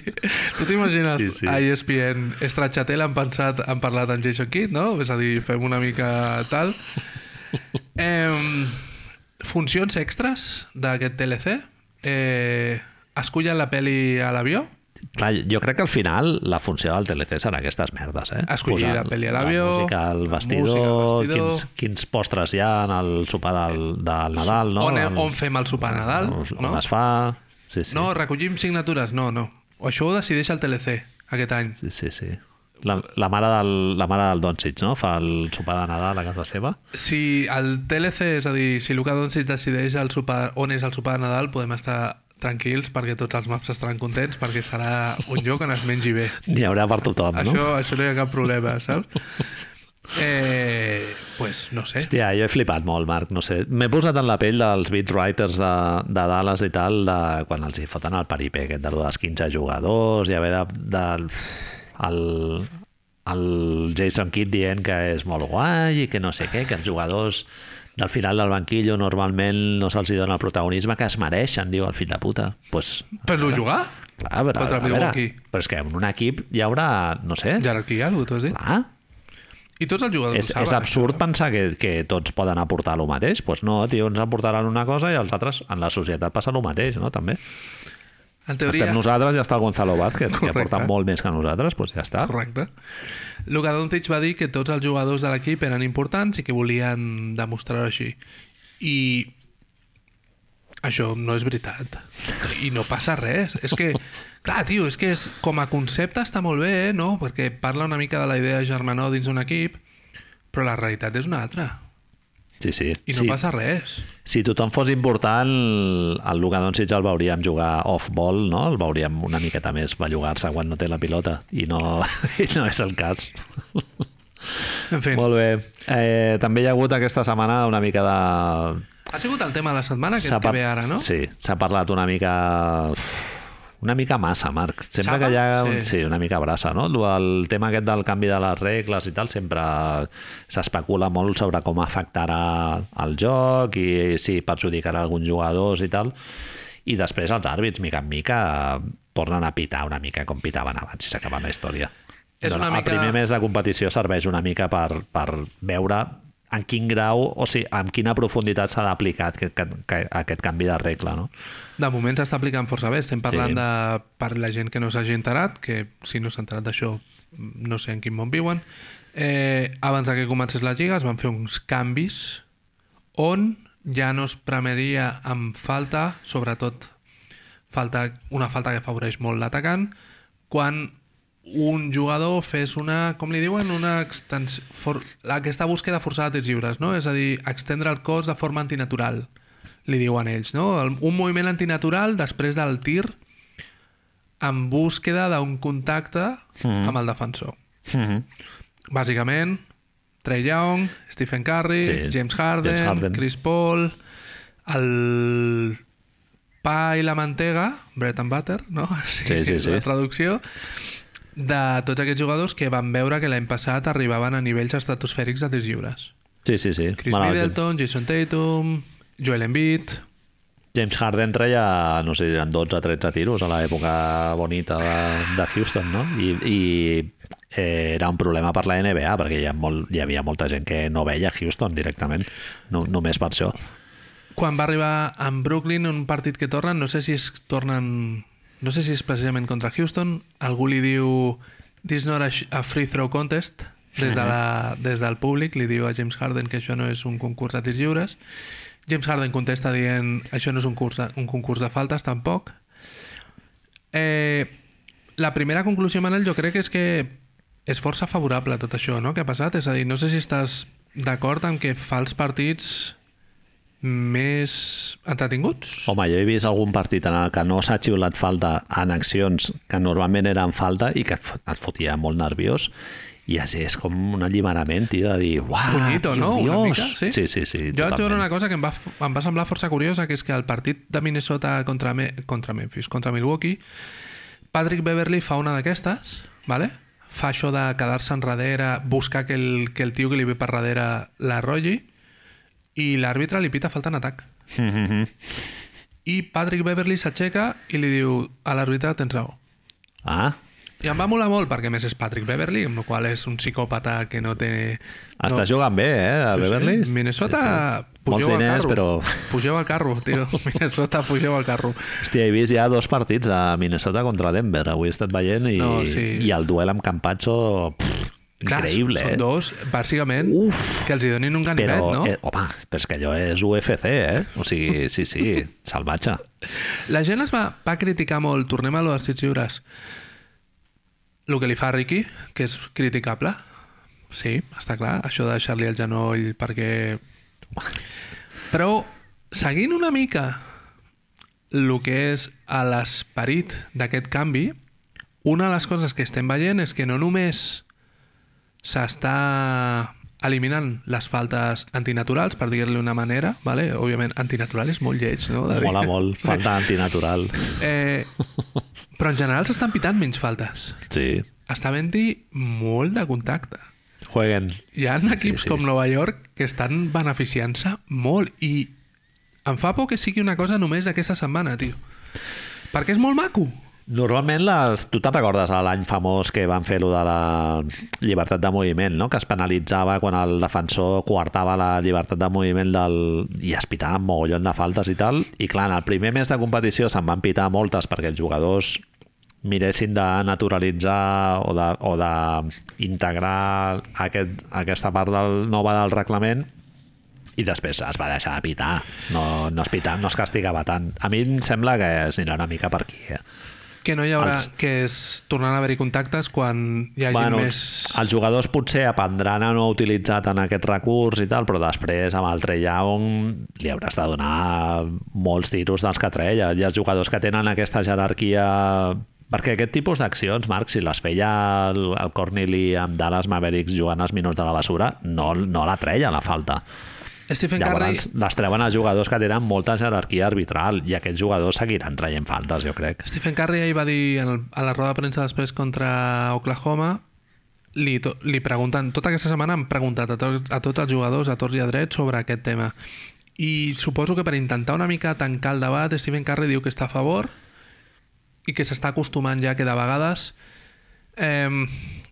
Speaker 2: Tu t'imagines
Speaker 1: Sí,
Speaker 2: sí,
Speaker 1: sí.
Speaker 2: sí. a E ESPN estratxatela han pensat, han parlat amb Jason Kidd, no? És a dir, fem una mica tal. Eh, funcions extres d'aquest TLC? Eh, escullen la peli a l'avió?
Speaker 1: Clar, jo crec que al final la funció del TLC serà aquestes merdes, eh?
Speaker 2: Escollir la peli a l'avió,
Speaker 1: la música al
Speaker 2: la
Speaker 1: vestidor,
Speaker 2: música al
Speaker 1: música
Speaker 2: vestidor.
Speaker 1: Quins, quins postres hi ha en el sopar del, del Nadal, no?
Speaker 2: on,
Speaker 1: El-
Speaker 2: on fem el sopar a Nadal?
Speaker 1: on,
Speaker 2: no?
Speaker 1: on es fa... Sí, sí.
Speaker 2: No, recollim signatures, no, no. Això ho decideix el TLC aquest any.
Speaker 1: sí, sí, sí. La, la, mare del, la mare del Doncic, no? Fa el sopar de Nadal a casa seva.
Speaker 2: Si el TLC, és a dir, si Luca Doncic decideix el sopar, on és el sopar de Nadal, podem estar tranquils perquè tots els maps estaran contents perquè serà un lloc on es mengi bé.
Speaker 1: N'hi haurà per tothom, no?
Speaker 2: Això, això no hi ha cap problema, saps? Eh, pues no sé.
Speaker 1: Hòstia, jo he flipat molt, Marc, no sé. M'he posat en la pell dels beat writers de, de Dallas i tal, de, quan els hi foten el peripé aquest de lo dels 15 jugadors i haver de... de el, el Jason Kidd dient que és molt guai i que no sé què, que els jugadors del final del banquillo normalment no se'ls hi dona el protagonisme que es mereixen, diu el fill de puta. Pues,
Speaker 2: Fer-lo jugar?
Speaker 1: clar, a veure,
Speaker 2: Contra
Speaker 1: a veure,
Speaker 2: Milwaukee.
Speaker 1: però és que en un equip hi haurà, no sé,
Speaker 2: Jerarquia, algú, t'ho has dit?
Speaker 1: clar,
Speaker 2: I tots els jugadors
Speaker 1: és,
Speaker 2: ho saben.
Speaker 1: és absurd pensar que, que tots poden aportar el mateix. Doncs pues no, tio, ens aportaran una cosa i els altres en la societat passa el mateix, no? També.
Speaker 2: En teoria.
Speaker 1: Estem nosaltres i està el Gonzalo Vázquez, que
Speaker 2: Correcte.
Speaker 1: aporta molt més que nosaltres, doncs ja està.
Speaker 2: Correcte. Luka Doncic va dir que tots els jugadors de l'equip eren importants i que volien demostrar-ho així. I això no és veritat. I no passa res. És que, clar, tio, és que és, com a concepte està molt bé, eh, no? Perquè parla una mica de la idea de germanor dins d'un equip, però la realitat és una altra.
Speaker 1: Sí, sí.
Speaker 2: I no
Speaker 1: sí.
Speaker 2: passa res.
Speaker 1: Si tothom fos important, el Luka Doncic el veuríem jugar off-ball, no? El veuríem una miqueta més bellugar-se quan no té la pilota, i no, i no és el cas.
Speaker 2: En fi,
Speaker 1: Molt bé. Eh, també hi ha hagut aquesta setmana una mica de...
Speaker 2: ha sigut el tema de la setmana, aquest
Speaker 1: s'ha
Speaker 2: que
Speaker 1: par-
Speaker 2: ve ara, no?
Speaker 1: Sí, s'ha parlat una mica... Una mica massa, Marc. Sempre
Speaker 2: Xapa?
Speaker 1: que hi ha...
Speaker 2: Sí.
Speaker 1: Sí. sí, una mica brassa, no? Lo- El tema aquest del canvi de les regles i tal sempre s'especula molt sobre com afectarà el joc i si perjudicarà alguns jugadors i tal. I després els àrbits, mica en mica, tornen a pitar una mica com pitaven abans i s'acaba la història.
Speaker 2: És una
Speaker 1: el
Speaker 2: mica-
Speaker 1: primer mes de competició serveix una mica per, per veure en quin grau, o sigui, amb quina profunditat s'ha d'aplicar aquest, aquest, aquest canvi de regla, no?
Speaker 2: De moment s'està aplicant força bé. Estem
Speaker 1: Sí.
Speaker 2: parlant sí. de, per la gent que no s'hagi enterat, que si no s'ha enterat d'això no sé en quin món viuen. Eh, abans de que comencés la lliga es van fer uns canvis on ja no es premeria amb falta, sobretot falta, una falta que afavoreix molt l'atacant, quan un jugador fes una, com li diuen, una extensió, for, aquesta búsqueda forçada de tirs lliures, no? És a dir, extendre el cos de forma antinatural, li diuen ells, no? El, un moviment antinatural després del tir en búsqueda d'un contacte
Speaker 1: Mm-hmm.
Speaker 2: amb el defensor.
Speaker 1: Mm -hmm.
Speaker 2: Bàsicament, Trey Young, Stephen Curry,
Speaker 1: Sí,
Speaker 2: sí, James, Harden,
Speaker 1: James
Speaker 2: James
Speaker 1: Harden.
Speaker 2: Harden, Chris Paul, el pa i la mantega, bread and butter, no?
Speaker 1: Sí, sí, sí.
Speaker 2: La traducció de tots aquests jugadors que van veure que l'any passat arribaven a nivells estratosfèrics de tirs lliures.
Speaker 1: Sí, sí, sí.
Speaker 2: Chris
Speaker 1: Bueno,
Speaker 2: Middleton, Jason Tatum, Joel Embiid...
Speaker 1: James Harden treia, no sé, eren 12 o 13 tiros a l'època bonita de, de Houston, no? I, i eh, era un problema per la NBA, perquè hi, ha molt, hi havia molta gent que no veia Houston directament, no, només per això.
Speaker 2: Quan va arribar en Brooklyn en un partit que tornen, no sé si es tornen... No sé si és precisament contra Houston. Algú li diu... This not a, sh- a free throw contest. Des, de la, des del públic li diu a James Harden que això no és un concurs de tirs lliures. James Harden contesta dient això no és un, curs de, un concurs de faltes tampoc. Eh, la primera conclusió, Manel, jo crec que és que és força favorable tot això no? que ha passat. És a dir, no sé si estàs d'acord amb que fa els partits més entretinguts.
Speaker 1: Home, jo he vist algun partit en el que no s'ha xiulat falta en accions que normalment eren falta i que et, fot- et fotia molt nerviós i és, és com un alliberament, tio, de dir, uau,
Speaker 2: Bonito, no? Una
Speaker 1: Ah, Dios.
Speaker 2: mica, sí?
Speaker 1: sí, sí, sí
Speaker 2: Jo vaig veure
Speaker 1: totalment.
Speaker 2: una cosa que em va, f- em va semblar força curiosa, que és que el partit de Minnesota contra, Me contra Memphis, contra Milwaukee, Patrick Beverly fa una d'aquestes, vale? fa això de quedar-se enrere, buscar que el, que el tio que li ve per darrere l'arrolli, i l'àrbitre li pita falta en atac.
Speaker 1: Mhm, mhm.
Speaker 2: I Patrick Beverly s'aixeca i li diu a l'àrbitre tens raó.
Speaker 1: Ah,
Speaker 2: I em va molar molt, perquè a més és Patrick Beverly, amb el qual és un psicòpata que no té...
Speaker 1: està
Speaker 2: no,
Speaker 1: jugant bé, eh, el
Speaker 2: Sí, sí.
Speaker 1: Beverly?
Speaker 2: Minnesota,
Speaker 1: Sí, sí.
Speaker 2: pugeu
Speaker 1: Molts
Speaker 2: al
Speaker 1: diners,
Speaker 2: carro.
Speaker 1: però-
Speaker 2: Pugeu al carro, tio. Minnesota, pugeu al carro.
Speaker 1: Hòstia, he vist ja dos partits de Minnesota contra Denver, avui he estat veient i,
Speaker 2: No, sí.
Speaker 1: i el duel amb Campazzo pff, increïble,
Speaker 2: són
Speaker 1: eh?
Speaker 2: dos, bàsicament,
Speaker 1: Uf.
Speaker 2: que els hi donin un ganivet,
Speaker 1: però,
Speaker 2: no?
Speaker 1: eh, home, però és que allò és UFC, eh? O sigui, sí, sí, salvatge.
Speaker 2: La gent es va, va criticar molt, tornem a lo dels tirs lliures, el que li fa a Ricky, que és criticable. Sí, està clar, això de deixar-li el genoll perquè... Però seguint una mica el que és a l'esperit d'aquest canvi, una de les coses que estem veient és que no només s'està eliminant les faltes antinaturals, per dir-li una manera, vale? òbviament antinatural és molt lleig, no? de dir.
Speaker 1: Mola molt, falta antinatural.
Speaker 2: Eh, però en general s'estan pitant menys faltes.
Speaker 1: Sí,
Speaker 2: Està havent-hi molt de contacte.
Speaker 1: jueguen.
Speaker 2: Hi ha equips
Speaker 1: sí.
Speaker 2: sí, sí. com Nova York que estan beneficiant-se molt i em fa por que sigui una cosa només d'aquesta setmana, tio. Perquè és molt maco.
Speaker 1: Normalment les... tu te'n recordes a l'any famós que van fer lo de la llibertat de moviment, no? que es penalitzava quan el defensor coartava la llibertat de moviment del... i es pitava un mogollon de faltes i tal. I clar, en el primer mes de competició se'n van pitar moltes perquè els jugadors miressin de naturalitzar o de- o d'integrar aquest, aquesta part del, nova del reglament i després es va deixar de pitar. No, no es pitava, no es castigava tant. A mi em sembla que es anirà una mica per aquí. Eh?
Speaker 2: Que no hi haurà...
Speaker 1: Els-
Speaker 2: Que es tornaran a haver-hi contactes quan hi hagi més...
Speaker 1: els jugadors potser aprendran a no utilitzar tant aquest recurs i tal, però després amb el Trey Young li hauràs de donar molts tiros dels que treia. Hi ha jugadors que tenen aquesta jerarquia perquè aquest tipus d'accions, Marc, si les feia el, el Corneli amb Dallas Mavericks jugant als minuts de la basura, no, no la treia la falta.
Speaker 2: Stephen Curry...
Speaker 1: Llavors les treuen a jugadors que tenen molta jerarquia arbitral i aquests jugadors seguiran traient faltes, jo crec.
Speaker 2: Stephen Curry ahir va dir en el, a la roda de premsa després contra Oklahoma li, to, li pregunten, tota aquesta setmana han preguntat a, to, a tots els jugadors, a tots i a drets sobre aquest tema i suposo que per intentar una mica tancar el debat Stephen Curry diu que està a favor i que s'està acostumant ja que de vegades eh,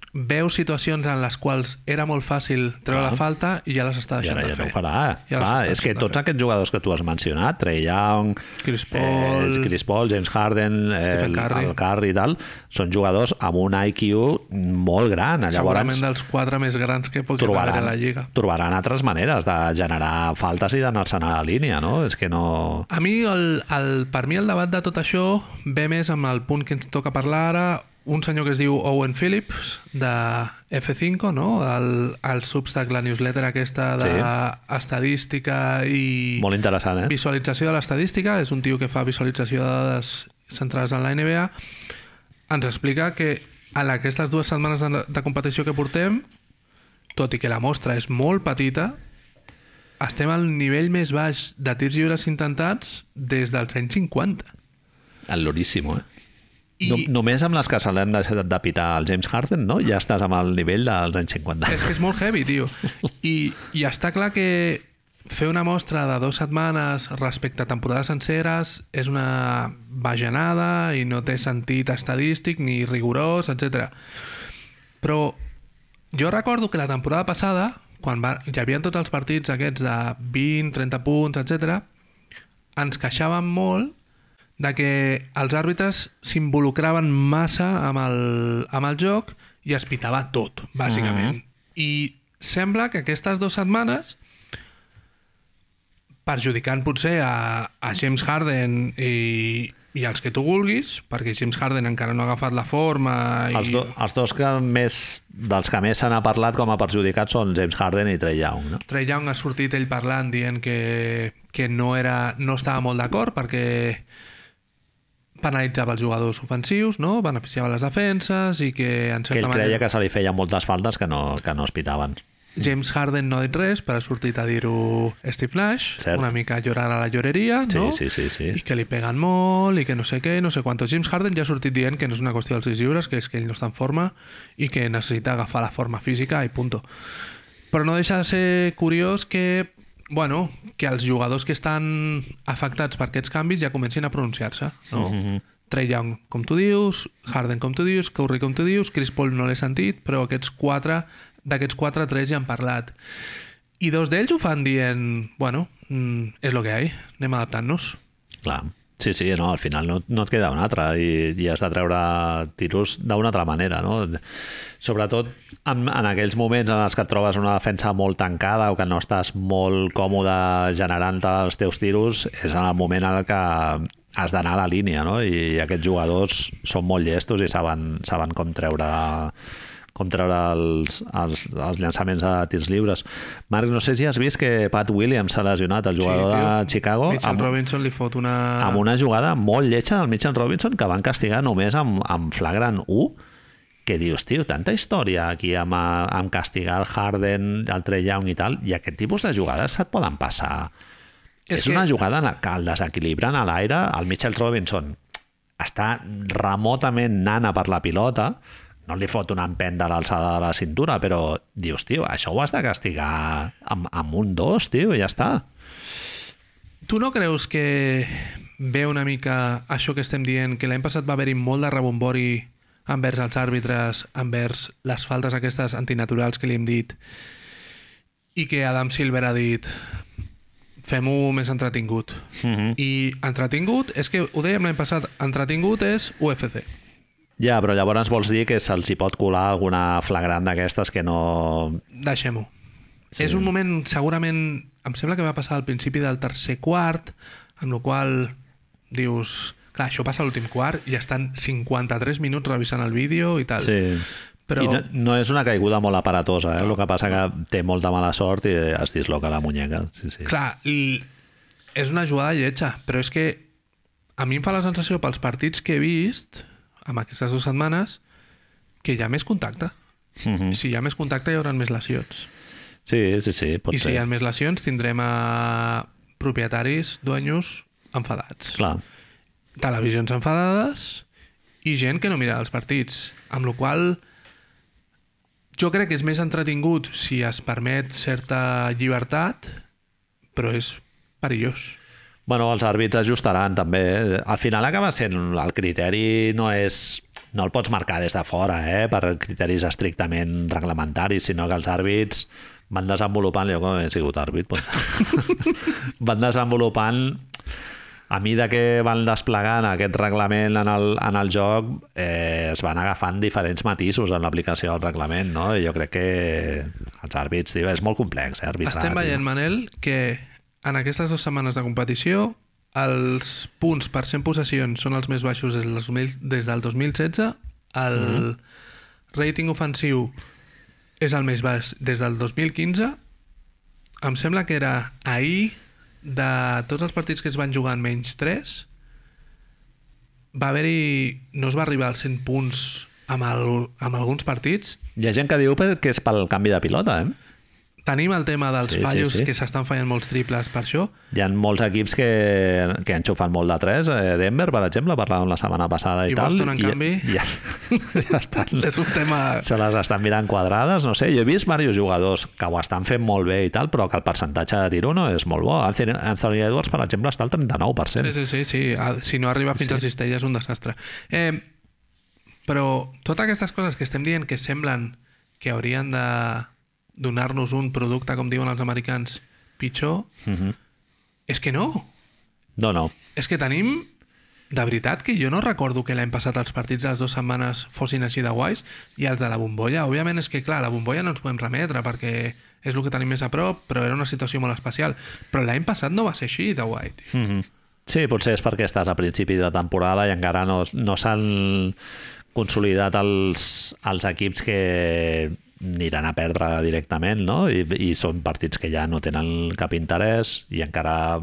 Speaker 2: veu situacions en les quals era molt fàcil treure
Speaker 1: Clar.
Speaker 2: la falta i ja les està
Speaker 1: I
Speaker 2: deixant
Speaker 1: ara ja
Speaker 2: Ah, de
Speaker 1: no ho
Speaker 2: fer
Speaker 1: farà.
Speaker 2: Ja
Speaker 1: Clar,
Speaker 2: les està
Speaker 1: és que
Speaker 2: deixant de
Speaker 1: tots
Speaker 2: fer.
Speaker 1: aquests jugadors que tu has mencionat, Trey Young,
Speaker 2: Chris
Speaker 1: eh,
Speaker 2: Paul.
Speaker 1: els Chris Paul James Harden, eh,
Speaker 2: Stephen
Speaker 1: el,
Speaker 2: Curry.
Speaker 1: el Curry i tal, són jugadors amb un IQ molt gran.
Speaker 2: segurament
Speaker 1: Llavors,
Speaker 2: dels quatre més grans que pot haver a la Lliga
Speaker 1: trobaran altres maneres de generar faltes i d'anar-se'n a la línia, no? És que no...
Speaker 2: A mi, el, el, per mi el debat de tot això ve més amb el punt que ens toca parlar ara, un senyor que es diu Owen Phillips, de F5, no? El, el Substack, la newsletter aquesta d'estadística de sí. i
Speaker 1: Molt interessant, eh?
Speaker 2: visualització de l'estadística, és un tio que fa visualització de dades centrades en la NBA, ens explica que en aquestes dues setmanes de, de competició que portem, tot i que la mostra és molt petita, estem al nivell més baix de tirs lliures intentats des dels anys 50.
Speaker 1: El loríssimo, eh?
Speaker 2: I-
Speaker 1: I... No, només amb les que se l'han deixat de pitar al James Harden, no? Ja estàs amb el nivell dels anys 50.
Speaker 2: És que és molt heavy, tio. I, I està clar que fer una mostra de dues setmanes respecte a temporades senceres és una bajanada i no té sentit estadístic ni rigorós, etc. Però jo recordo que la temporada passada, quan va, hi havia tots els partits aquests de 20, 30 punts, etc, ens queixàvem molt de que els àrbitres s'involucraven massa amb el, amb el joc i es pitava tot,
Speaker 1: Mm-hmm.
Speaker 2: bàsicament. I sembla que aquestes dues setmanes perjudicant potser a, a James Harden i, i els que tu vulguis, perquè James Harden encara no ha agafat la forma i...
Speaker 1: Els, do, els dos que més, dels que més se n'ha parlat com a perjudicats són James Harden i Trey Young, no?
Speaker 2: Trey Young ha sortit ell parlant dient que, que no, era, no estava molt d'acord perquè penalitzava els jugadors ofensius, no? beneficiava les defenses i que en
Speaker 1: Que
Speaker 2: certa
Speaker 1: ell creia
Speaker 2: manera
Speaker 1: que se li feien moltes faltes que no, que no es pitaven.
Speaker 2: James Harden no ha dit res, però ha sortit a dir-ho Steve Nash,
Speaker 1: Cert.
Speaker 2: una mica llorant a la lloreria,
Speaker 1: Sí,
Speaker 2: no?
Speaker 1: sí, sí, sí.
Speaker 2: i que li peguen molt i que no sé què, no sé quantos. James Harden ja ha sortit dient que no és una qüestió dels sis lliures, que és que ell no està en forma i que necessita agafar la forma física i punto. Però no deixa de ser curiós que, bueno, que els jugadors que estan afectats per aquests canvis ja comencin a pronunciar-se. No? Mm -hmm. Trey Young, com tu dius, Harden, com tu dius, Curry, com tu dius, Chris Paul no l'he sentit, però aquests quatre, d'aquests quatre, tres ja han parlat. I dos d'ells ho fan dient, bueno, mm, és el que hi ha, anem adaptant-nos.
Speaker 1: Clar. Sí, sí, no, al final no, no et queda una altra i, i has de treure tiros d'una altra manera, no? Sobretot en, en aquells moments en els que et trobes una defensa molt tancada o que no estàs molt còmode generant els teus tiros, és en el moment en el que has d'anar a la línia, no? I aquests jugadors són molt llestos i saben, saben com treure com treure els, els, els llançaments de tirs lliures. Marc, no sé si has vist que Pat Williams s'ha lesionat, el jugador
Speaker 2: tio.
Speaker 1: de Chicago,
Speaker 2: Mitchell
Speaker 1: amb,
Speaker 2: Robinson li fot una...
Speaker 1: amb una jugada molt lletja del Mitchell Robinson que van castigar només amb, amb flagrant 1 que dius, tio, tanta història aquí amb, eh, amb castigar el Harden, el Trey Young i tal, i aquest tipus de jugades et poden passar. És,
Speaker 2: És
Speaker 1: és
Speaker 2: que-
Speaker 1: una jugada en la que el desequilibren a l'aire, el Mitchell Robinson està remotament nana per la pilota, no li fot una empenta a l'alçada de la cintura, però dius, tio, això ho has de castigar amb, amb un dos, tio, i ja està.
Speaker 2: Tu no creus que ve una mica això que estem dient, que l'any passat va haver-hi molt de rebombori envers els àrbitres, envers les faltes aquestes antinaturals que li hem dit, i que Adam Silver ha dit fem-ho més entretingut.
Speaker 1: Mhm.
Speaker 2: I entretingut, és que ho dèiem l'any passat, entretingut és UFC.
Speaker 1: Ja, però llavors vols dir que se'ls hi pot colar alguna flagrant d'aquestes que no...
Speaker 2: Deixem-ho. Sí. És un moment, segurament, em sembla que va passar al principi del tercer quart, amb la qual dius... Clar, això passa a l'últim quart i estan 53 minuts revisant el vídeo i tal.
Speaker 1: Sí. Però... I
Speaker 2: Però
Speaker 1: no, no és una caiguda molt aparatosa, eh? El que passa que té molta mala sort i es disloca la muñeca. Sí, sí.
Speaker 2: Clar, i és una jugada lletja, però és que a mi em fa la sensació pels partits que he vist amb aquestes dues setmanes que hi ha més contacte.
Speaker 1: Mhm.
Speaker 2: Si hi ha més contacte hi haurà més lesions.
Speaker 1: Sí, sí, sí, pot
Speaker 2: I si
Speaker 1: ser.
Speaker 2: hi ha més lesions tindrem a propietaris, duenyos, enfadats.
Speaker 1: Clar.
Speaker 2: Televisions enfadades i gent que no mira els partits. Amb la qual cosa, jo crec que és més entretingut si es permet certa llibertat, però és perillós.
Speaker 1: Bueno, els àrbits ajustaran també. eh? Al final acaba sent el criteri no és no el pots marcar des de fora, eh, per criteris estrictament reglamentaris, sinó que els àrbits van desenvolupant, jo com he sigut àrbit, doncs, van desenvolupant a mida que van desplegant aquest reglament en el, en el joc, eh, es van agafant diferents matisos en l'aplicació del reglament, no? I jo crec que els àrbits, tio, és molt complex, eh, arbitrar.
Speaker 2: Estem
Speaker 1: tio.
Speaker 2: veient, Manel, que en aquestes dues setmanes de competició els punts per 100 possessions són els més baixos des del, 2000, des del 2016, el
Speaker 1: Mm-hmm.
Speaker 2: rating ofensiu és el més baix des del 2015, em sembla que era ahir, de tots els partits que es van jugar en menys 3, va haver-hi... no es va arribar als 100 punts amb, el, amb alguns partits,
Speaker 1: Hi ha gent que diu per- que és pel canvi de pilota, eh?
Speaker 2: Tenim el tema dels
Speaker 1: Sí,
Speaker 2: sí,
Speaker 1: sí,
Speaker 2: fallos sí,
Speaker 1: sí.
Speaker 2: sí. que s'estan fallant molts triples per això.
Speaker 1: Hi ha molts equips que, que han xufat molt de 3. Denver, per exemple, parlàvem la setmana passada i,
Speaker 2: I
Speaker 1: tal.
Speaker 2: Boston, en canvi?
Speaker 1: Ja, ja estan,
Speaker 2: És un tema...
Speaker 1: se les estan mirant quadrades, no sé. Jo he vist diversos jugadors que ho estan fent molt bé i tal, però que el percentatge de tiro no és molt bo. Anthony, Anthony Edwards, per exemple, està al 39%.
Speaker 2: Sí, sí, sí, sí. Ah, Si no arriba fins sí. al cistell és un desastre. Eh, però totes aquestes coses que estem dient que semblen que haurien de donar-nos un producte, com diuen els americans, pitjor, mm -hmm. és que no.
Speaker 1: Mhm. No, no.
Speaker 2: És que tenim... De veritat que jo no recordo que l'any passat els partits de les dues setmanes fossin així de guais i els de la bombolla. Òbviament és que, clar, la bombolla no ens podem remetre perquè és el que tenim més a prop, però era una situació molt especial. Però l'any passat no va ser així de guai, tio.
Speaker 1: Mm -hmm. Sí, potser és perquè estàs a principi de temporada i encara no, no s'han consolidat els, els equips que aniran a perdre directament, no? I, I són partits que ja no tenen cap interès i encara...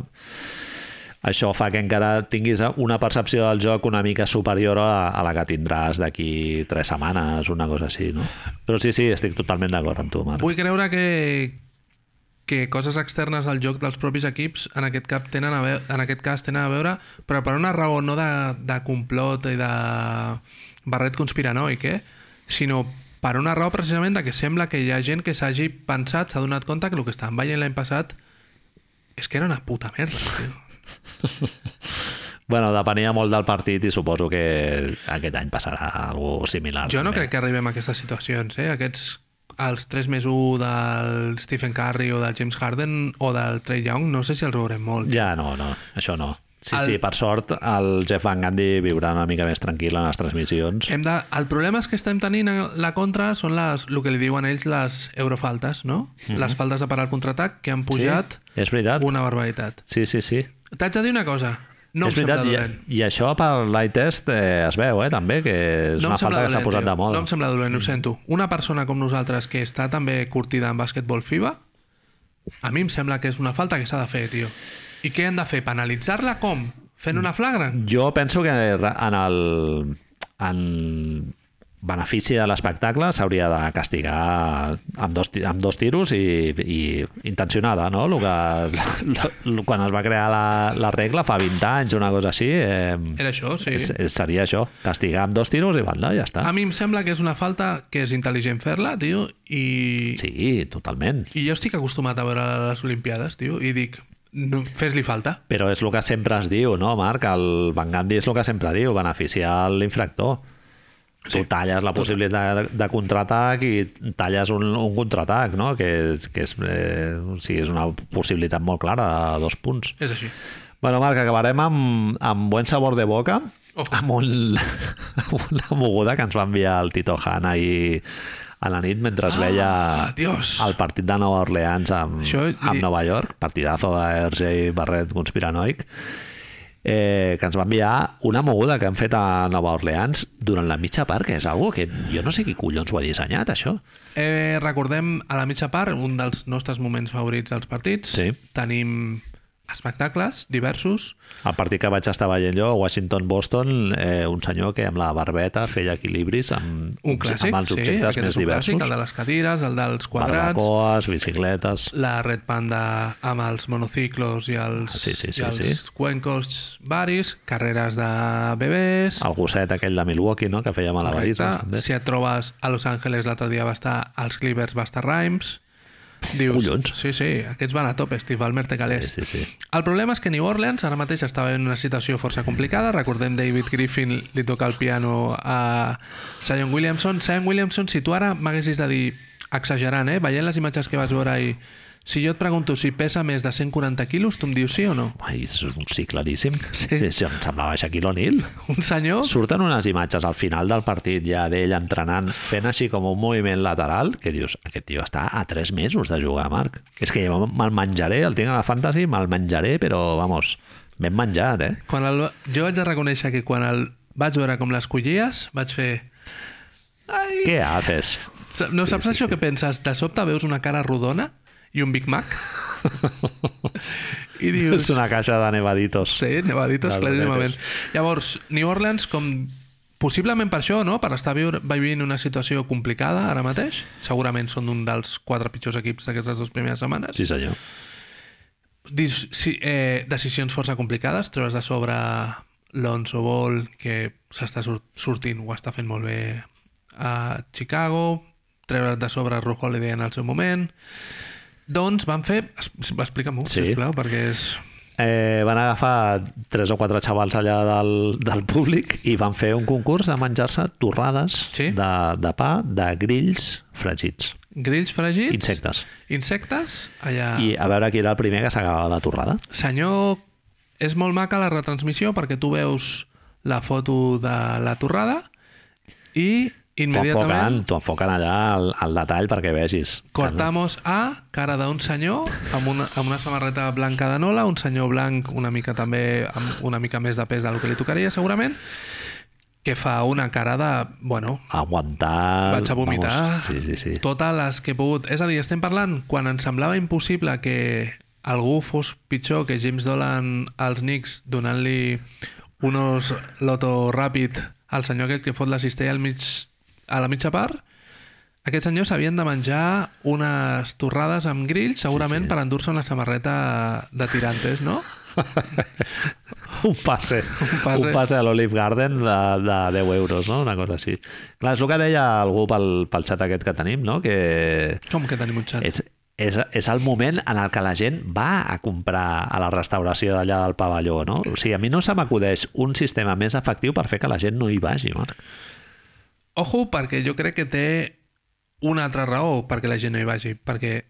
Speaker 1: Això fa que encara tinguis una percepció del joc una mica superior a, a la que tindràs d'aquí tres setmanes, una cosa així, no? Però sí, sí, estic totalment d'acord amb tu, Marc.
Speaker 2: Vull creure que, que coses externes al joc dels propis equips en aquest, cap tenen a veure, en aquest cas tenen a veure, però per una raó no de, de complot i de barret conspiranoic, eh? sinó per una raó precisament de que sembla que hi ha gent que s'hagi pensat, s'ha donat compte que el que estaven veient l'any passat és que era una puta merda. Tio.
Speaker 1: Bueno, depenia molt del partit i suposo que aquest any passarà alguna similar.
Speaker 2: Jo no
Speaker 1: també.
Speaker 2: crec que arribem a aquestes situacions, eh? Aquests els 3 més 1 del Stephen Curry o del James Harden o del Trey Young, no sé si els veurem molt.
Speaker 1: Ja, no, no, això no. Sí,
Speaker 2: El-
Speaker 1: el... sí, per sort, el Jeff Van Gundy viurà una mica més tranquil en les transmissions.
Speaker 2: Hem de... El problema és que estem tenint a la contra són les, el que li diuen ells les eurofaltes, no? Les faltes de parar el contraatac que han pujat
Speaker 1: Mhm. Sí, és veritat.
Speaker 2: una barbaritat.
Speaker 1: Sí, sí, sí.
Speaker 2: T'haig de dir una cosa. No
Speaker 1: és
Speaker 2: em sembla
Speaker 1: veritat,
Speaker 2: dolent.
Speaker 1: i, i això per l'eye test eh, es veu, eh, també, que és
Speaker 2: no em
Speaker 1: una
Speaker 2: sembla
Speaker 1: falta que s'ha
Speaker 2: dolent,
Speaker 1: posat
Speaker 2: tio.
Speaker 1: de moda. Mm.
Speaker 2: No em sembla dolent, ho sento. Una persona com nosaltres que està també curtida en bàsquetbol FIBA, a mi em sembla que és una falta que s'ha de fer, tio. I què hem de fer? Penalitzar-la com? Fent una flagrant?
Speaker 1: Jo penso que en el, en benefici de l'espectacle s'hauria de castigar amb dos, ti- amb dos tiros i, i intencionada, no? Lo que, lo, quan es va crear la, la regla fa 20 anys, una cosa així, eh,
Speaker 2: Era això, sí.
Speaker 1: és, és, seria això, castigar amb dos tiros i banda, ja està.
Speaker 2: A mi em sembla que és una falta que és intel·ligent fer-la, tio, i...
Speaker 1: Sí, totalment.
Speaker 2: I jo estic acostumat a veure les Olimpiades, tio, i dic, no, fes-li falta.
Speaker 1: Però és el que sempre es diu, no, Marc? El Van Gandhi és el que sempre diu, beneficiar l'infractor. Sí. Tu talles la possibilitat de, de contraatac i talles un, un contraatac, no? que, és- que és, eh, o sigui, és una possibilitat molt clara de dos punts.
Speaker 2: És així.
Speaker 1: Bueno, Marc, acabarem amb, amb bon sabor de boca,
Speaker 2: Oh.
Speaker 1: amb, un, amb una moguda que ens va enviar el Tito Han ahir a la nit mentre es veia
Speaker 2: Ah, Dios.
Speaker 1: el partit de Nova Orleans amb,
Speaker 2: Això-
Speaker 1: amb Nova York, partidazo de RJ Barret conspiranoic, eh, que ens va enviar una moguda que han fet a Nova Orleans durant la mitja part, que és algo que jo no sé qui collons ho ha dissenyat, això.
Speaker 2: Eh, recordem a la mitja part un dels nostres moments favorits dels partits.
Speaker 1: Sí.
Speaker 2: Tenim espectacles diversos.
Speaker 1: El partit que vaig estar veient jo, Washington-Boston, eh, un senyor que amb la barbeta feia equilibris amb,
Speaker 2: Un clàssic,
Speaker 1: amb els
Speaker 2: sí,
Speaker 1: objectes
Speaker 2: aquest
Speaker 1: més
Speaker 2: és un
Speaker 1: diversos.
Speaker 2: clàssic, el de les cadires, el dels quadrats,
Speaker 1: Barbacoes, bicicletes...
Speaker 2: la Red Panda amb els monociclos i els,
Speaker 1: Ah, sí, sí, sí,
Speaker 2: i els
Speaker 1: sí.
Speaker 2: cuencos varis, carreres de bebès...
Speaker 1: El gosset aquell de Milwaukee, no?, que feia malabarismes. també.
Speaker 2: si et trobes a Los Angeles l'altre dia va estar als Clippers, va estar Rhymes... Dius,
Speaker 1: Collons.
Speaker 2: sí, sí, aquests van a tope, Steve Ballmer té calés.
Speaker 1: Sí, sí, sí.
Speaker 2: El problema és que New Orleans ara mateix estava en una situació força complicada. Recordem David Griffin li toca el piano a Sion Williamson. Sion Williamson, si tu ara m'haguessis de dir, exagerant, eh? veient les imatges que vas veure ahir, si jo et pregunto si pesa més de 140 quilos, tu em dius sí o no?
Speaker 1: Ai, és un sí claríssim. Sí. sí, sí em semblava Shaquille O'Neal.
Speaker 2: Un senyor...
Speaker 1: Surten unes imatges al final del partit ja d'ell entrenant, fent així com un moviment lateral, que dius, aquest tio està a 3 mesos de jugar, Marc. És que jo me'l menjaré, el tinc a la fantasy, me'l menjaré, però, vamos, ben menjat, eh?
Speaker 2: Quan el... Jo vaig a reconèixer que quan el vaig veure com les collies, vaig fer... Ai,
Speaker 1: Què haces?
Speaker 2: Sa- No saps això que penses? De sobte veus una cara rodona i un Big Mac i dius...
Speaker 1: És una caixa de nevaditos.
Speaker 2: Sí, nevaditos,
Speaker 1: Les
Speaker 2: claríssimament.
Speaker 1: donetes.
Speaker 2: Llavors, New Orleans, com possiblement per això, no? per estar viure, vivint una situació complicada ara mateix, segurament són un dels quatre pitjors equips d'aquestes dues primeres setmanes,
Speaker 1: Sí, senyor.
Speaker 2: Dis, sí, eh, decisions força complicades, trobes de sobre l'Onso Ball, que s'està sur- sortint, ho està fent molt bé a Chicago, treure's de sobre Ru Holiday en el seu moment... Doncs van fer... es- Explica'm-ho,
Speaker 1: Sí.
Speaker 2: sí. sisplau, perquè és...
Speaker 1: Eh, van agafar tres o quatre xavals allà del, del públic i van fer un concurs de menjar-se torrades
Speaker 2: Sí.
Speaker 1: de, de pa, de grills fregits,
Speaker 2: Grills fregits...
Speaker 1: insectes.
Speaker 2: Insectes, allà...
Speaker 1: I a veure qui era el primer que s'acabava la torrada.
Speaker 2: Senyor, és molt maca la retransmissió perquè tu veus la foto de la torrada i
Speaker 1: T'ho enfoquen,
Speaker 2: immediatament
Speaker 1: t'ho enfoquen allà al, al detall perquè vegis.
Speaker 2: cortamos a cara d'un senyor amb una, amb una samarreta blanca de nola, un senyor blanc una mica també amb una mica més de pes del que li tocaria segurament, que fa una cara de, bueno,
Speaker 1: Aguantar...
Speaker 2: vaig a vomitar
Speaker 1: Vamos, sí, sí, sí.
Speaker 2: totes les que he pogut. És a dir, estem parlant quan ens semblava impossible que algú fos pitjor que James Dolan als Knicks donant-li unos loto ràpid al senyor aquest que fot la cistella al mig, a la mitja part, aquests senyors havien de menjar unes torrades amb grills, segurament sí, sí. per endur-se una samarreta de tirantes, no?
Speaker 1: un passe, un passe,
Speaker 2: passe.
Speaker 1: un passe a l'Olive Garden de, de 10 euros, no? una cosa així. Clar, és el que deia algú pel, pel xat aquest que tenim, no? que
Speaker 2: Com que tenim un xat?
Speaker 1: és, és, és el moment en el que la gent va a comprar a la restauració d'allà del pavelló, no? O sigui, a mi no se m'acudeix un sistema més efectiu per fer que la gent no hi vagi, Marc.
Speaker 2: Ojo, perquè jo crec que té una altra raó perquè la gent no hi vagi, perquè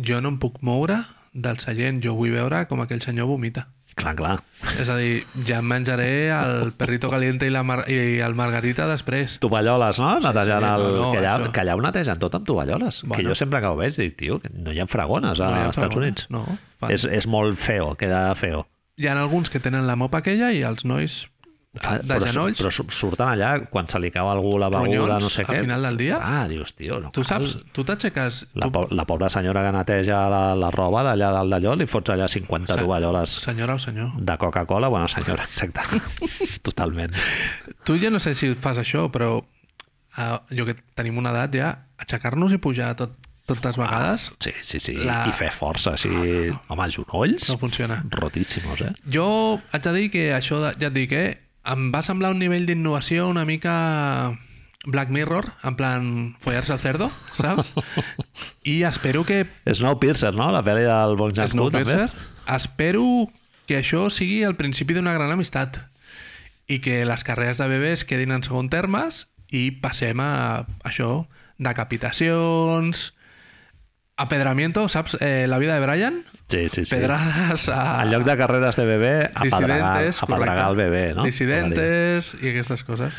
Speaker 2: jo no em puc moure del seient, jo vull veure com aquell senyor vomita.
Speaker 1: Clar, clar.
Speaker 2: És a dir, ja em menjaré el perrito caliente i, la mar i el margarita després.
Speaker 1: Tovalloles, no? Netejant
Speaker 2: sí,
Speaker 1: el...
Speaker 2: no, no,
Speaker 1: que, allà,
Speaker 2: això.
Speaker 1: que allà ho netegen tot amb tovalloles. Bueno. Que
Speaker 2: Bueno.
Speaker 1: jo sempre que ho veig dic, tio, que no hi ha fragones
Speaker 2: No hi
Speaker 1: als
Speaker 2: ha
Speaker 1: Estats
Speaker 2: problema.
Speaker 1: Units.
Speaker 2: No, fan.
Speaker 1: és, és molt feo, queda feo.
Speaker 2: Hi ha alguns que tenen la mopa aquella i els nois
Speaker 1: Fa-
Speaker 2: de
Speaker 1: però,
Speaker 2: genolls...
Speaker 1: Però su- surten allà, quan se li cau a algú la beguda,
Speaker 2: Ronyons,
Speaker 1: no sé
Speaker 2: al
Speaker 1: què.
Speaker 2: final del dia?
Speaker 1: Ah, dius, tio, no
Speaker 2: Tu
Speaker 1: cal.
Speaker 2: saps, tu t'aixeques...
Speaker 1: La,
Speaker 2: tu-
Speaker 1: po la pobra senyora que neteja la, la roba d'allà dalt d'allò, li fots allà 50
Speaker 2: Se-
Speaker 1: tovalloles
Speaker 2: Senyora o senyor,
Speaker 1: de Coca-Cola, bueno, senyora, exacte, totalment.
Speaker 2: Tu ja no sé si fas això, però uh, jo que tenim una edat ja, aixecar-nos i pujar tot, totes vegades...
Speaker 1: Sí, sí, sí, la...
Speaker 2: La- Ah,
Speaker 1: i fer força, així, no, no. home, genolls,
Speaker 2: No funciona.
Speaker 1: rotíssimos, eh?
Speaker 2: Jo haig de dir que això, de, ja et dic, eh, em va semblar un nivell d'innovació una mica Black Mirror, en plan follar-se el cerdo, saps? I espero que
Speaker 1: Snowpiercer, no? La pel·li del Bong Joon-ho, també.
Speaker 2: Snowpiercer, espero que això sigui el principi d'una gran amistat i que les carreres de bebès quedin en segon termes i passem a això, decapitacions, apedramiento, saps? Eh, la vida de Brian,
Speaker 1: Sí, sí, sí.
Speaker 2: pedrades a...
Speaker 1: En lloc de carreres de bebè, apedregar,
Speaker 2: dissidentes,
Speaker 1: apedregar el
Speaker 2: correcte.
Speaker 1: bebè, no?
Speaker 2: Dissidentes i aquestes coses.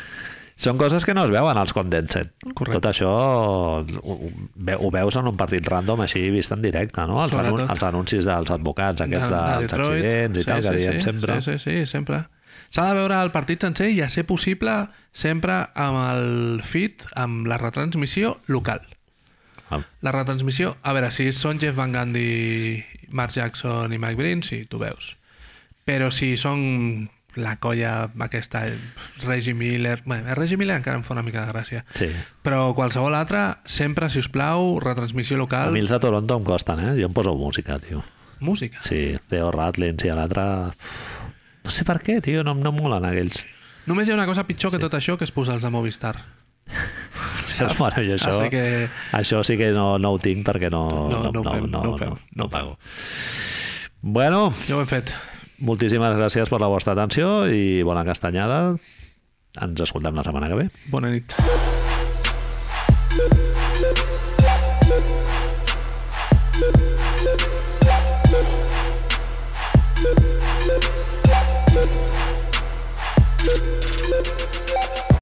Speaker 1: Són coses que no es veuen als condensed.
Speaker 2: Correcte.
Speaker 1: Tot això ho, ho ve- ho veus en un partit random així vist en directe, no? Els, anun
Speaker 2: Sobretot.
Speaker 1: els anuncis dels advocats aquests
Speaker 2: de-
Speaker 1: de,
Speaker 2: de
Speaker 1: dels
Speaker 2: Detroit.
Speaker 1: accidents i tal, que diem
Speaker 2: sí,
Speaker 1: sempre.
Speaker 2: Sí, sí, sí, sempre. S'ha de veure el partit sencer i a ser possible sempre amb el fit, amb la retransmissió local.
Speaker 1: Ah,
Speaker 2: La retransmissió, a veure, si són Jeff Van Gundy, Mark Jackson i Mike Breen, sí, tu veus. Però si són la colla aquesta, eh, Reggie Miller... Bé, a Reggie Miller encara em fa una mica de gràcia.
Speaker 1: sí.
Speaker 2: Però qualsevol altra, sempre, si us plau, retransmissió
Speaker 1: A
Speaker 2: local,
Speaker 1: mi els de Toronto em costen, eh? Jo em poso música, tio.
Speaker 2: música.
Speaker 1: Sí, Theo Ratlins i a l'altre... No sé per què, tio, no, no em molen aquells.
Speaker 2: Només hi ha una cosa pitjor que tot això, que és posar els de Movistar.
Speaker 1: Sí, bueno, jo això,
Speaker 2: Així que-
Speaker 1: això sí que no, no ho tinc perquè no,
Speaker 2: No, no ho fem, no ho fem,
Speaker 1: no, no pago. Bueno,
Speaker 2: Ja ho hem fet.
Speaker 1: moltíssimes gràcies per la vostra atenció i bona castanyada. Ens escoltem la setmana que ve.
Speaker 2: Bona nit.
Speaker 3: Thank you.